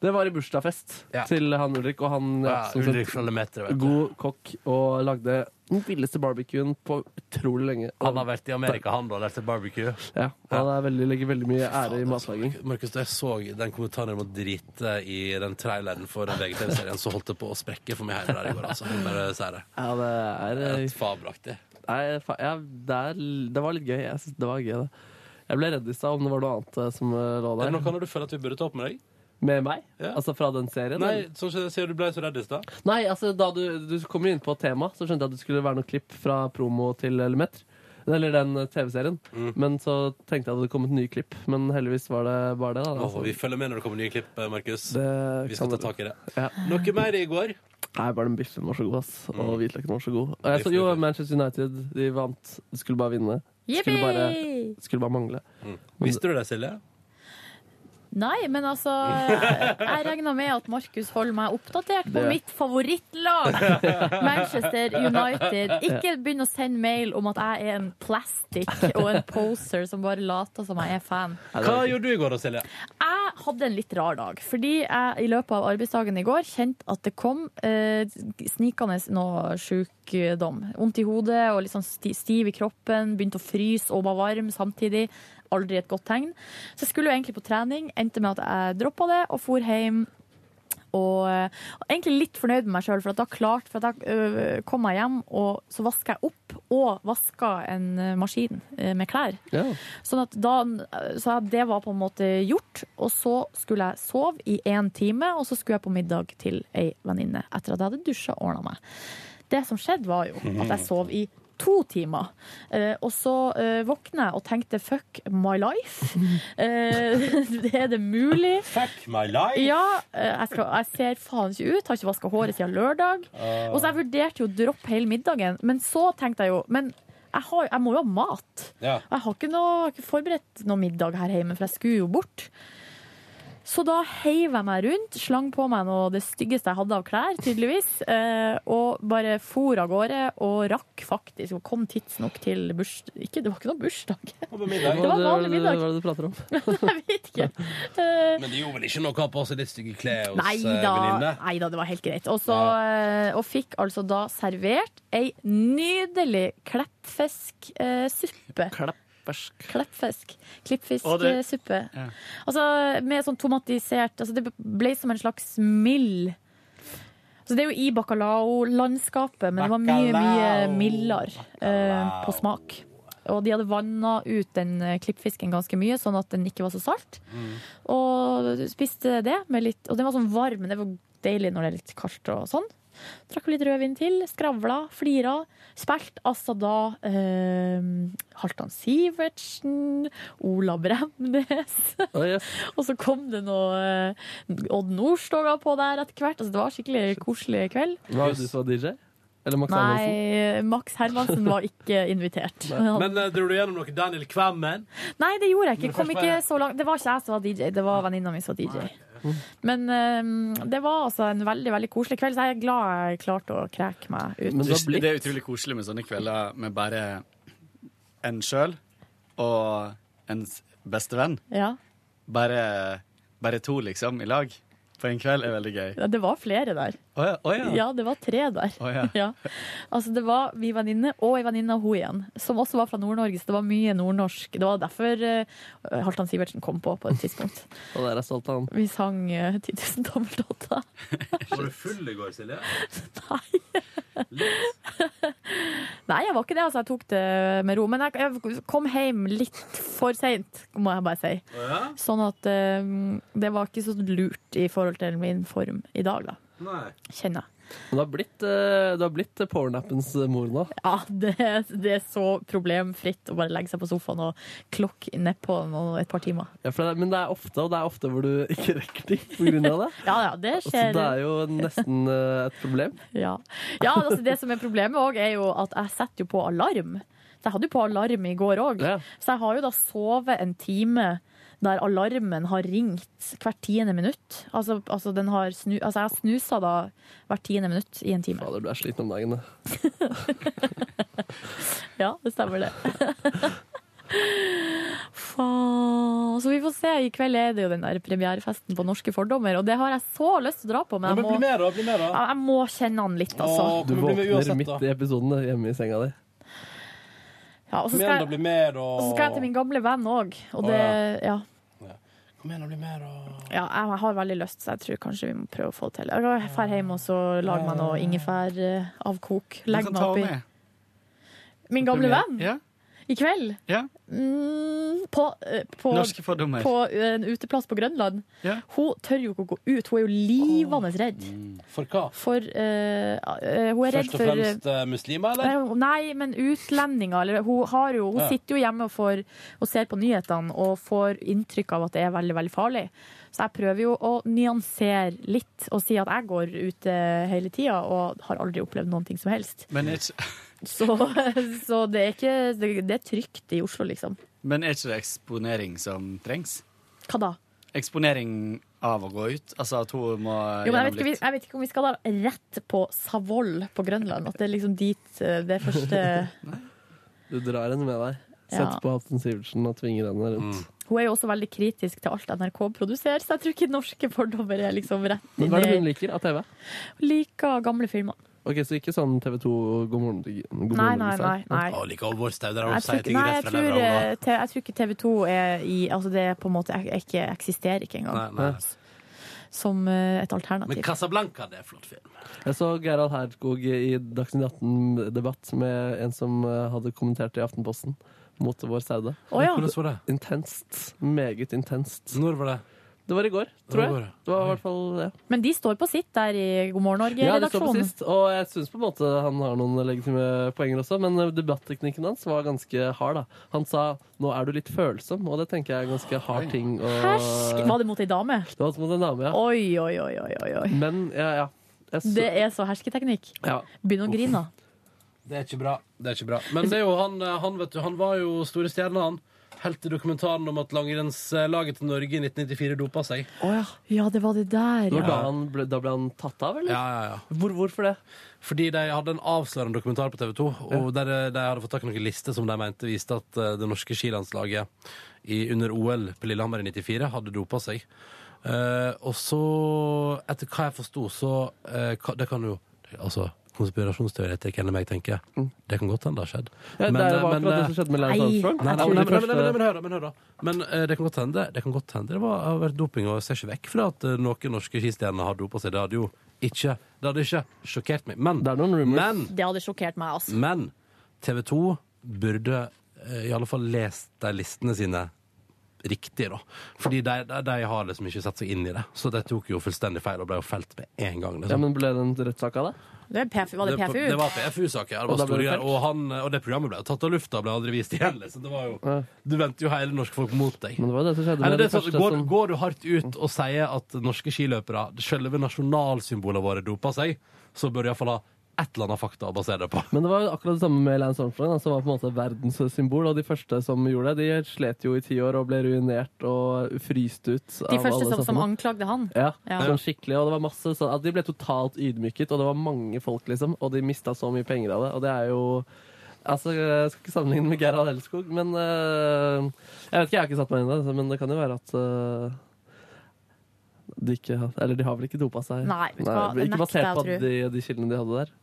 Det var i bursdagsfest Ja. til han Ulrik, og han Ja, som sagt, Ulrik Schallemeter, vet du. god kokk og lagde den villeste barbecuen på utrolig lenge. Han har vært i Amerika, han, da, og lært seg barbecue. Ja, han er veldig, legger veldig mye ære i matlaging. Markus, da jeg så den kommentaren om å drite i den traileren for den VGTV-serien, så holdt det på å sprekke for meg hjemme der i går, altså. Jeg bare sier det. Ja, det er eh, Et fabelaktig. Nei, fa ja, det, er, l- det var litt gøy. Jeg synes det var gøy, det. Jeg ble redd i stad om det var noe annet eh, som eh, lå Er der. det noe annet du føler at vi burde ta opp med deg? Med meg? Ja. Altså fra den serien? Nei, eller? sånn som jeg sier du ble så redd i stad. Nei, altså da du, du kom jo inn på tema, så skjønte jeg at det skulle være noe klipp fra promo til Elemeter. Eller den eh, TV-serien. Mm. Men så tenkte jeg at det hadde kommet nye klipp. Men heldigvis var det bare det. da Åh, vi følger med når det kommer nye klipp, eh, Markus. Det Vi kan skal ta tak i det. Ja. Noe mer i Mm. går? Nei, bare den biffen var så god, ass. Og hvitløken var så god. Og jeg så, jo, Manchester United de vant. De skulle bare vinne. Det Skulle bare, Yippee! det skulle bare mangle. Visste du det, Silje? Nei, men altså Jeg regner med at Markus holder meg oppdatert på Det- mitt favorittlag, Manchester United. Ikke begynn å sende mail om at jeg er en plastic og en poser som bare later som jeg er fan. Hva gjorde du i går da, Silje? Jeg hadde en litt rar dag, fordi jeg i løpet av arbeidsdagen i går kjente at det kom eh, snikende noe sjukdom. Vondt i hodet og litt sånn sti- stiv i kroppen, begynte å fryse og var varm samtidig. Aldri et godt tegn. Så jeg skulle jo egentlig på trening, endte med at jeg droppa det og for hjem. Og eh, egentlig litt fornøyd med meg sjøl, for at da klart, for at da eh, kom jeg hjem, og så vaska jeg opp og vaska en eh, maskin eh, med klær. Sånn at da, så det var på en måte gjort, og så skulle jeg sove i én time, og så skulle jeg på middag til ei venninne etter at jeg hadde dusja og ordna meg. Det som skjedde, var jo at jeg sov i to timer. Eh, og så eh, våkna jeg og tenkte 'fuck my life'. Eh, er det mulig? Fuck my life! Ja, eh, jeg, skal, jeg ser faen ikke ut, har ikke vaska håret siden lørdag. Ah. Og så jeg vurderte jo å droppe hele middagen, men så tenkte jeg jo Men jeg, har, jeg må jo ha mat. Ja. Jeg har ikke, noe, jeg har ikke forberedt noe middag her hjemme, for jeg skulle jo bort. Så da heiv jeg meg rundt, slang på meg noe det styggeste jeg hadde av klær, tydeligvis, eh, og bare for av gårde, og rakk faktisk, og kom tidsnok til bursdag Ikke, det var ikke noe bursdag. Det var vanlig middag. Hva er det du prater om? Eh, Men det gjorde vel ikke noe å ha på seg litt stygge klær hos eh, Nei da, venninne? nei da, det var helt greit. Og, så, eh, og fikk altså da servert ei nydelig kleppfisksuppe. Kleppfisk. Kleppfisk. Og det- Klippfisksuppe. Ja. Altså med sånn tomatisert altså Det ble som en slags mild så Det er jo i bacalao-landskapet, men det var mye mye Bacalao. mildere eh, på smak. Og de hadde vanna ut den eh, klippfisken ganske mye, sånn at den ikke var så salt. Og spiste det med litt Og den var sånn varm, men det var deilig når det er litt kaldt og sånn. Drakk litt rødvin til, skravla, flira. Spilte altså da eh, Halvdan Sivertsen, Ola Bremnes. og så kom det noe eh, Odd Nordstoga på der etter hvert. Altså, det var skikkelig koselig kveld. Hva var det du som var DJ? Eller Max Hermansen? Nei, Max Hermansen var ikke invitert. Men eh, dro du gjennom noe Daniel Kvammen? Nei, det gjorde jeg Men ikke. Kom først var ikke jeg- så langt. Det var ikke jeg som var DJ, det var venninna mi som var DJ. Men eh, det var altså en veldig veldig koselig kveld, så jeg er glad jeg klarte å kreke meg ut. det, det er utrolig koselig med sånne kvelder med bare en sjøl og ens bestevenn. Ja. Bare, bare to, liksom, i lag på en kveld er veldig gøy. Ja, Det var flere der. Å ja, å ja. det var tre der. Å ja. Altså, det var vi venninne og ei venninne av hun igjen, som også var fra Nord-Norge, så det var mye nordnorsk. Det var derfor eh, Halvdan Sivertsen kom på på et tidspunkt. Og der er stolt av han. Vi sang eh, 10 000 tommeltotter. Var du full i går, Silje? Nei, jeg var ikke det. altså Jeg tok det med ro. Men jeg, jeg kom hjem litt for seint, må jeg bare si. Å ja? Sånn at eh, det var ikke så lurt i forhold til min form i dag, da. Nei. Kjenner jeg. Men det har blitt, eh, det har blitt eh, pornappens eh, mor nå. Ja, det, det er så problemfritt å bare legge seg på sofaen og klokke nedpå noe- et par timer. Ja, for det, er- men det er ofte, og det er ofte hvor du ikke rekker ting på grunn av det. Ja, ja, det Altså, skjer. det er jo nesten eh, et problem. Ja, ja altså det som er problemet òg, er jo at jeg setter jo på alarm. Så jeg hadde jo på alarm i går òg. Så jeg har jo da sovet en time der alarmen har ringt hvert tiende minutt. Altså, altså, den har snu, altså jeg har snusa da hvert tiende minutt i en time. Fader, du er sliten om dagen. da. Ja, det stemmer det. Faen. Så vi får se. I kveld er det jo den der premierefesten på Norske fordommer, og det har jeg så lyst til å dra på, men Ja, jeg men bli må, med, da. Bli med, da. Ja, jeg må kjenne han litt, Åh, altså. Du men bli med våkner uansett, midt da. i episoden da, hjemme i senga di. Ja, og så Kom skal igjen, da. jeg, Bli med, da. og så skal jeg til min gamle venn òg, og det Ja. Kom igjen, da. Bli med, da. Ja, jeg har veldig lyst, så jeg tror kanskje vi må prøve å få det til. Jeg drar hjem og så lager meg noe ingefæravkok. Du Legg kan meg ta oppi. henne med. Min gamle Premiere. venn? Ja. I kveld? Ja. Mm, på, eh, på, Norske fordommer. på eh, en uteplass på Grønland. Ja. Mm. Hun tør jo ikke å gå ut. Hun er jo livende redd. For hva? For eh, eh, Hun er redd Først og for fremst eh, muslimer, Nei, eller? Nei, men utlendinger. Eller, hun har jo, hun Ja. sitter jo hjemme og, får, og ser på nyhetene og får inntrykk av at det er veldig veldig farlig. Så jeg prøver jo å nyansere litt og si at jeg går ute hele tida og har aldri opplevd noen ting som helst. Men er, ikke, Så, så det er ikke det, det er trygt i Oslo, liksom. men er ikke det eksponering som trengs? Hva da? Eksponering av å gå ut? Altså at hun må Jo, men jeg, vet gjennom ikke, litt jeg vet ikke om vi skal da rett på Savoll på Grønland. At det er liksom dit eh, det første Du drar henne med deg. Sett Ja. på Halvdan Sivertsen og tvinger henne rundt. Hun er jo også veldig kritisk til alt NRK produserer, så jeg tror ikke norske fordommer er liksom rett Men inn hva er det hun i liker av TV? Liker gamle filmer. Ok, Så ikke sånn TV 2 God morgen til God morgen, Nei, nei, Norge-sang? nei, nei. Å, like Alvor Stau, der har hun Jeg tror, ikke- sagt ting nei, rett jeg fra tror, levra. hun, da. eh, te- jeg tror ikke TV 2 er i Altså det er på en måte ek- ikke, eksisterer ikke engang. Nei, nei. Som eh, et alternativ. Men Casablanca, det er flott film. Jeg så Gerald Herskog i Dagsnytt 18-debatt med en som eh, hadde kommentert i Aftenposten mot vår saude. Å, ja. Hvordan var det? Intenst. Meget intenst. Når var det? Det var i går, Når tror jeg. var det? Det var i hvert fall det. Men de står på sitt der i God morgen Ja, det står på Norge-redaksjonen. sist, og jeg syns på en måte han har noen legitime poenger også, men eh, debatteknikken hans var ganske hard, da. Han sa 'nå er du litt følsom', og det tenker jeg er ganske hard ting å Hersk! Var det mot ei dame? Det var som mot en dame, ja. Oi, oi, oi, oi, oi, oi. Men ja, ja. Jeg så- Det er så hersketeknikk. ja. Begynn å grine. da. Det er ikke bra. Det er ikke bra. Men det er jo han, eh, han, vet du, han var jo store stjerne, han. Helt til dokumentaren om at langrennslaget til Norge i 1994 dopa seg. Ja, det var det der, Det var Da, ja. han ble, da ble han tatt av, eller? Ja, ja, ja. Hvor, hvorfor det? Fordi de hadde en avslørende dokumentar på TV 2, og der eh, de hadde fått tak i noen lister som de mente viste at eh, det norske skilandslaget i, under OL på Lillehammer i 94 hadde dopa seg. Eh, og så, etter hva jeg forsto, så eh, ka- Det kan jo Altså, konspirasjonsteoretikeren i meg tenker det kan godt hende det har skjedd. Mm. Ja, det er jo akkurat det som skjedde med Lance Armstrong. eh, Nei, nei, Han var den nei, men- nei, men- første- nei, men hør da, men hør da. Men eh, det kan godt hende det kan godt hende det var, har vært doping, og jeg ser ikke vekk fra at eh, noen norske skistjerner har dopa seg. Det hadde jo ikke, det hadde ikke sjokkert meg. Men, men, Det hadde sjokkert meg, altså. men TV 2 burde eh, i alle fall lest de listene sine riktig, da. Fordi de, de, de har liksom ikke satt seg inn i det. Så de tok jo fullstendig feil og ble jo felt med en gang. Ja, Liksom. men Ble det en rettssak av det? Det er PF, var det PFU? Det var PFU-saker. ja. Det Og var da ble store det greier. felt? Og, han, eh, og det programmet ble jo tatt av lufta og ble aldri vist igjen. Liksom. Det var jo, du venter jo hele norske folk mot deg. Men det var jo det som skjedde Eller med det det, er sånn, første går, som går du hardt ut og sier at norske skiløpere, selve nasjonalsymbolene våre, doper seg, så bør du iallfall ha et eller annet fakta å basere det på. Men det var jo akkurat det samme med Lance Armstrong, da, som var på en måte verdenssymbol. Og de første som gjorde det, de slet jo i ti år og ble ruinert og fryst ut. De første som, som anklagde han. Ja, sånn skikkelig. Og det var masse sånn at de ble totalt ydmyket, og det var mange folk, liksom. Og de mista så mye penger av det. Og det er jo Altså, Jeg skal ikke sammenligne med Gerhard Elskog, men øh, Jeg vet ikke, jeg har ikke satt meg inn i det, så- men det kan jo være at øh, de ikke har Eller de har vel ikke dopa seg? Nei, vet du hva, det ikke nekter jeg basert å på tro. de, de kildene de hadde der.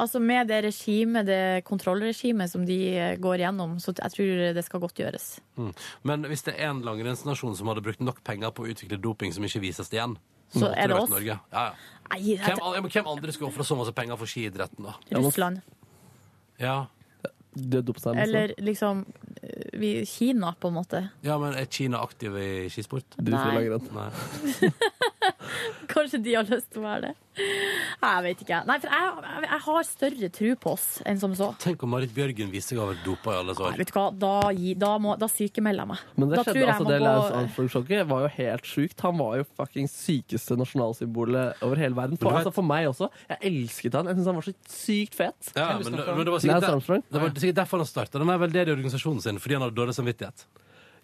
Altså Med det regimet, det kontrollregimet som de eh, går gjennom, så jeg tror det skal godt gjøres. Mm. Men hvis det er en langrennsnasjon som hadde brukt nok penger på å utvikle doping som ikke vises igjen, Så måtte er det vært oss. Norge. Ja, ja. Nei, Hvem, jeg, an- ja, men hvem andre skulle ofre så masse penger for skiidretten, da? Russland. Ja. Det dopet seg Eller liksom eh, vi, Kina, på en måte. ja, men er Kina aktiv i skisport? Nei. Nei. Nei. Kanskje de har lyst til å være det. Nei, Jeg vet ikke. Nei, for jeg, jeg har større tro på oss enn som så. Tenk om Marit Bjørgen viser seg å ha vært dopa i alle Nei, år. Vet du hva, da, gi- da, må, da sykemelder jeg meg. Men det da skjedde, altså må det gå- Lance Armstrong-sjokket var jo helt sjukt. Han var jo fuckings sykeste nasjonalsymbolet over hele verden. For, Men du vet- altså for meg også. Jeg elsket han. Jeg syntes han var så sykt fet. Ja, men, det- men det var sikkert, Lance Armstrong? der, det var sikkert derfor han starta den her veldedige organisasjonen sin, fordi han hadde dårlig samvittighet.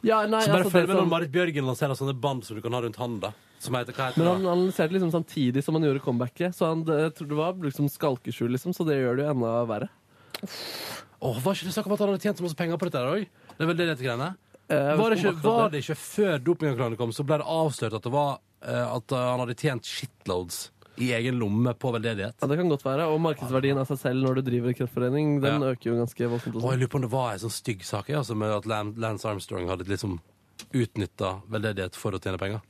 Ja, nei, så bare altså, følg det med som- når Marit Bjørgen lanserer sånne band som du kan ha rundt handa. Som heter, hva heter Men det? han analyserte liksom samtidig som han gjorde comebacket. Så han, det- jeg tror det var liksom skalkeskjul, liksom. Så det gjør det jo enda verre. Åh, var ikke det snakk om at han hadde tjent så masse penger på dette her òg? Det er vel det dette greiene? jeg var, det vet ikke ikke, om akkurat var det ikke før dopinganklagene kom, så ble det avslørt at det var eh, at eh, han hadde tjent shitloads i egen lomme på veldedighet? Ja, det kan godt være. Og markedsverdien av seg selv når du driver kreftforening, den Ja. øker jo ganske voldsomt. Og Også. jeg lurer på om det var en sånn stygg sak ja, altså med at Lan- Lance Armstrong hadde liksom utnytta veldedighet for å tjene penger.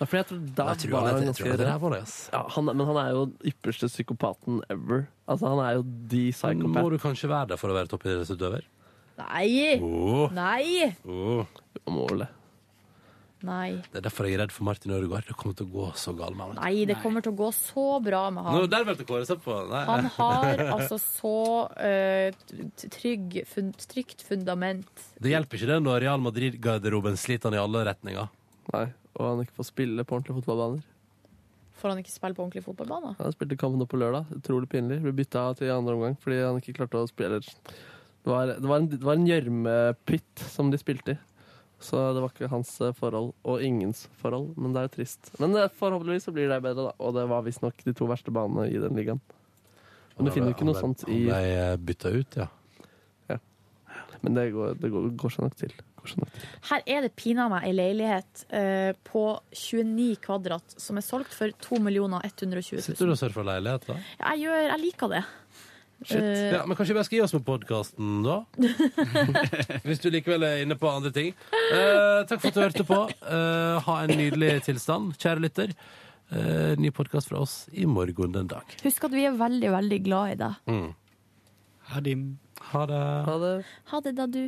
Ja, for jeg tror der Jeg tror var han er- han jeg ganske tror han er redd. ræva, det, ass. Ja, han, men han er jo ypperste psykopaten ever. Altså, han er jo the Men psychopath. Må du kanskje være der for å være toppidrettsutøver? Nei! Åh. Nei! Åh. Nei. Det er derfor jeg er redd for Martin Ødegaard. Det kommer til å gå så galt med ham. Nei, det kommer til å gå så bra med Nå, han. der meldte Kåre seg på. Nei. Han har altså så eh, t- trygg, fun, trygt fundament. Det hjelper ikke det når Real Madrid-garderoben sliter han i alle retninger. Nei, og han ikke får spille på ordentlige fotballbaner. Får han ikke spille på ordentlig fotballbane? Han spilte kampen nå på lørdag. Utrolig pinlig. Ble bytta til i andre omgang fordi han ikke klarte å spille. Det var, det var en- det var en gjørmepytt som de spilte i. Så det var ikke hans eh, forhold, og ingens forhold. Men det er jo trist. Men eh, forhåpentligvis så blir det bedre, da. Og det var visstnok de to verste banene i den ligaen. Men du finner jo ikke noe sånt i Han ble bytta ut, ja. ja. Men det går, det går, går seg nok til. Går seg nok til. Her er det pinadø meg ei leilighet eh, på 29 kvadrat som er solgt for 2 120 Sitter du 000. og surfer leilighet, da? Jeg, gjør, jeg liker det. Eh, Ja, men kanskje vi bare skal gi oss med podkasten, da? Hvis du likevel er inne på andre ting. Eh, takk for at du hørte på. Eh, ha en nydelig tilstand, kjære lytter. Eh, ny podkast fra oss i morgen den dag. Husk at vi er veldig, veldig glad i deg. Mm. Ha det. Ha det. Ha det da, du.